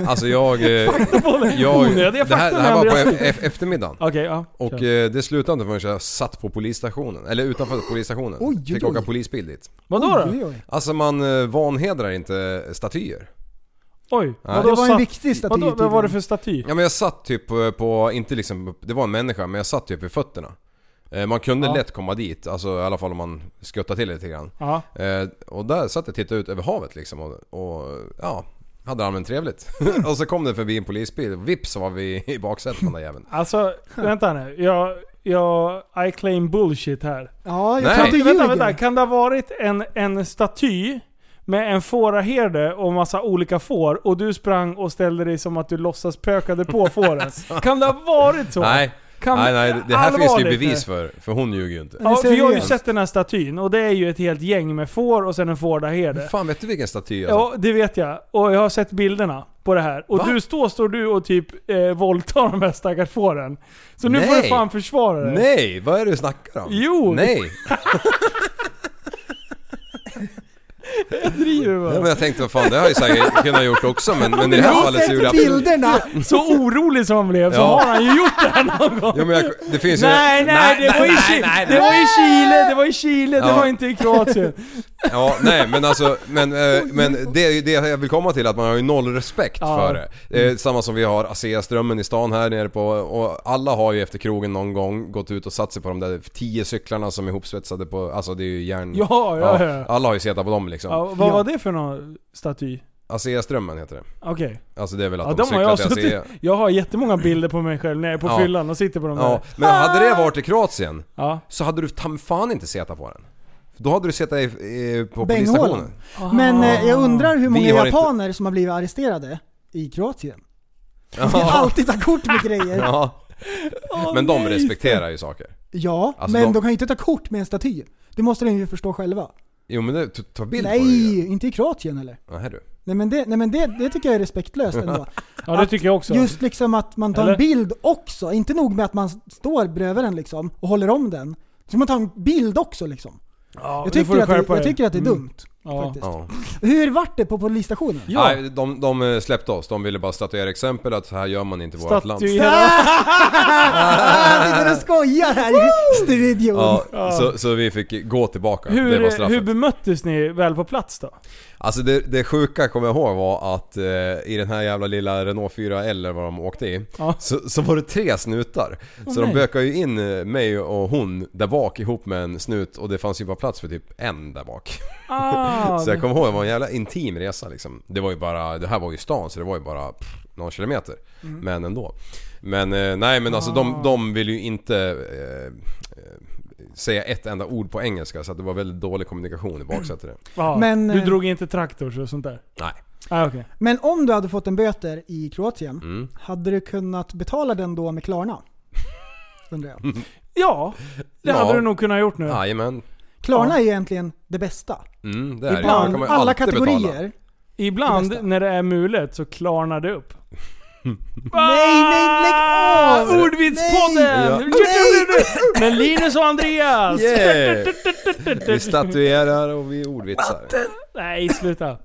H: alltså jag... eh, jag
A: Onödiga
H: det, här,
A: fakta
H: det här
A: med
H: var på
A: Andreas.
H: e- e- eftermiddagen.
A: Okej, ja.
H: Och
A: Kör.
H: eh, det slutade inte förrän jag satt på polisstationen. Eller utanför polisstationen.
G: Oj, oj,
H: Fick
G: oj.
H: åka polisbil dit.
A: Vadå då? Oj,
G: Oj, oj.
H: Alltså man eh, vanhedrar inte statyer.
A: vadå
G: Det var en
A: satt-
G: viktig staty
A: Vadå, vad
G: tydligen.
A: var det för staty?
H: Ja men jag satt typ eh, på, inte liksom, det var en människa men jag satt typ vid fötterna. Eh, Man kunde lätt komma dit, alltså i alla fall om man skuttade till lite grann.
A: Ja.
H: Eh, och där satt jag och tittade ut över havet liksom och, och ja, hade allmänt trevligt. <laughs> och så kom det förbi en polisbil och vips så var vi i baksätet på den
A: <laughs>
H: där jäveln.
A: Alltså, vänta nu. Jag, jag, I claim bullshit här.
G: Ja, jag
H: Nej.
G: tror att du
A: Vänta,
G: ljuger.
A: vänta. Kan det ha varit en, en staty med en fåraherde och massa olika får och du sprang och ställde dig som att du låtsas pökade
H: <laughs>
A: på fåren? kan det ha varit så?
H: Nej,
A: Kan-
H: nej, nej, det här finns det ju
A: Allvarligt.
H: bevis för, för hon ljuger ju inte.
A: Ja, för jag har ju
G: Seriöst.
A: sett den här statyn och det är ju ett helt gäng med får och sen en fåraherde.
H: Fan vet du vilken staty jag
A: Ja, det vet jag. Och jag har sett bilderna på det här. Och
H: Va?
A: du står, står du och typ eh, våldtar de här stackars fåren. Så nu får du
H: Nej.
A: fan försvara dig.
H: Nej, vad är det du snackar om?
A: Jo.
H: Nej!
A: Driver du med?
H: Ja, men jag tänkte vad fan det har jag ju säkert kunnat gjort också men, men i det här
G: Jag
H: fallet så gjorde jag
G: har sett
H: absolut
G: bilderna!
A: Så orolig som han blev så
H: Ja.
A: har han ju gjort det här någon gång.
H: Ja, men jag, det finns ju...
A: Nej, nej, det var i Chi- det var i Chile, det var i Chile, det
H: Ja.
A: var inte i Kroatien.
H: Ja, nej men alltså, men, eh, men det är ju det jag vill komma till, att man har ju noll respekt
A: Ja. Mm.
H: för det. det. är Samma som vi har ASEA-strömmen i stan här nere på, och alla har ju efter krogen någon gång gått ut och satt sig på de där tio cyklarna som är ihopsvetsade på, alltså det är ju järn...
A: Ja, ja, ja.
H: Alla har ju setat på dem liksom.
A: Ja, vad var det för någon staty?
H: ASEA-strömmen heter det.
A: Okej.
H: Alltså det är väl att
A: Ja,
H: de
A: de har
H: cyklar
A: jag
H: till
A: suttit...
H: ASEA.
A: Jag har jättemånga bilder på mig själv när jag är på
H: Ja.
A: fyllan och sitter på de
H: Ja,
A: där.
H: men hade det varit i Kroatien
A: Ja.
H: så hade du tam fan inte setat på den. Då hade du setat i, i, på
G: Bänghålan.
H: polisstationen.
G: Men eh, jag undrar hur många
H: har inte-
G: japaner som har blivit arresterade i Kroatien. <laughs> De ska alltid ta kort med grejer.
H: Ja. Men de respekterar ju saker.
G: Ja,
H: Alltså,
G: men
H: de-
G: de... kan ju inte ta kort med en staty. Det måste de ju förstå själva.
H: Jo men det, ta- ta bild på det
G: Nej,
H: ju.
G: inte i Kroatien heller.
H: Nej du.
G: Nej men, det, nej, men det, det tycker jag är respektlöst ändå.
A: Ja, det tycker jag också.
G: Just liksom att man tar
A: Eller?
G: en bild också. Inte nog med att man står bredvid den liksom och håller om den. Så man tar en bild också liksom.
A: ja,
G: Jag
A: nu får
G: tycker,
A: du
G: att det,
A: skärpa
G: jag
A: dig.
G: tycker att det är
A: Mm.
G: dumt.
A: Ja.
G: Faktiskt.
H: Ja.
G: Hur vart det på polisstationen?
A: Ja.
H: Nej, de, de eh, släppte oss. De ville bara statuera exempel att så här gör man inte i vårt
A: <laughs>
H: land.
A: Staty hela...
G: Ah, jag sitter och skojar här i studion.
H: Ja, så, så vi fick gå tillbaka. det var
A: Hur,
H: straffet.
A: hur bemöttes ni väl på plats då?
H: Alltså det, det sjuka kommer jag ihåg var att eh, i den här jävla lilla Renault 4L eller vad de åkte i.
A: Ja.
H: Så, så var det tre snutar. så
A: nej.
H: de bökade ju in eh, mig och hon där bak ihop med en snut och det fanns ju bara plats för typ en där bak.
A: Ah,
H: <laughs> Så jag kommer ihåg, det var en jävla intim resa liksom. Det var ju bara, det här var ju stan så det var ju bara pff, några kilometer.
A: Mm. Ah.
H: Men ändå. Men eh, nej men alltså de, de vill ju inte eh, eh, säga ett enda ord på engelska så att det var väldigt dålig kommunikation i baksätet.
A: <clears throat> Ja,
G: Men,
A: du
G: eh,
A: drog inte traktors och sånt där?
H: Nej.
A: Ah, okej.
G: Men om du hade fått en böter i Kroatien,
H: Mm.
G: hade du kunnat betala den då med
H: <laughs>
G: Klarna? Undrar jag.
A: Ja, det
H: Ja.
A: hade du nog kunnat gjort nu.
H: Jajamän.
G: Klarna är egentligen det bästa.
H: Mm, det är det. Man
G: Ibland,
H: kommer
G: alla
H: alltid
G: kategorier.
H: betala.
A: Ibland
G: Det bästa.
A: när det är mulet så klarnar det <laughs> upp.
G: Nej, nej, lägg av!
A: Ah, Ordvitspodden! <laughs>
H: Ja.
A: Med Linus och Andreas!
H: Yeah. Vi statuerar och vi ordvitsar.
A: Nej, sluta.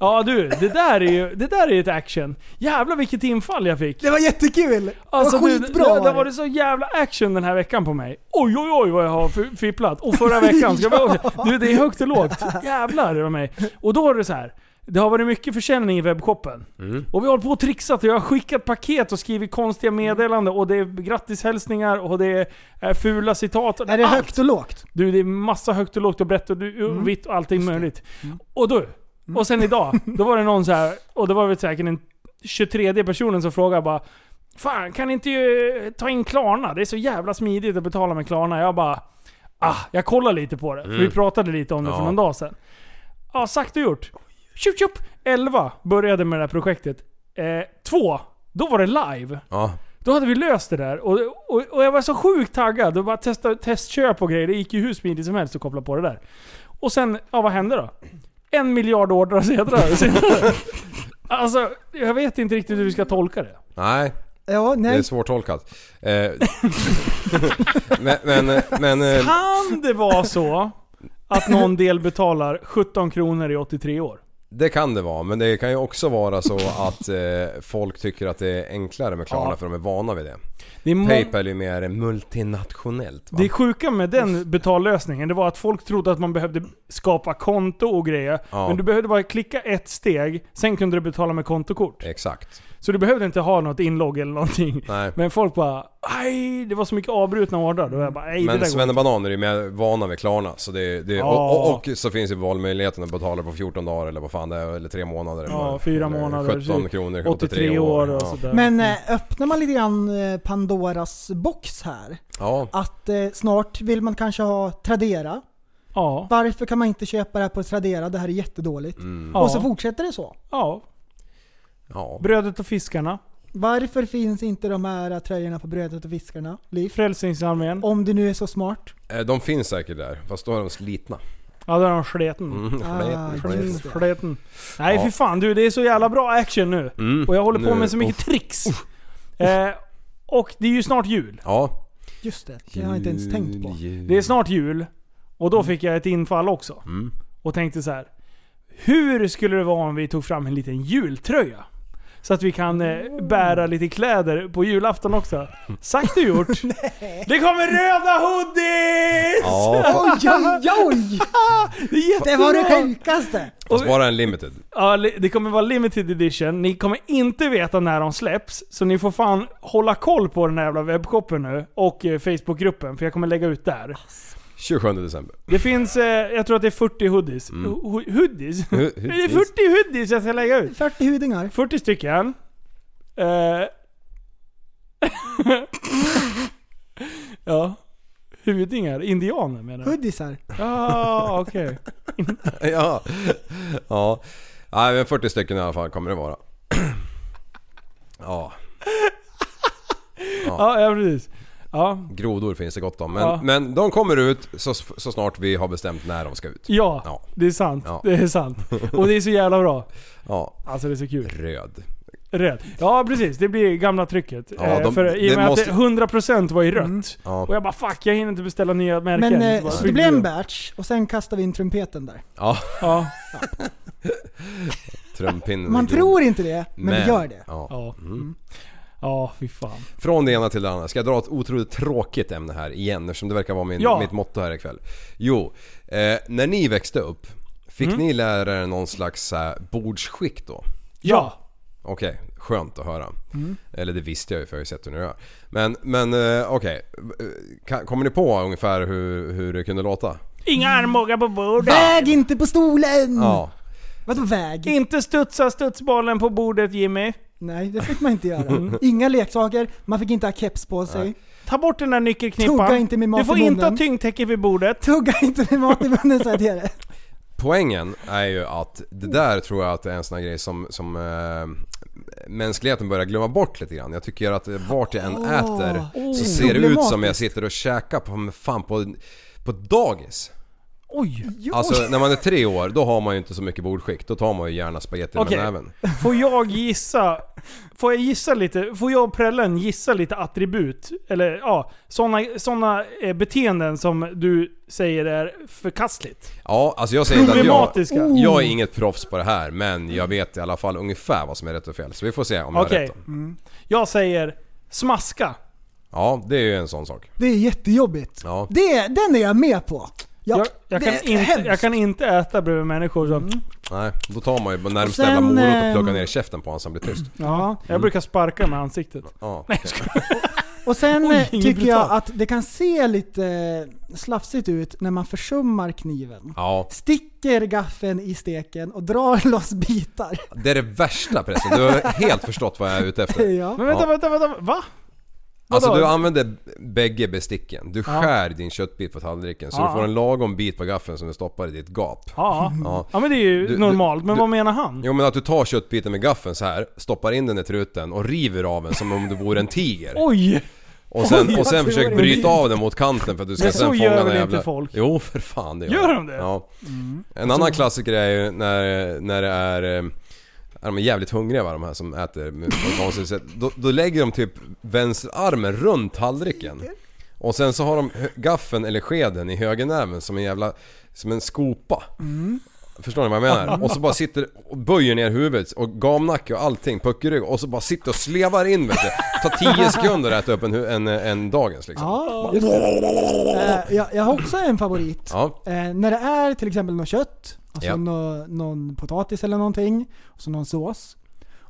A: Ja du, det där är ju det där är ju ett action. Jävlar vilket infall jag fick.
G: Det var jättekul!
A: Alltså,
G: det var
A: du,
G: skitbra!
A: det, det var det så jävla action den här veckan på mig. Oj oj oj vad jag har fi- fipplat. Och förra veckan, ska
G: <laughs>
A: vi Du det är högt och lågt. Jävlar det var mig. Och då är det så här. Det har varit mycket försäljning i webbshoppen. Och vi har hållit på och trixat och jag har skickat paket och skrivit konstiga meddelanden och det är grattishälsningar och det är eh, fula citat.
G: Är det
A: Allt.
G: högt och lågt?
A: Du, det är massa högt och lågt och brett och du, och vitt och allting möjligt. Och du, och sen idag, då var det någon så här och det var väl säkert den 23 personen som frågade bara Fan, kan ni inte eh, ta in Klarna? Det är så jävla smidigt att betala med Klarna. Jag bara, ah, jag kollar lite på det. För vi pratade lite om det för
H: Ja.
A: någon dag sedan. Ja, sagt och gjort. Tjup, tjup. 11 började med det här projektet. Eh, två, då var det live.
H: Ja.
A: Då hade vi löst det där och, och, och jag var så sjukt taggad och bara testade testköp och grejer. Det gick ju hur smidigt som helst att koppla på det där. Och sen, ja vad hände då? En miljard ordrar senare. senare. <laughs> alltså, jag vet inte riktigt hur vi ska tolka det.
H: Nej,
G: Ja,
H: det är
G: nej.
H: svårtolkat. Eh, <laughs> men, men, men... eh,
A: Kan det vara så att någon del betalar 17 kronor i 83 år?
H: Det kan det vara, men det kan ju också vara så att eh, folk tycker att det är enklare med Klarna för de är vana vid det.
A: Det är,
G: Mm.
A: må-
H: Paypal är ju mer multinationellt va?
A: det sjuka med den betallösningen, det var att folk trodde att man behövde skapa konto och grejer.
H: Ja.
A: Men du behövde bara klicka ett steg, sen kunde du betala med kontokort.
H: Exakt.
A: Så du behövde inte ha något inlogg eller
H: <laughs>
A: någonting.
H: Nej.
A: Men folk bara aj, det var så mycket avbrutna ordrar. Då jag bara nej det
H: Men
A: där går inte.
H: svennebananer är ju mer vana vid Klarna så det, det,
A: Ja.
H: och, och, och så finns ju valmöjligheten att betala på 14 dagar eller vad fan det är, eller 3 månader. eller
A: Ja,
H: vad-
A: fyra
H: eller
A: månader.
H: 17 kronor,
A: 83 år och
H: ja.
A: sådär.
G: Men eh, öppnar man lite grann eh, Pandoras box här.
H: Ja,
G: Att eh, snart vill man kanske ha Tradera.
A: ja,
G: Varför kan man inte köpa det här på Tradera? Det här är jättedåligt.
H: Mm.
A: ja,
G: Och så fortsätter det så.
A: ja.
H: ja.
A: Brödet och fiskarna.
G: Varför finns inte de här tröjorna på brödet och fiskarna? Liv?
A: Frälsningsarmén.
G: Om du nu är så smart.
H: Eh, De finns säkert där, fast då är de slitna. <laughs>
A: Ja, där har de sleten.
H: Mm,
G: Ah,
H: sliten, sliten.
A: Sleten.
G: just det.
A: sleten. Nej
H: Ja.
A: fy fan du, det är så jävla bra action nu.
H: Mm,
A: Och jag håller på
H: nu-
A: med så mycket tricks. Eh, och det är ju snart jul.
H: Ja.
G: Just det, det har jag inte ens tänkt på.
A: Det är snart jul. Och
G: Mm.
A: då fick jag ett infall också.
H: Mm.
A: Och tänkte så här. Hur skulle det vara om vi tog fram en liten jultröja? Så att vi kan eh,
G: Mm.
A: bära lite kläder på julafton också. Sagt och
G: <laughs>
A: gjort. det kommer röda hoodies!
H: Ja, fa-
A: <laughs>
G: Oj, oj, oj!
A: Det är jättebra!
G: Det var det sjukaste!
H: fast bara en limited.
A: Ja, li- det kommer vara limited edition. Ni kommer inte veta när de släpps. Så ni får fan hålla koll på den här jävla webbshoppen nu. Och eh, Facebookgruppen, för jag kommer lägga ut där.
H: 27 december.
A: Det finns, eh, jag tror att det är 40 hoodies.
H: Mm.
A: Ho- ho- Hoodies?
H: Hu-
A: <laughs> Det <laughs> är
H: hoodies.
A: 40 hoodies jag ska lägga ut.
G: 40 hudingar.
A: 40 stycken. Eh. <laughs> ja. Hudingar? Indianer menar du?
G: Hoodiesar.
A: Ja,
H: <laughs>
A: okej.
H: <laughs> ja. ja. Nej men 40 stycken i alla fall kommer det vara. <clears throat> Ja,
A: Ja, ja precis. Ja.
H: grodor finns det gott om. Men,
A: Ja.
H: men de kommer ut så, så snart vi har bestämt när de ska ut.
A: Ja,
H: Ja.
A: det är sant.
H: Ja.
A: Det är sant. Och det är så jävla bra.
H: Ja,
A: Alltså det är så kul.
H: röd.
A: Röd. Ja precis, det blir gamla trycket.
H: Ja,
A: Eh,
H: de-
A: För i och
H: det
A: med
H: måste- Mm.
A: att det 100% var i rött. Och
H: Ja.
A: jag bara fuck, jag hinner inte beställa nya märken.
G: Men
A: Så
G: eh,
A: bara,
G: så det blev en batch och sen kastar vi in trumpeten där.
H: Ja, <laughs>
A: Ja.
H: trumpinnen.
G: Man
H: är grov.
G: tror inte det, men, det gör det.
H: Ja.
A: Ja.
G: Mm.
A: Ja, fy fan.
H: Från det ena till det andra. Ska jag dra ett otroligt tråkigt ämne här igen eftersom det verkar vara min,
A: Ja.
H: mitt motto här ikväll. Jo, eh, när ni växte upp, fick ni lära er någon slags eh, bordsskick då?
A: Ja.
H: Okej, skönt att höra.
G: Mm.
H: Eller det visste jag ju för jag har ju sett hur ni gör. Men, men eh, okej. Kan- Kommer ni på ungefär hur, hur det kunde låta?
A: Inga armbågar på bordet.
G: Väg inte på stolen!
H: Ja.
G: Vadå väg?
A: Inte studsa studsbollen på bordet Jimmy. Mm.
G: Nej, det fick man inte göra. Inga leksaker, man fick inte ha keps på sig.
A: Ta bort den där nyckelknippan.
G: Tugga inte med mat
A: Du får
G: i
A: inte ha
G: munnen.
A: tyngdtäcke vid bordet.
G: Tugga inte med mat i munnen så heter det.
H: Poängen är ju att det där tror jag att är en sån här grej som, som eh, mänskligheten börjar glömma bort lite grann. Jag tycker att eh, vart jag än äter så ser det ut som jag
G: problematiskt.
H: sitter och käkar på, fan, på, på dagis.
A: Oj!
G: Jo.
H: Alltså när man är tre år, då har man ju inte så mycket bordskick. Då tar man ju gärna spagetti
A: Okej.
H: med näven.
A: Får jag gissa? Får jag gissa lite? Får jag och prällen gissa lite attribut? Eller ja, sådana såna, eh, beteenden som du säger är förkastligt.
H: Ja, alltså jag säger inte att jag...
A: Problematiska.
H: Jag är inget proffs på det här, men jag vet i alla fall ungefär vad som är rätt och fel. Så vi får se om jag har
A: Okej.
H: rätt då.
G: Mm.
A: Jag säger smaska.
H: Ja, det är ju en sån sak.
G: Det är jättejobbigt.
H: Ja.
G: Det, den är jag med på. Ja,
A: Jag, jag,
G: det
A: kan,
G: är
A: inte,
G: hemskt.
A: jag kan inte äta bredvid människor som...
H: Nej, då tar man ju närmst
G: Sen,
H: jävla morot och
G: ehm,
H: plockar ner i käften på honom så han blir tyst.
G: Mm.
A: Ja, jag brukar sparka med ansiktet.
H: Ja.
G: Och sen
A: Oj,
G: eh,
A: inget
G: tycker jag
A: brutalt.
G: att det kan se lite eh, slafsigt ut när man försummar kniven.
H: ja.
G: Sticker gaffeln i steken och drar <laughs> loss bitar.
H: Det är det värsta pressen. Du har helt förstått vad jag är ute
A: <laughs>
H: efter.
G: Ja.
A: Men vänta,
H: Ja.
A: vänta, vänta. Va?
H: Alltså
A: Vadå?
H: du använder b- bägge besticken. Du skär din köttbit på tallriken så
A: Ja.
H: du får en lagom bit på gaffeln som du stoppar i ditt gap.
A: Ja.
H: Ja.
A: ja, men det är ju
H: Du- du-
A: normalt. Men
H: du-
A: vad menar han?
H: Jo men att du tar köttbiten med gaffeln så här, stoppar in den i truten och river av den som om det vore en tiger.
A: Oj!
H: Och sen,
A: Oj,
H: och sen
A: vad
H: försöker
A: teoretiskt.
H: bryta av den mot kanten för att du ska
A: Men
H: sen
A: så
H: fånga
A: gör
H: den
A: väl
H: jävla...
A: inte folk?
H: Jo, för fan det
A: Gör de det? Mm.
H: Ja. En annan klassiker är ju när, när det är... eh, De är jävligt hungriga va, de här som äter med- på ett konstigt sätt. Då, då lägger de typ vänsterarmen runt tallriken. Och sen så har de hö- gaffeln eller skeden i högernäven som en jävla... Som en skopa.
A: Mm.
H: Förstår ni vad
A: <laughs>
H: jag menar? Och så bara sitter och böjer ner huvudet och gamnacke och allting, puckelrygg och så bara sitter och slevar in vet du. Tar
A: <laughs>
H: 10 sekunder att äta upp en, hu- en, en dagens liksom.
G: Ja, just det. Eh, jag, jag har också en favorit.
H: Ja.
G: Eh, när det är till exempel något kött, alltså
H: Ja.
G: nå, någon potatis eller någonting, och så någon sås.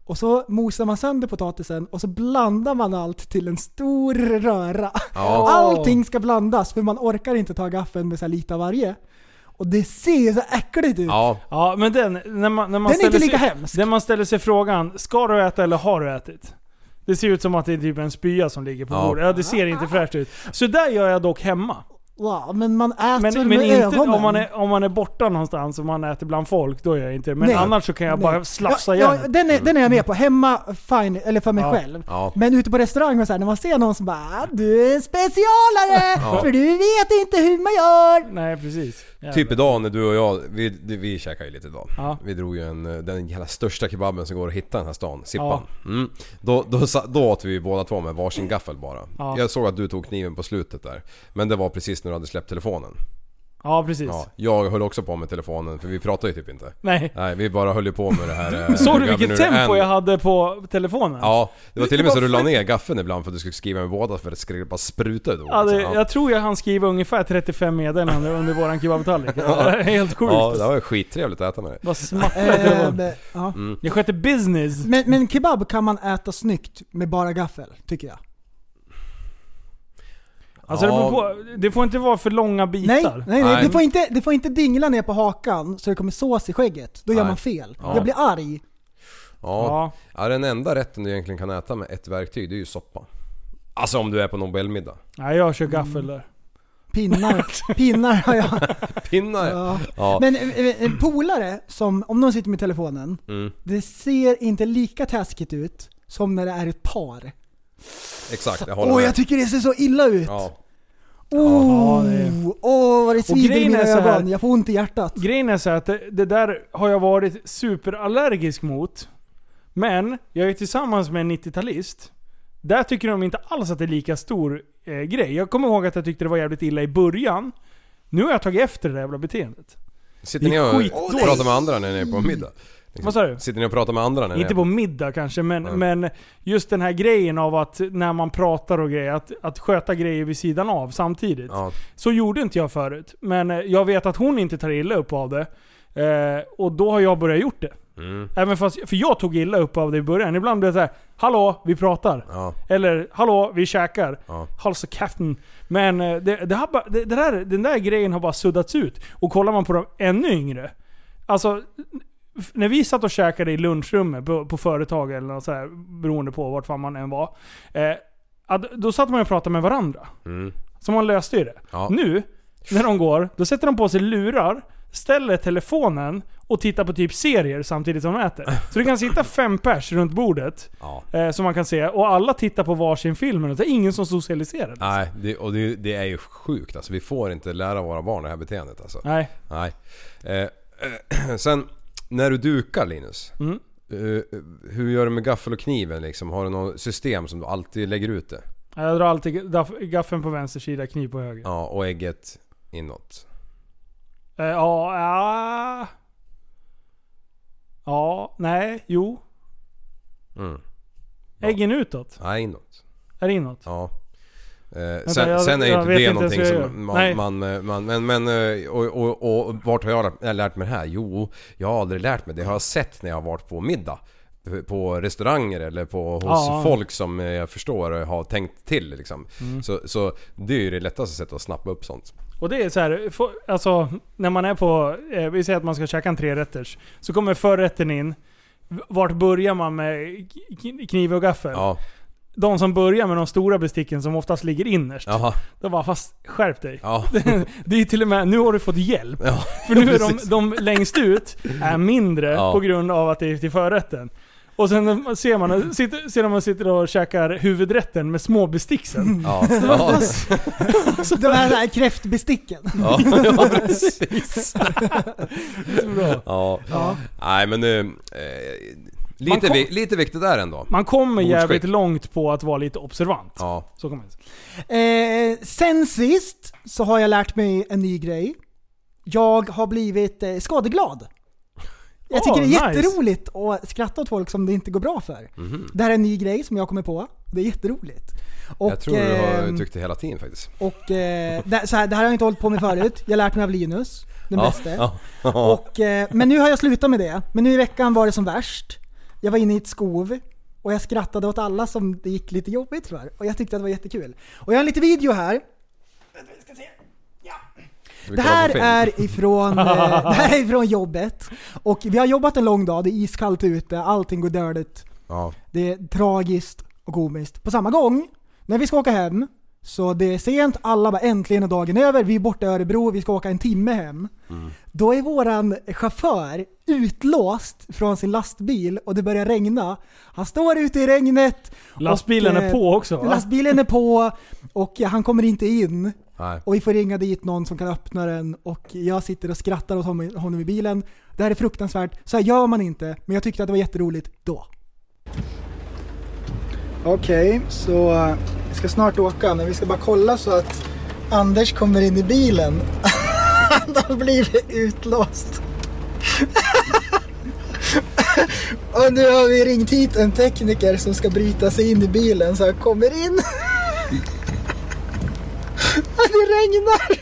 G: Och så mosar man sönder potatisen och så blandar man allt till en stor röra.
H: Ja.
G: Allting ska blandas för man orkar inte ta gaffeln med så här lite av varje. Och det ser ju så äckligt ut.
H: Ja.
A: Ja, men den... När man, när man
G: Den är
A: ställer
G: inte lika
A: sig,
G: hemsk.
A: När man ställer sig frågan, ska du äta eller har du ätit? Det ser ut som att det är typ en spya som ligger på
H: Ja.
A: bordet. Ja, det ser
G: Ah.
A: inte fräscht ut. Så där gör jag dock hemma.
G: Ja, men man
A: Men,
G: äter med
A: men inte
G: ögonen.
A: om man, är, om man är borta någonstans och man äter bland folk, då gör jag inte det. Men
G: Nej.
A: annars så kan jag bara
G: Nej.
A: slafsa
G: ja,
A: igen. Mm.
G: ja, den, är, den är jag med på. Hemma, fine, eller för mig
A: Ja.
G: själv.
H: Ja.
G: Men ute på restaurang och så här, när man ser någon som bara "Ah, Du är
H: <laughs>
G: en specialare! För du vet inte hur man
A: <laughs>
G: gör!
A: Nej, precis. Jävlar.
H: Typ idag när du och jag, vi, vi käkade ju lite idag.
A: Ja.
H: Vi drog ju en, eh, den jävla största kebaben som går att hitta i den här stan, Sippan.
A: Ja.
H: Mm. Då, då, sa- då åt vi ju båda två med varsin gaffel bara.
A: Ja.
H: Jag såg att du tog kniven på slutet där. Men det var precis när du hade släppt telefonen.
A: Ja, precis.
H: Ja, jag höll också på med telefonen för vi pratade ju typ inte.
A: Nej.
H: Nej, vi bara höll ju på med det här... eh,
A: Såg du
H: Governor
A: vilket tempo
H: An-
A: jag hade på telefonen?
H: Ja, det var till och med så du la ner gaffeln ibland för att du skulle skriva med båda för att det skulle bara spruta ut ord,
A: Ja, det,
H: liksom.
A: jag tror jag han skriva ungefär 35 meddelanden under våran kebabtallrik. Det är Helt sjukt.
H: <laughs> Ja, det var ju skittrevligt att äta med det.
A: Vad smattrade det
G: Eh,
A: var.
G: men- ja.
H: Mm.
A: Jag skötte business.
G: men, men kebab kan man äta snyggt med bara gaffel, tycker jag.
A: Alltså det,
H: Ja.
A: beror på, det får inte vara för långa
G: Nej,
A: bitar.
G: nej, nej.
H: Nej.
G: Det, får inte, det får inte dingla ner på hakan så det kommer sås i skägget. Då gör
H: Nej.
G: man fel.
H: Ja.
G: Jag blir arg.
H: Ja.
A: Ja.
H: ja, den enda rätten du egentligen kan äta med ett verktyg det är ju soppa. Alltså om du är på Nobelmiddag.
A: ja, jag kör gaffel där. <laughs>
G: Pinnar, pinnar har jag.
H: Pinnar ja.
G: Ja.
H: ja.
G: Men eh, eh, en polare som, om någon sitter med telefonen,
H: Mm.
G: det ser inte lika taskigt ut som när det är ett par.
H: Exakt, jag håller
G: Åh,
H: med.
G: jag tycker det ser så illa ut!
H: Ja.
G: Åh, Oh.
A: Ja, det är-
G: åh vad det svider i
A: grejen
G: mina
A: är så här-
G: ögon. Jag får ont i hjärtat.
A: Grejen är så här att det, det där har jag varit superallergisk mot. Men jag är tillsammans med en 90-talist. Där tycker de inte alls att det är lika stor eh, grej. Jag kommer ihåg att jag tyckte det var jävligt illa i början. Nu har jag tagit efter det där jävla beteendet.
H: Sitter ni
A: Det är
H: och
A: skitdåligt.
H: pratar med andra när ni är på middag? Liksom.
A: Vad sa du?
H: Sitter ni och pratar med andra när ni
A: Inte
H: är på...
A: på middag kanske, men,
H: Nej.
A: men just den här grejen av att när man pratar och grejer, att, att sköta grejer vid sidan av samtidigt.
H: Ja.
A: Så gjorde inte jag förut. Men eh, jag vet att hon inte tar illa upp av det. Eh, och då har jag börjat gjort det.
H: Mm.
A: Även fast, för jag tog illa upp av det i början. Ibland blev det så här: Hallå, vi pratar.
H: Ja.
A: Eller hallå, vi käkar.
H: Ja.
A: Hals och käften. Men eh, det, det har bara, det, det där, den där grejen har bara suddats ut. Och kollar man på de ännu yngre. Alltså, f- när vi satt och käkade i lunchrummet på, på företag eller något så här, beroende på vart fan man än var. Eh, att då satt man och pratade med varandra.
H: Mm.
A: Så man löste ju det.
H: Ja.
A: Nu, när de går, då sätter de på sig lurar, ställer telefonen och tittar på typ serier samtidigt som de äter. Så det kan sitta fem pers runt bordet,
H: Ja.
A: eh, som man kan se, och alla tittar på varsin film. och Det är ingen som socialiserar.
H: Nej, det, och det, det är ju sjukt alltså. Vi får inte lära våra barn det här beteendet alltså.
A: Nej.
H: Nej. Eh, eh, <clears throat> sen, när du dukar Linus.
A: Mm.
H: eh, hur gör du med gaffel och kniven liksom? Har du något system som du alltid lägger ut det?
A: Jag drar alltid gaff- gaffeln på vänster sida, kniv på höger.
H: Ja, och ägget inåt.
A: Eh, Ja, ja. Ja, nej, jo.
H: Mm.
A: Äggen utåt.
H: Nej, inåt.
A: Är det inåt?
H: Ja. Eh,
A: Vänta,
H: sen,
A: jag-
H: sen är ju
A: jag
H: inte
A: vet
H: det
A: inte
H: någonting
A: ens hur jag gör.
H: som man,
A: Nej.
H: man, eh, man... Men, men eh, och, och, och, och vart har jag lärt- jag lärt mig det här? Jo, jag har aldrig lärt mig det. Det har jag sett när jag har varit på middag. På restauranger eller på, hos
A: Ja.
H: folk som eh, jag förstår har tänkt till liksom.
A: Mm.
H: Så, så det är ju det lättaste sättet att snappa upp sånt.
A: Och det är så här, få- alltså när man är på, eh, vi säger att man ska käka en trerätters. Så kommer förrätten in. V- Vart börjar man med k- k- kniv och gaffel?
H: Ja,
A: De som börjar med de stora besticken som oftast ligger innerst.
H: ja,
A: De bara, fast skärp dig.
H: ja.
A: Det är till och med, nu har du fått hjälp.
H: ja.
A: <laughs> För nu är
H: precis.
A: de, de längst ut är mindre
H: Ja.
A: på grund av att det är till förrätten. Och sen ser man, sitter, ser man sitter och käkar huvudrätten med små bestick sen.
G: <laughs>
H: ja. ja.
G: De här, här kräftbesticken.
H: Ja, ja
G: <laughs>
H: precis. ja.
G: Ja.
H: Nej men eh, eh, lite,
A: kom-
H: vi, lite viktigt där ändå.
A: Man kommer
H: Bordskick.
A: jävligt långt på att vara lite observant.
H: Ja.
A: Så kan man säga. <laughs>
G: Eh, sen sist så har jag lärt mig en ny grej. Jag har blivit eh, skadeglad. Jag
A: Åh,
G: tycker det är
A: nice.
G: jätteroligt att skratta åt folk som det inte går bra för.
H: Mhm.
G: Det här är en ny grej som jag kommer på. Det är jätteroligt. Och,
H: jag tror du har
G: ehm,
H: tyckt det hela tiden faktiskt.
G: Och, eh, det, så här, det här har jag inte hållit på med förut. Jag har lärt mig av Linus, den
H: ja,
G: bäste.
H: Ja, ja.
G: Och, eh, men nu har jag slutat med det. Men nu i veckan var det som värst. Jag var inne i ett skov och jag skrattade åt alla som det gick lite jobbigt för. Och jag tyckte att det var jättekul. Och jag har en liten video här.
H: Vi
G: Det
H: kollar på
G: här,
H: film.
G: är ifrån, eh, det här är ifrån jobbet. Och vi har jobbat en lång dag, det är iskallt ute, allting går dåligt.
H: Ja.
G: Det är tragiskt och komiskt på samma gång. När vi ska åka hem, så det är sent, alla bara äntligen är dagen över, vi är borta i Örebro, vi ska åka en timme hem. Då är våran chaufför utlåst från sin lastbil och det börjar regna. Han står ute i regnet.
A: Lastbilen
G: och,
A: är
G: eh,
A: på också va?
G: Lastbilen är på och han kommer inte in.
H: Nej.
G: Och vi får ringa dit någon som kan öppna den och jag sitter och skrattar åt honom honom i bilen. Det här är fruktansvärt. Så här gör man inte, men jag tyckte att det var jätteroligt då. Okej, så eh, vi ska snart åka, men vi ska bara kolla så att Anders kommer in i bilen. Han har blivit utlåst. och nu har vi ringt hit en tekniker som ska bryta sig in i bilen så han kommer in. Ja, Det regnar!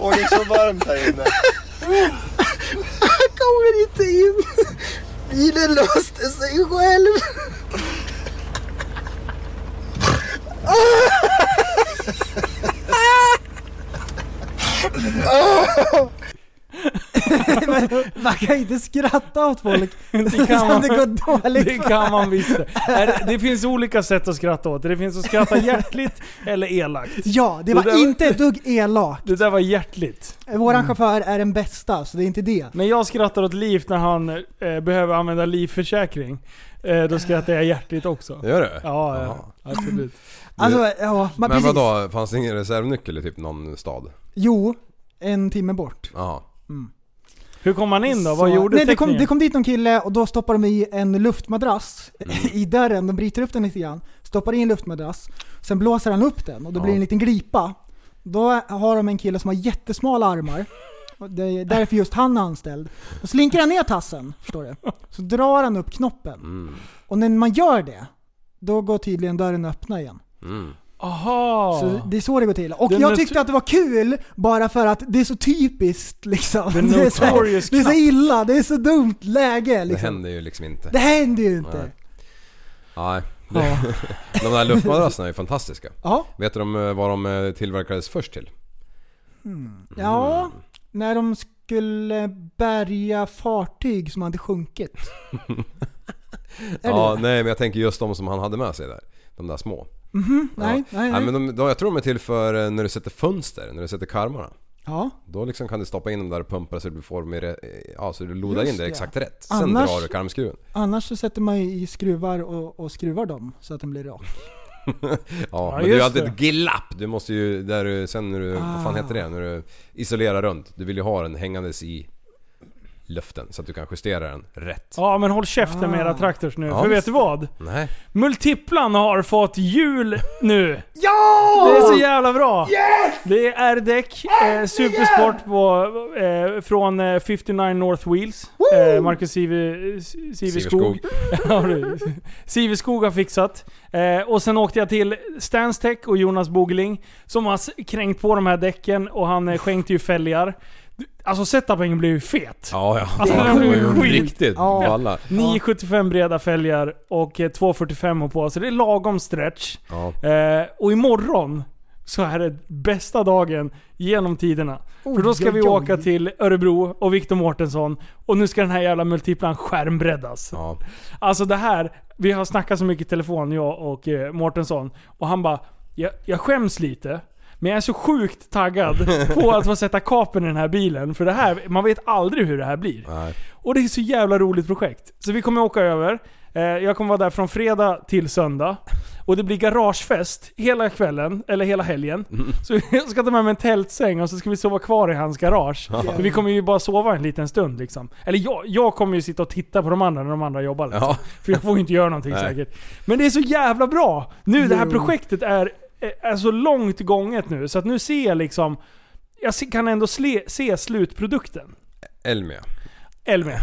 I: Och det är så varmt här inne.
G: Han kommer inte in! Bilen låste sig själv! Men man kan inte skratta åt folk
A: Det kan
G: som
A: man.
G: <laughs> det går dåligt
A: Det kan man visst det. Är det. Det finns olika sätt att skratta åt det. Det finns att skratta hjärtligt eller elakt.
G: Ja, det
A: Det
G: var
A: där-
G: inte ett dugg elak.
A: Det där var hjärtligt.
G: Våran
H: Mm.
G: chaufför är den bästa, så det är inte det.
A: När jag skrattar åt Liv när han eh, behöver använda livförsäkring, eh, då skrattar jag hjärtligt också.
H: Gör du?
A: Ja,
H: Jaha.
A: ja absolut.
G: Alltså, ja, man,
H: Men
G: precis.
H: vadå, fanns det ingen reservnyckel i typ någon stad?
G: Jo, en timme bort.
H: Jaha.
A: Hur kom han in då? Vad
G: Så-
A: gjorde
G: Nej, det kom,
A: teknikern?
G: det kom dit någon kille och då stoppar de i en luftmadrass i dörren. De bryter upp den lite grann. Stoppar i en luftmadrass. Sen blåser han upp den och då blir det en liten glipa. Då har de en kille som har jättesmala armar. Och Det är därför just han är anställd. Då slinker han ner tassen, förstår du. Så drar han upp knoppen. Och när man gör det, då går tydligen dörren öppna igen.
A: Aha.
G: Så det är så det går till. Och
A: Den
G: jag
A: nat-
G: tyckte att det var kul bara för att det är så typiskt liksom.
A: The
G: <laughs> Det är, så,
A: notorious
G: det är så illa, det är så dumt läge
H: Det
G: liksom.
H: händer ju liksom inte.
G: Det händer ju inte.
H: Nej. Nej.
A: Ja.
H: <laughs> De där luftmadrasserna är ju fantastiska.
G: Ja,
H: Vet du de, eh, vad de eh, tillverkades först till?
G: ja. När de Kuckelberga fartyg som
H: <laughs>
G: hade sjunkit.
H: Ja, nej men jag tänker just de som han hade med sig där. De där små.
G: Mhm, nej,
H: ja.
G: nej, nej.
H: men de, de, jag tror de är till för eh, när du sätter fönster, när du sätter karmarna.
G: Ja.
H: Då liksom kan du stoppa in dem där och pumpa så du får med, re- ja, så du lodar
G: Just
H: in det
G: det.
H: exakt rätt. Sen
G: Annars-
H: drar du karmskruven.
G: Annars så sätter man ju i skruvar och, och skruvar dem så att den blir rak.
H: ja, men
G: just
H: det är ju alltid
G: det.
H: ett glapp. Du måste ju, där du, sen när du, vad fan
G: Ah.
H: heter det? När du isolerar runt. Du vill ju ha den hängandes i luften så att du kan justera den rätt.
A: Ja men håll käften med
G: Ah.
A: era traktors nu.
H: Ja,
A: för vet
H: just
A: du vad?
H: Nej.
A: Multiplan har fått hjul nu.
I: Ja!
A: Det är så jävla bra! Det är R-däck, eh, supersport på, eh, från eh, 59 North Wheels. Eh, Marcus Sive- Siverskog.
I: Siverskog.
A: <laughs> Ja, precis. Siverskog har fixat. Eh, och sen åkte jag till Stanstech och Jonas Bogling som har s- kränkt på de här däcken och han eh, skänkte ju fälgar. Alltså setupen blev ju fet.
H: Ja, ja.
A: Alltså,
H: Ja,
A: den
H: det var
A: blev
H: ju
A: skit.
H: riktigt
A: Ja.
H: balla.
A: 9,75 breda fälgar och eh, 2,45 har på. Så det är lagom stretch.
H: Ja.
A: Eh, och imorgon så är det bästa dagen genom tiderna. För då ska
I: Oj,
A: vi
I: oj, oj.
A: åka till Örebro och Viktor Mårtensson. Och nu ska den här jävla multiplan skärmbreddas. Alltså det här, vi har snackat så mycket i telefon jag och eh, Mårtensson. Och han bara, jag, jag skäms lite. Men jag är så sjukt taggad på att få sätta kapen i den här bilen. För det här, man vet aldrig hur det här blir. Och det är så jävla roligt projekt. Så vi kommer åka över. Eh, Jag kommer vara där från fredag till söndag. Och det blir garagefest hela kvällen, eller hela helgen. Så <laughs> jag ska ta med mig en tältsäng och så ska vi sova kvar i hans garage.
I: Ja.
A: För vi kommer ju bara sova en liten stund liksom. Eller jag, jag kommer ju sitta och titta på de andra när de andra jobbar liksom.
I: Ja.
A: För jag får ju inte göra någonting
I: Nej.
A: säkert. Men det är så jävla bra! Nu det här
I: Jo.
A: projektet är, är så långt gånget nu så att nu ser jag liksom... Jag se- kan ändå sle, se slutprodukten.
H: Elmia.
A: Elmia.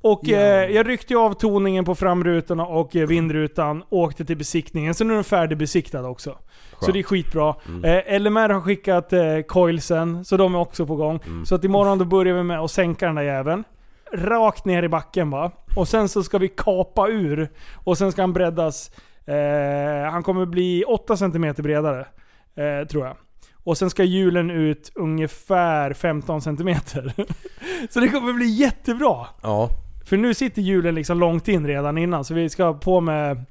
A: Och eh, jag ryckte ju av toningen på framrutorna och eh, vindrutan. Åkte till besiktningen. Så nu är den färdigbesiktad också. Så det är skitbra.
I: Mm.
A: Eh, LMR har skickat eh, coilsen, så de är också på gång. Så att imorgon då börjar vi med att sänka den där jäveln. Rakt ner i backen va. Och sen så ska vi kapa ur. Och sen ska han breddas. Eh, han kommer bli 8 cm bredare. Eh, tror jag. Och sen ska hjulen ut ungefär 15 cm. så det kommer bli jättebra.
H: Ja.
A: För nu sitter hjulen liksom långt in redan innan, så vi ska på med...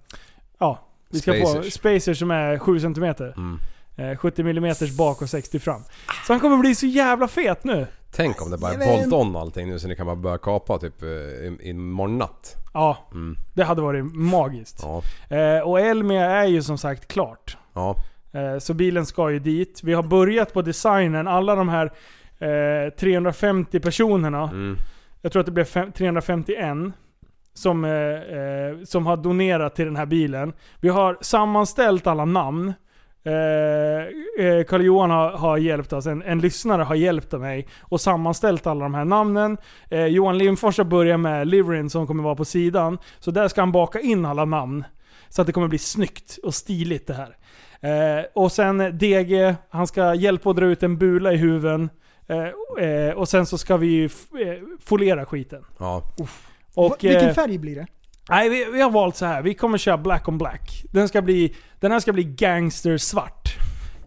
A: Ja, vi ska på
I: Spacers.
A: spacers som är 7 cm.
H: Mm.
A: Eh, 70 mm bak och 60 fram. Så han kommer bli så jävla fet nu.
H: Tänk om det bara är
A: Jajamän.
H: bolt-on allting nu så ni kan bara börja kapa typ eh, i- imorgon natt.
A: Ja,
H: Mm.
A: det hade varit magiskt.
H: Ja.
A: Eh, och Elmia är ju som sagt klart.
H: Ja.
A: Eh, Så bilen ska ju dit. Vi har börjat på designen. Alla de här eh, 350 personerna.
H: Mm.
A: Jag tror att det blev fem- 351. Som, eh, eh, som har donerat till den här bilen. Vi har sammanställt alla namn. Eh, eh, Karl-Johan har, har hjälpt oss, en, en lyssnare har hjälpt mig och sammanställt alla de här namnen. Eh, Johan Lindfors har börjat med Liverin som kommer vara på sidan. Så där ska han baka in alla namn. Så att det kommer bli snyggt och stiligt det här. Eh, och sen DG, han ska hjälpa att dra ut en bula i huven. Eh, eh, och sen så ska vi ju f- eh, foliera skiten.
H: Ja.
A: Och,
G: Va- Vilken
A: eh,
G: färg blir det?
A: Nej, vi, vi har valt så här. Vi kommer köra black on black. Den, ska bli, den här ska bli gangstersvart.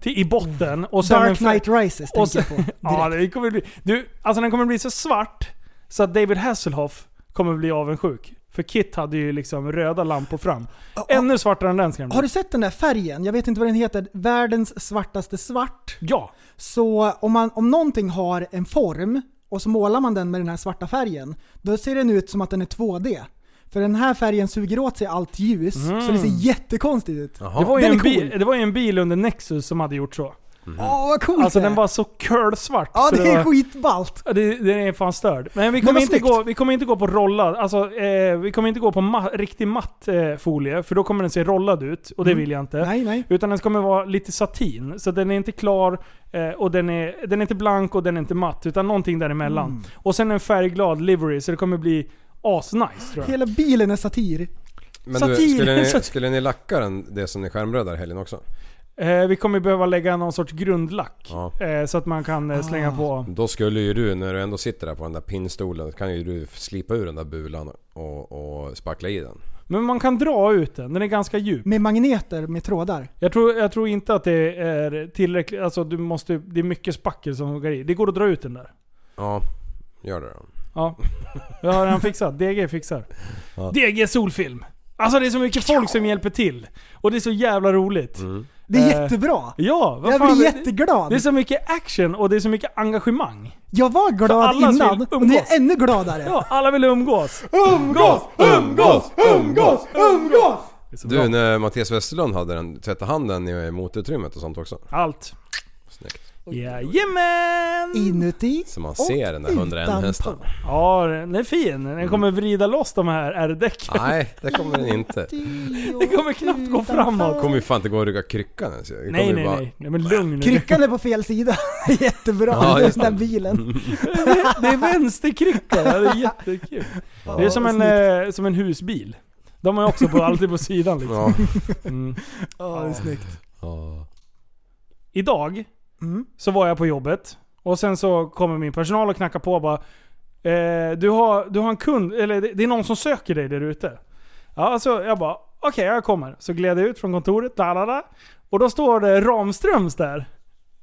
A: Till, I botten. Och sen
G: Dark Knight Rises
A: och
G: tänker jag på.
A: <laughs> ja, det kommer bli, du, alltså den kommer bli så svart så att David Hasselhoff kommer bli avundsjuk. För Kit hade ju liksom röda lampor fram. Ännu svartare än den ska den bli.
G: Har du sett den där färgen? Jag vet inte vad den heter. Världens svartaste svart.
A: Ja.
G: Så om, man, om någonting har en form och så målar man den med den här svarta färgen, då ser den ut som att den är 2D. För den här färgen suger åt sig allt ljus,
A: Mm.
G: så det ser jättekonstigt ut.
A: Det var, ju
G: den
A: en
G: är cool.
A: bil, det var ju en bil under Nexus som hade gjort så.
G: Åh, vad coolt
A: Alltså
G: det är.
A: den var så curlsvart.
G: Ja,
A: så
G: det är
A: var-
G: skitballt.
A: Ja, det, den är fan störd. Men vi
G: Men
A: kommer,
G: vad
A: inte,
G: snyggt.
A: gå, vi kommer inte gå på rollad, alltså eh, vi kommer inte gå på ma- riktig matt eh, folie, för då kommer den se rollad ut och det
G: Mm.
A: vill jag inte.
G: Nej, nej.
A: Utan den kommer vara lite satin, så den är inte klar eh, och den är, den är inte blank och den är inte matt, utan någonting däremellan.
G: Mm.
A: Och sen en färgglad livery, så det kommer bli asnice tror jag.
G: Hela bilen är satir.
H: Men du,
A: Satir! <laughs>
H: skulle, ni,
A: Satir.
H: skulle ni lacka den, det som ni skärmbrödar helgen också?
A: Eh, vi kommer behöva lägga någon sorts grundlack,
H: Ja.
A: eh, så att man kan eh, slänga
G: Ah.
A: på...
H: Då skulle ju du, när du ändå sitter där på den där pinnstolen, kan ju du slipa ur den där bulan och, och spackla i den.
A: Men man kan dra ut den, den är ganska djup.
G: Med magneter, med trådar.
A: Jag tror, jag tror inte att det är tillräckligt, alltså du måste, det är mycket spackel som går i. Det går att dra ut den där.
H: Ja. Gör det då.
A: Ja. Jag har han fixat. DG fixar.
H: Ja.
A: DG Solfilm. Alltså det är så mycket folk som hjälper till. Och det är så jävla roligt.
H: Mm.
G: Det är
A: Eh,
G: jättebra.
A: Ja, vad
G: Jag
A: fan.
G: blir jätteglad.
A: Det är så mycket action och det är så mycket engagemang.
G: Jag var
A: För
G: glad
A: alla som
G: innan
A: vill
G: och nu är
A: umgås.
G: jag ännu gladare.
A: <laughs> Ja, alla vill umgås.
G: Umgås!
A: Umgås!
G: Umgås! Umgås!
A: Det är så
H: Du,
A: bra.
H: när Mattias Westerlund hade den, tvättade han den i motutrymmet och sånt också?
A: Allt.
H: Snyggt.
A: Jajamän!
G: Inuti
H: Så man
G: och
H: ser den där 101
G: utanpå.
H: hästen.
A: Ja, den är fin. Den kommer vrida loss de här R-däcken.
H: Nej, det kommer den inte.
A: <laughs> Det kommer knappt gå framåt.
H: kommer ju fan inte gå att rygga kryckan ens ju. Det kommer
A: Nej,
H: ju
A: nej,
H: bara-
A: nej. nej men lugn nu.
G: Kryckan är på fel sida. <laughs> Jättebra.
H: Ja,
G: det är
H: just
G: den där
H: det.
G: bilen.
A: Det är vänsterkrycka. Det är jättekul. Det är som en, eh, som en husbil. De är också på, alltid på sidan liksom.
H: Ja.
A: Mm.
G: Ja, det är snyggt.
H: Ja.
A: Idag
G: Mm.
A: så var jag på jobbet och sen så kommer min personal och knackar på och bara eh, du, har, du har en kund, eller det, det är någon som söker dig där ute. Ja, så jag bara okej jag kommer. Så gled jag ut från kontoret, da, da, da. Och då står det Ramströms där.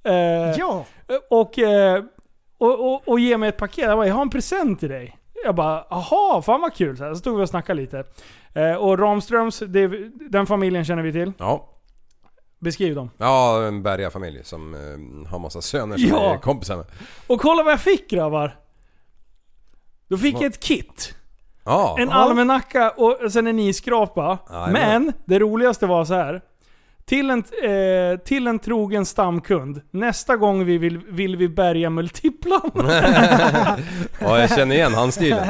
A: Eh,
G: Ja,
A: och, eh, och, och, och ge mig ett paket. Jag bara, jag har en present till dig. Jag bara, aha, fan vad kul. Så, här, så stod vi och snackade lite. Eh, och Ramströms, det, den familjen känner vi till.
H: Ja.
A: Beskriv dem.
H: Ja, en bergarfamilj som eh, har massa söner som
A: Ja.
H: är kompisar med.
A: Och kolla vad jag fick grabbar! Då fick jag ett kit.
H: Ja.
A: En almanacka och sen en iskrapa.
H: Jajamän.
A: Men det roligaste var så här. Till en, eh, till en trogen stamkund. Nästa gång vi vill, vill vi bärga multiplan.
H: ja, jag känner igen handstilen.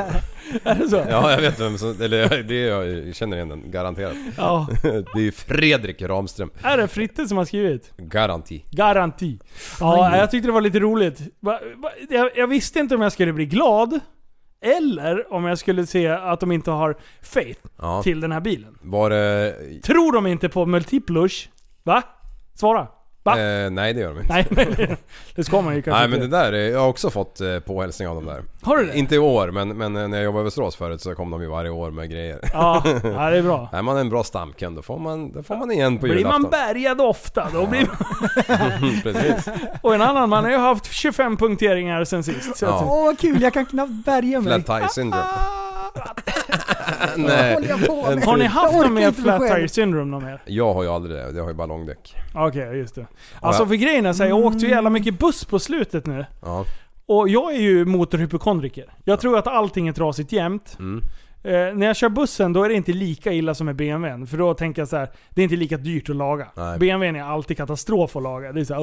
A: Är det <laughs> så?
H: Ja, jag vet vem som... Eller det är, jag känner igen den, garanterat. <laughs>
A: Ja.
H: Det är ju Fredrik Ramström.
A: Är det Fritte som har skrivit?
H: Garanti.
A: Garanti. Ja, jag tyckte det var lite roligt. Va- va- Jag, jag visste inte om jag skulle bli glad, eller om jag skulle se att de inte har faith
H: Ja.
A: till den här bilen.
H: Var det...
A: Tror de inte på multiplus? Va? Svara. Va?
H: Eh, nej, det gör de inte.
A: Nej, nej, <laughs> det ska man ju kanske
H: Nej men det
A: inte.
H: där, är- jag har också fått eh, påhälsning av dem där.
A: Har du det?
H: Inte i år, men, men eh, när jag jobbade i Västerås förut så kom de ju varje år med grejer.
A: Ja, ja, det är bra.
H: Är man en bra stamkund då får man, då får man igen på
A: Blir man
H: julafton.
A: bärgad ofta, då blir man...
H: <laughs> Precis.
A: Och en annan, man har ju haft 25 punkteringar sen sist. Så
H: Ja.
A: ja.
G: Alltså, åh vad kul. Jag kan knappt bärga mig.
H: Flat tie syndrome.
G: <laughs>
H: Nej.
G: Håller jag på med?
A: Har ni haft
G: Jag orkar
A: någon mer
G: inte mig
A: flat
G: själv.
A: tire syndrome någon mer?
H: Jag har ju aldrig det, jag har ju bara långdäck.
A: Okej, just det. Alltså för grejen är så här, jag åkte ju jävla mycket buss på slutet nu.
H: Ja.
A: Och jag är ju motorhypokondriker. Jag tror att allting är trasigt jämt.
H: Mm.
A: Eh, när jag kör bussen då är det inte lika illa som med BMWn. För då tänker jag så här, det är inte lika dyrt att laga.
H: Nej.
A: BMWn är alltid katastrof att laga. Det är så här,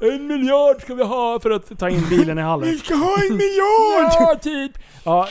A: "Åh,
H: <laughs>
A: en miljard ska vi ha för att ta in bilen i hallen. Vi ska ha en miljard! ja, typ. Ja,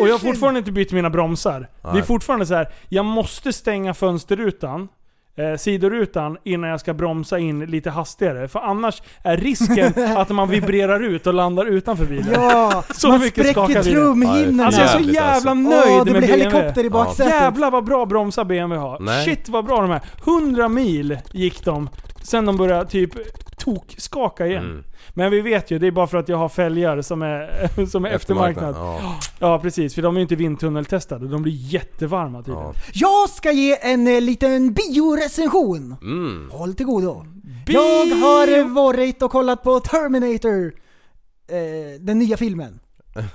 A: och jag har fortfarande inte bytt mina bromsar. Det är
H: Nej.
A: fortfarande så här. jag måste stänga fönsterrutan, eh, sidorutan, innan jag ska bromsa in lite hastigare. För annars är risken
H: <laughs>
A: att man vibrerar ut och landar utanför bilen.
G: Ja,
A: Så
G: man
A: mycket
G: spräcker
A: skakar bilen.
G: trumhinnorna.
A: Alltså jag är så
H: Jävligt, alltså.
A: jävla
G: Åh,
A: nöjd
G: det
A: med
G: blir
A: BMW.
G: helikopter i baksätet.
A: Jävlar vad bra bromsar BMW har.
H: Nej.
A: Shit vad bra de är. 100 mil gick de sen de började typ tokkskaka igen.
H: Mm.
A: Men vi vet ju, det är bara för att jag har fälgar som är, <laughs> som är eftermarknad. Ja.
H: Ja.
A: precis, för de är ju inte vindtunneltestade. De blir jättevarma typ. tydligen.
H: Ja.
G: <gasps> Jag ska ge en eh, liten biorecension.
H: Mm.
G: Håll till godo.
A: Bi-
G: Jag har varit och kollat på Terminator, eh, den nya filmen.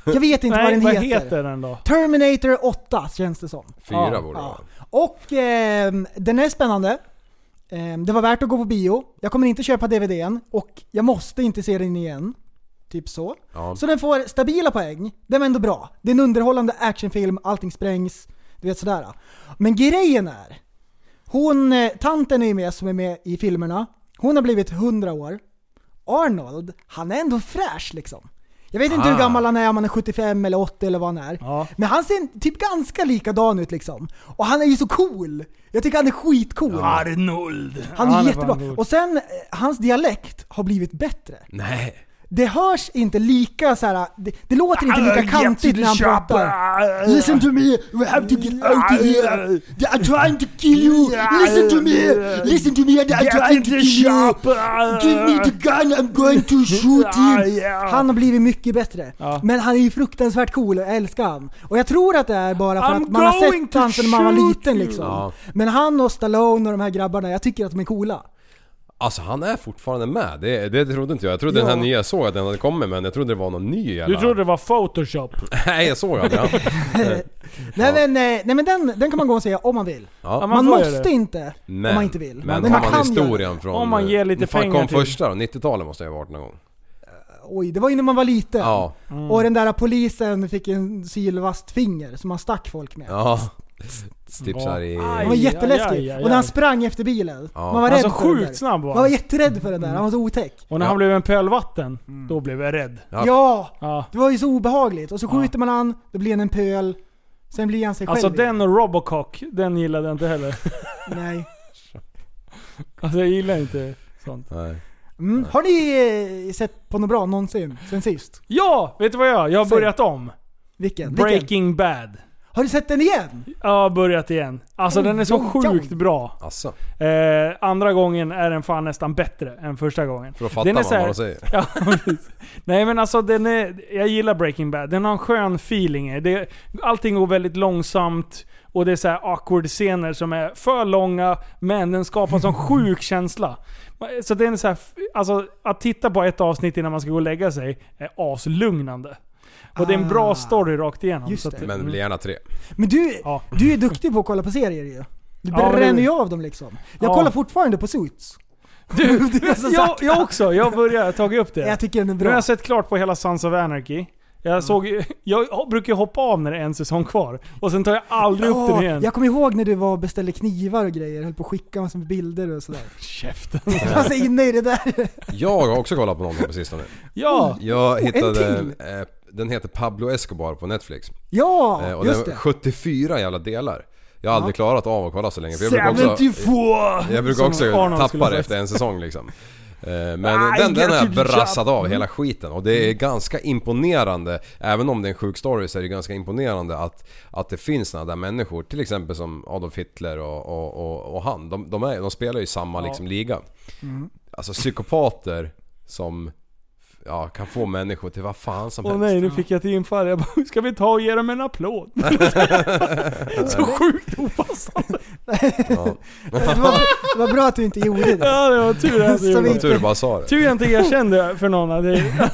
G: Jag
A: <laughs>
G: vet inte vad
A: Nej,
G: den
A: vad
G: heter.
A: heter den då?
G: Terminator 8 känns det som.
H: Fyra
A: Ja,
H: borde det
G: Ja.
H: vara.
G: Och ehm, den är spännande. Ehm, det var värt att gå på bio. Jag kommer inte köpa DVDn och jag måste inte se den igen. Typ så.
H: Ja.
G: Så den får stabila poäng. Den var ändå bra. Det är en underhållande actionfilm, allting sprängs. Du vet sådär. Men grejen är. Hon, eh, tanten är ju med som är med i filmerna. Hon har blivit 100 år. Arnold, han är ändå fräsch liksom. Jag vet inte hur
H: Ah.
G: gammal han är, om han är 75 eller 80 eller vad han är.
A: Ja.
G: Men han ser typ ganska likadan ut liksom. Och han är ju så cool. Jag tycker han är skitcool.
A: Arnold.
G: Han är
A: Ja,
G: jättebra.
A: fan god.
G: Och sen, eh, hans dialekt har blivit bättre.
H: Nej.
G: Det hörs inte lika så här. Det, det låter inte lika kantigt när han pratar. Listen to me, we have to get out of here. They are trying to kill you. Listen to me, listen to me, they are trying to kill you. Give me the gun, I'm going to shoot him. Han har blivit mycket bättre.
A: Ja.
G: Men han är ju fruktansvärt cool, jag älskar han. Och jag tror att det är bara för
A: I'm
G: att man har
A: going
G: sett
A: to
G: han sedan man var
A: shoot
G: liten
A: you.
G: liksom.
H: Ja.
G: Men han och Stallone och de här grabbarna, jag tycker att de är coola.
H: Alltså han är fortfarande med, det, det trodde inte jag. Jag trodde
A: Ja.
H: den här nya jag såg att den hade kommit men jag trodde det var någon ny
A: Du
H: jävla-
A: trodde det var photoshop?
H: <laughs> Nej jag såg aldrig han.
G: Nej men, eh, nej, men den, den kan man gå och se om man vill.
H: Ja.
G: Man,
A: får göra
G: måste
A: det.
G: inte
H: Men,
G: om man inte vill.
H: Men har
G: men man
H: man
G: kan göra det.
H: historien från...
A: Om man ger lite
H: När fan
A: pengar
H: kom
A: till-
H: första då? 90-talet måste jag ha varit någon gång.
G: Oj, det var ju när man var liten.
H: Ja.
G: Och den där polisen fick en sylvast finger som han stack folk med.
H: Ja. Stips här i...
G: Han var
A: Aj,
G: jätteläskig.
A: aj, aj, aj.
G: Och när han sprang efter bilen.
H: Ja.
G: Man var
A: Han
G: rädd
A: så
G: för den
A: sjukt
G: där.
A: snabb var
G: Man var
A: han.
G: jätterädd för den där. Han var så otäck.
A: Och när han
H: Ja.
A: blev en pöl vatten,
G: Mm.
A: då blev jag rädd.
H: Ja.
G: Ja.
A: Ja.
G: Det var ju så obehagligt. Och så skjuter man han, då blir han en pöl. Sen blir han sig
A: Alltså
G: själv igen.
A: den och Robocock, den gillade jag inte heller. <laughs>
G: Nej.
A: Alltså jag gillar inte sånt.
H: Nej.
G: Mm. Har ni eh, sett på något bra någonsin? Sen sist?
A: Ja! Vet du vad jag gör? Jag har
G: Säg.
A: börjat om.
G: Vilken? Vilken?
A: Breaking Bad.
G: Har du sett den igen?
A: Jag har börjat igen. Alltså den är så
G: Oj, oj, oj.
A: sjukt bra.
H: Alltså,
A: Eh, andra gången är den fan nästan bättre än första gången.
H: för då fattar
A: Den är
H: man
A: så här-
H: vad de säger.
A: <laughs> Ja, precis. Nej men alltså den är, jag gillar Breaking Bad. Den har en skön feeling. i Det, allting går väldigt långsamt och det är så här awkward scener som är för långa men den skapar en
G: <laughs>
A: sån sjuk känsla. Så den är så här, alltså att titta på ett avsnitt innan man ska gå och lägga sig är aslugnande. Och det är en bra
G: Ah.
A: story rakt igenom.
G: Just
A: så att-
G: det.
H: Men blir gärna tre.
G: Men du, <laughs>
A: Ja.
G: du är duktig på att kolla på serier ju. Du
A: Ja, men det-
G: bränner ju av dem liksom. Jag
A: Ja.
G: kollar fortfarande på Suits. Du, du är så
A: jag,
G: sakta.
A: jag också, jag börjar ta upp det.
G: Jag tycker den är
A: Nu har
G: bra.
A: jag sett klart på hela Sons of Anarchy. Jag, såg, ju- jag brukar ju hoppa av när det är en säsong kvar. Och sen tar jag aldrig upp den
G: Ja,
A: igen.
G: jag kommer ihåg när du var och beställde knivar och grejer, höll på att skicka massor med bilder och sådär.
A: Käften.
G: Alltså inne i det där.
H: Jag har också kollat på någonting på sistone.
A: Ja,
H: Jag
G: en
H: hittade...
G: till.
H: eh, Den heter Pablo Escobar på Netflix.
G: Ja,
H: Eh, Och
G: just
H: den
G: det.
H: 74 jävla delar. Jag har aldrig klarat av att kolla så länge för jag brukar också...
A: 72!
H: Jag brukar
A: Som
H: också
A: Arnold skulle
H: tappa
A: ha
H: det
A: sagt.
H: efter en säsong liksom. Eh, Men
A: Ah,
H: den, den har jag
A: grattis, Jack.
H: brassat av
A: Mm.
H: hela skiten och det är ganska imponerande. Även om det är en sjuk story så är det ganska imponerande att, att det finns sådana där människor. Till exempel som Adolf Hitler och, och, och, och han. De, de, är, de spelar ju i samma liksom, liga.
A: Mm.
H: Alltså psykopater som ja, kan få människor till vad fan som
A: Åh
H: helst.
A: nej, nu fick jag ett infall. Jag bara, ska vi ta och ge dem en applåd? <laughs> Så sjukt opassande.
H: Ja.
G: Det var, det var bra att du inte gjorde
A: <laughs>
G: det.
A: Ja, det var tur att
G: Så
A: jag inte
H: Det
G: vi-
H: var
A: gjorde
H: Tur du bara sa det.
A: Tur jag inte erkände för någon att det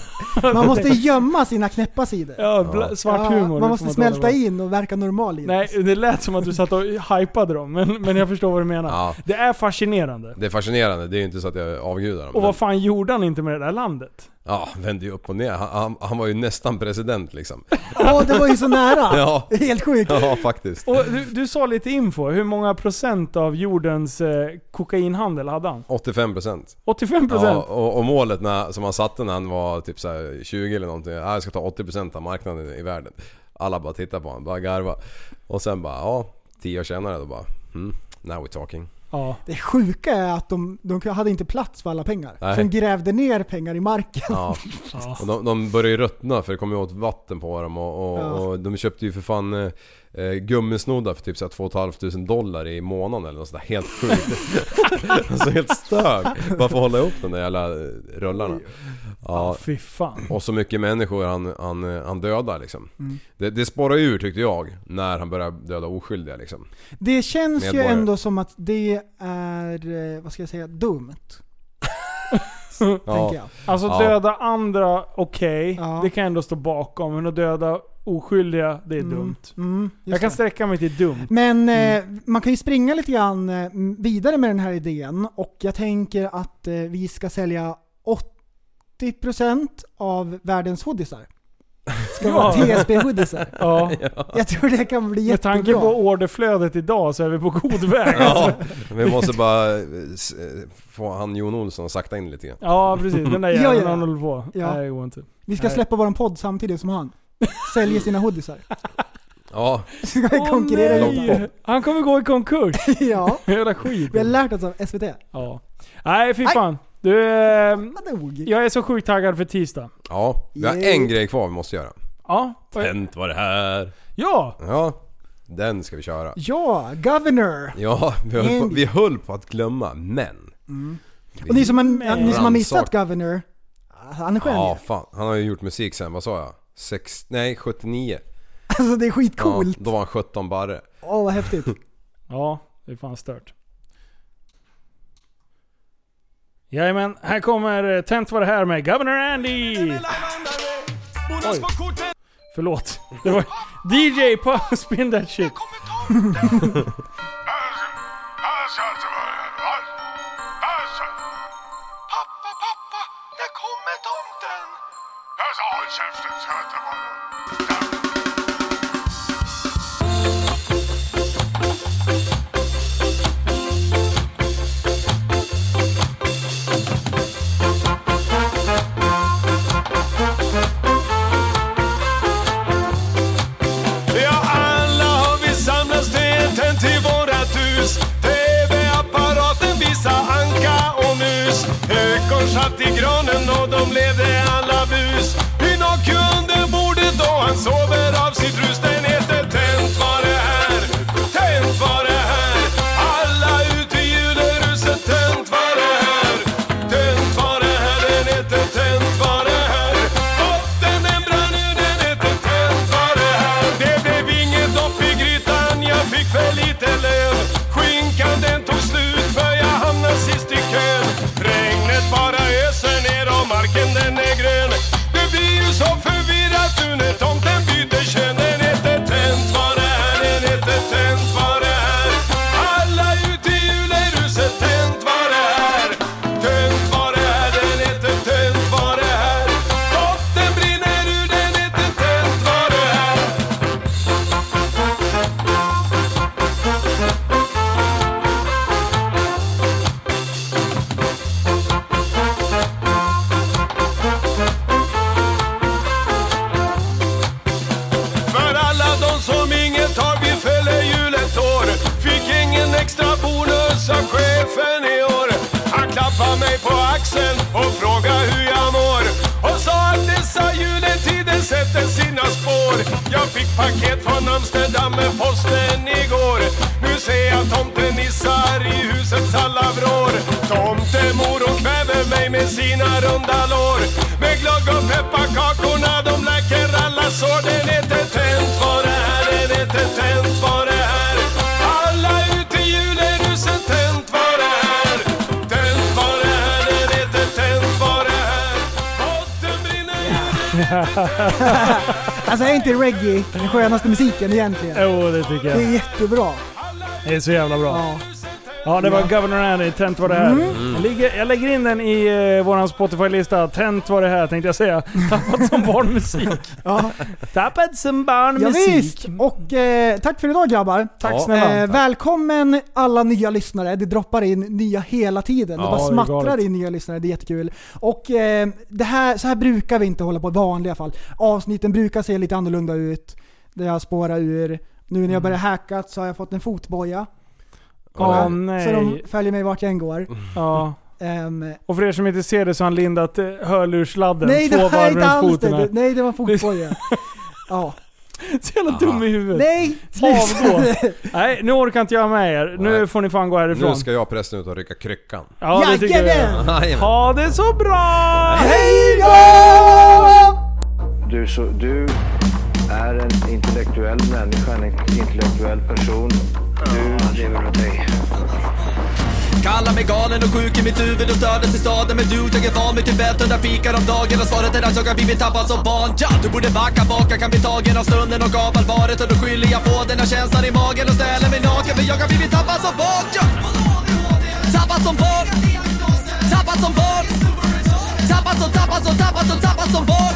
G: Man måste gömma sina knäppa sidor.
A: ja, bla, svart humor.
G: Ja,
A: får
G: man måste
A: tala
G: smälta
A: om.
G: in och verka normal i det.
A: Nej, det lät som att du satt och hypade dem, men, men jag förstår vad du menar.
H: Ja.
A: Det är fascinerande.
H: Det är fascinerande, det är ju inte så att jag avgudar dem.
A: Och
H: men-
A: vad fan gjorde han inte med det där landet?
H: Ja, vände ju upp och ner. Han, han, han var ju nästan
A: <laughs>
H: president liksom.
G: Åh, det var ju så nära!
H: <laughs> Ja.
G: Helt sjukt.
H: Ja, faktiskt.
A: Och du, du sa lite info, hur många procent av jordens eh, kokainhandel hade han?
H: 85%.
A: 85
H: Ja,
A: procent?
H: och, och målet när, som han satte när han var typ så här 20 eller någonting. Ja, Jag ska ta 80% av marknaden i världen. Alla bara tittar på honom, bara garva. Och sen bara, ja, 10 år senare då bara, hmm, now we're talking.
A: Ja.
G: Det sjuka är att de, de hade inte plats för alla pengar.
H: Nej.
G: Så de grävde ner pengar i marken.
H: Ja. Och de, de började ju ruttna för det kom ju åt vatten på dem och, och,
G: Ja.
H: och de köpte ju för fan eh, eh, gummisnoddar för typ så här 2 500 dollar i månaden eller något sånt där. Helt sjukt. alltså helt störd. Bara för att hålla ihop de där jävla eh, rullarna. Ja,
A: Fy fan.
H: Och så mycket människor han, han, han dödar liksom. Det, det spårar ur tyckte jag, när han börjar döda oskyldiga liksom.
G: <laughs> Det känns
H: Medborgare.
G: ju ändå som att det är, eh, vad ska jag säga, dumt. Tänker <laughs> jag.
A: Alltså
H: Ja.
A: döda andra, okej.
G: Ja.
A: Det kan jag ändå stå bakom. Men att döda oskyldiga, det är
G: Mm,
A: dumt.
G: Mm, just
A: Jag kan
G: det.
A: sträcka mig till
H: <laughs>
A: dumt.
G: Men
A: Mm.
G: eh, man kan ju springa lite grann eh, vidare med den här idén och jag tänker att eh, vi ska sälja 80% av världens hoodisar. Ska vara
A: Ja.
G: TSB-hoodisar.
A: <laughs> Ja.
G: Jag tror det kan bli
A: Med
G: jättebra.
A: tanke på orderflödet idag så är vi på god väg.
H: <laughs> Ja, vi måste bara eh, s- eh, få han Jon Olsson att sakta in lite grann.
A: Ja precis, den där
G: Ja,
A: jäveln
G: ja.
A: han håller på.
G: Ja.
A: Nej det går inte.
G: Vi ska
A: Nej.
G: släppa våran podd samtidigt som han. Säljer
A: <laughs>
G: sina hoodisar.
H: Ja,
G: Ska vi
A: Åh,
G: konkurrera
A: nej.
G: ut honom?
A: Han kommer gå i konkurs.
G: <laughs> Ja,
A: Jävla skit.
G: vi har lärt oss av SVT.
A: Ja. Nej fy
G: Aj.
A: fan. Du, eh,
G: Nog.
A: jag är så sjukt taggad för tisdag.
H: ja. Vi har en grej kvar vi måste göra.
A: Ja.
H: Tänt var det här.
A: Ja!
H: Ja, den ska vi köra.
G: Ja, Governor!
H: Ja, vi höll på, vi höll på att glömma, men.
G: Mm. Och ni som har, ni som har missat
H: Rannsak.
G: Governor, han är skön
H: Ja,
G: ju.
H: fan. Han har ju gjort musik sen, vad sa jag? Sex, nej, 79.
G: Alltså det är
H: Ja,
G: skitcoolt.
H: då var han 17 barre.
G: Åh vad häftigt.
A: Ja, det är fan stört. Jajamän, här kommer eh, Tent var det här med Governor Andy! Oj. Förlåt. Det var DJ på Spin That Shit.
I: Pappa, pappa, där kommer tomten! Jag sa håll käften söta barn. Ja, alla har vi samlats tätt till vårat hus. TV-apparaten visar anka och mus. Ekorn satt i granen och de levde alla bus. Hyn och kunden bordet och han sover av sitt rus. Den heter Tänt var det här, tänt var det här. Alla ut i juleruset, tänt var det här. Tänt var det här, den heter Tänt var det här. Botten den brann ur, den heter Tänt var det här. Det blev inget dopp i grytan, jag fick för lite lön. Skinkan den tog slut för jag hamnade sist i kön. Regnet bara öser ner och marken den är grön. Det blir ju så förvirrat nu när tomten byter kön. Den heter Tänt var det här, den heter Tänt var det här. Alla ut i juleruset, Tänt var det här. Tänt var det här, den heter Tänt var det här. Botten brinner ur, den heter Tänt var det här. För alla de som inget har, vi fäller hjulet år. Fick ingen extra bonus av chefen i år. Han klappade mig på axeln och frågade hur jag mår. Och sa att dessa juletider sätter sina spår. Jag fick paket från Amsterdam med posten igår. Nu ser jag tomtenissar i husets alla vrår. Tomtemor hon kväver mig med sina runda lår. Med glögg och pepparkakorna de läker alla sår. Den heter tänt var det här, den heter tänt var det här. Alla ut i juleruset, tänt var det här. Tänt var det här, den heter tänt var det här. Botten brinner
G: Alltså är inte reggae den skönaste musiken egentligen?
A: Jo, det tycker
G: Det är
A: jag.
G: jättebra.
A: Det är så jävla bra.
G: Ja.
A: Ja, det var Governor Andy, Tent var det här. Jag, ligger, jag lägger in den i eh, våran Spotify-lista. Tent var det här tänkte jag säga. Tappat som
G: <laughs>
A: barnmusik.
G: Ja.
A: Tappat som barnmusik.
G: Ja, visst. Och eh, tack för idag grabbar.
A: Tack
H: Ja.
A: snälla.
G: Eh, välkommen alla nya lyssnare. Det droppar in nya hela tiden. Det
H: Ja,
G: bara
A: det är
G: smattrar
A: galet.
G: in nya lyssnare. Det är jättekul. Och eh, det här, så här brukar vi inte hålla på i vanliga fall. Avsnitten brukar se lite annorlunda ut. Där jag spårar ur. Nu
A: Mm.
G: när jag börjar hacka så har jag fått en fotboja.
A: Åh
G: Så de
A: nej. Mm.
G: följer mig vart jag än går.
A: Ja.
G: Ehm,
A: Och för er som inte ser det så har han lindat eh, hörlurssladden
G: nej
A: två
G: det
A: varv
G: här är inte
A: runt
G: alls
A: foten.
G: det.
A: här.
G: Nej det var en
A: <laughs>
G: fotboja. ja.
A: Så jävla dum i huvudet.
G: Nej!
A: Avgå.
G: Sluta!
A: Nej, nu orkar inte jag med er. Nu
H: Nej.
A: får ni fan gå härifrån.
H: Nu ska jag pressen ut och rycka kryckan.
A: Ja, det tycker jag.
G: Jajamän!
H: Jajamän.
A: Ha det så bra!
G: Hej då!
L: Du, så, du är en intellektuell människa, en intellektuell person. Du lever av dig.
I: Kallar mig galen och sjuk i mitt huvud och stördes i staden Men du, jag är van vid Tibet, hundra fikar om dagen Och svaret är att jag har blivit tappad som barn ja! Du borde backa bak, jag kan bli tagen av stunden och av allvaret Och då skyller jag på den här känslan i magen och ställer mig naken För jag har blivit tappad som barn ja! Tappad som barn Tappad som barn Tappad som, tappad som, tappad som, tappad som barn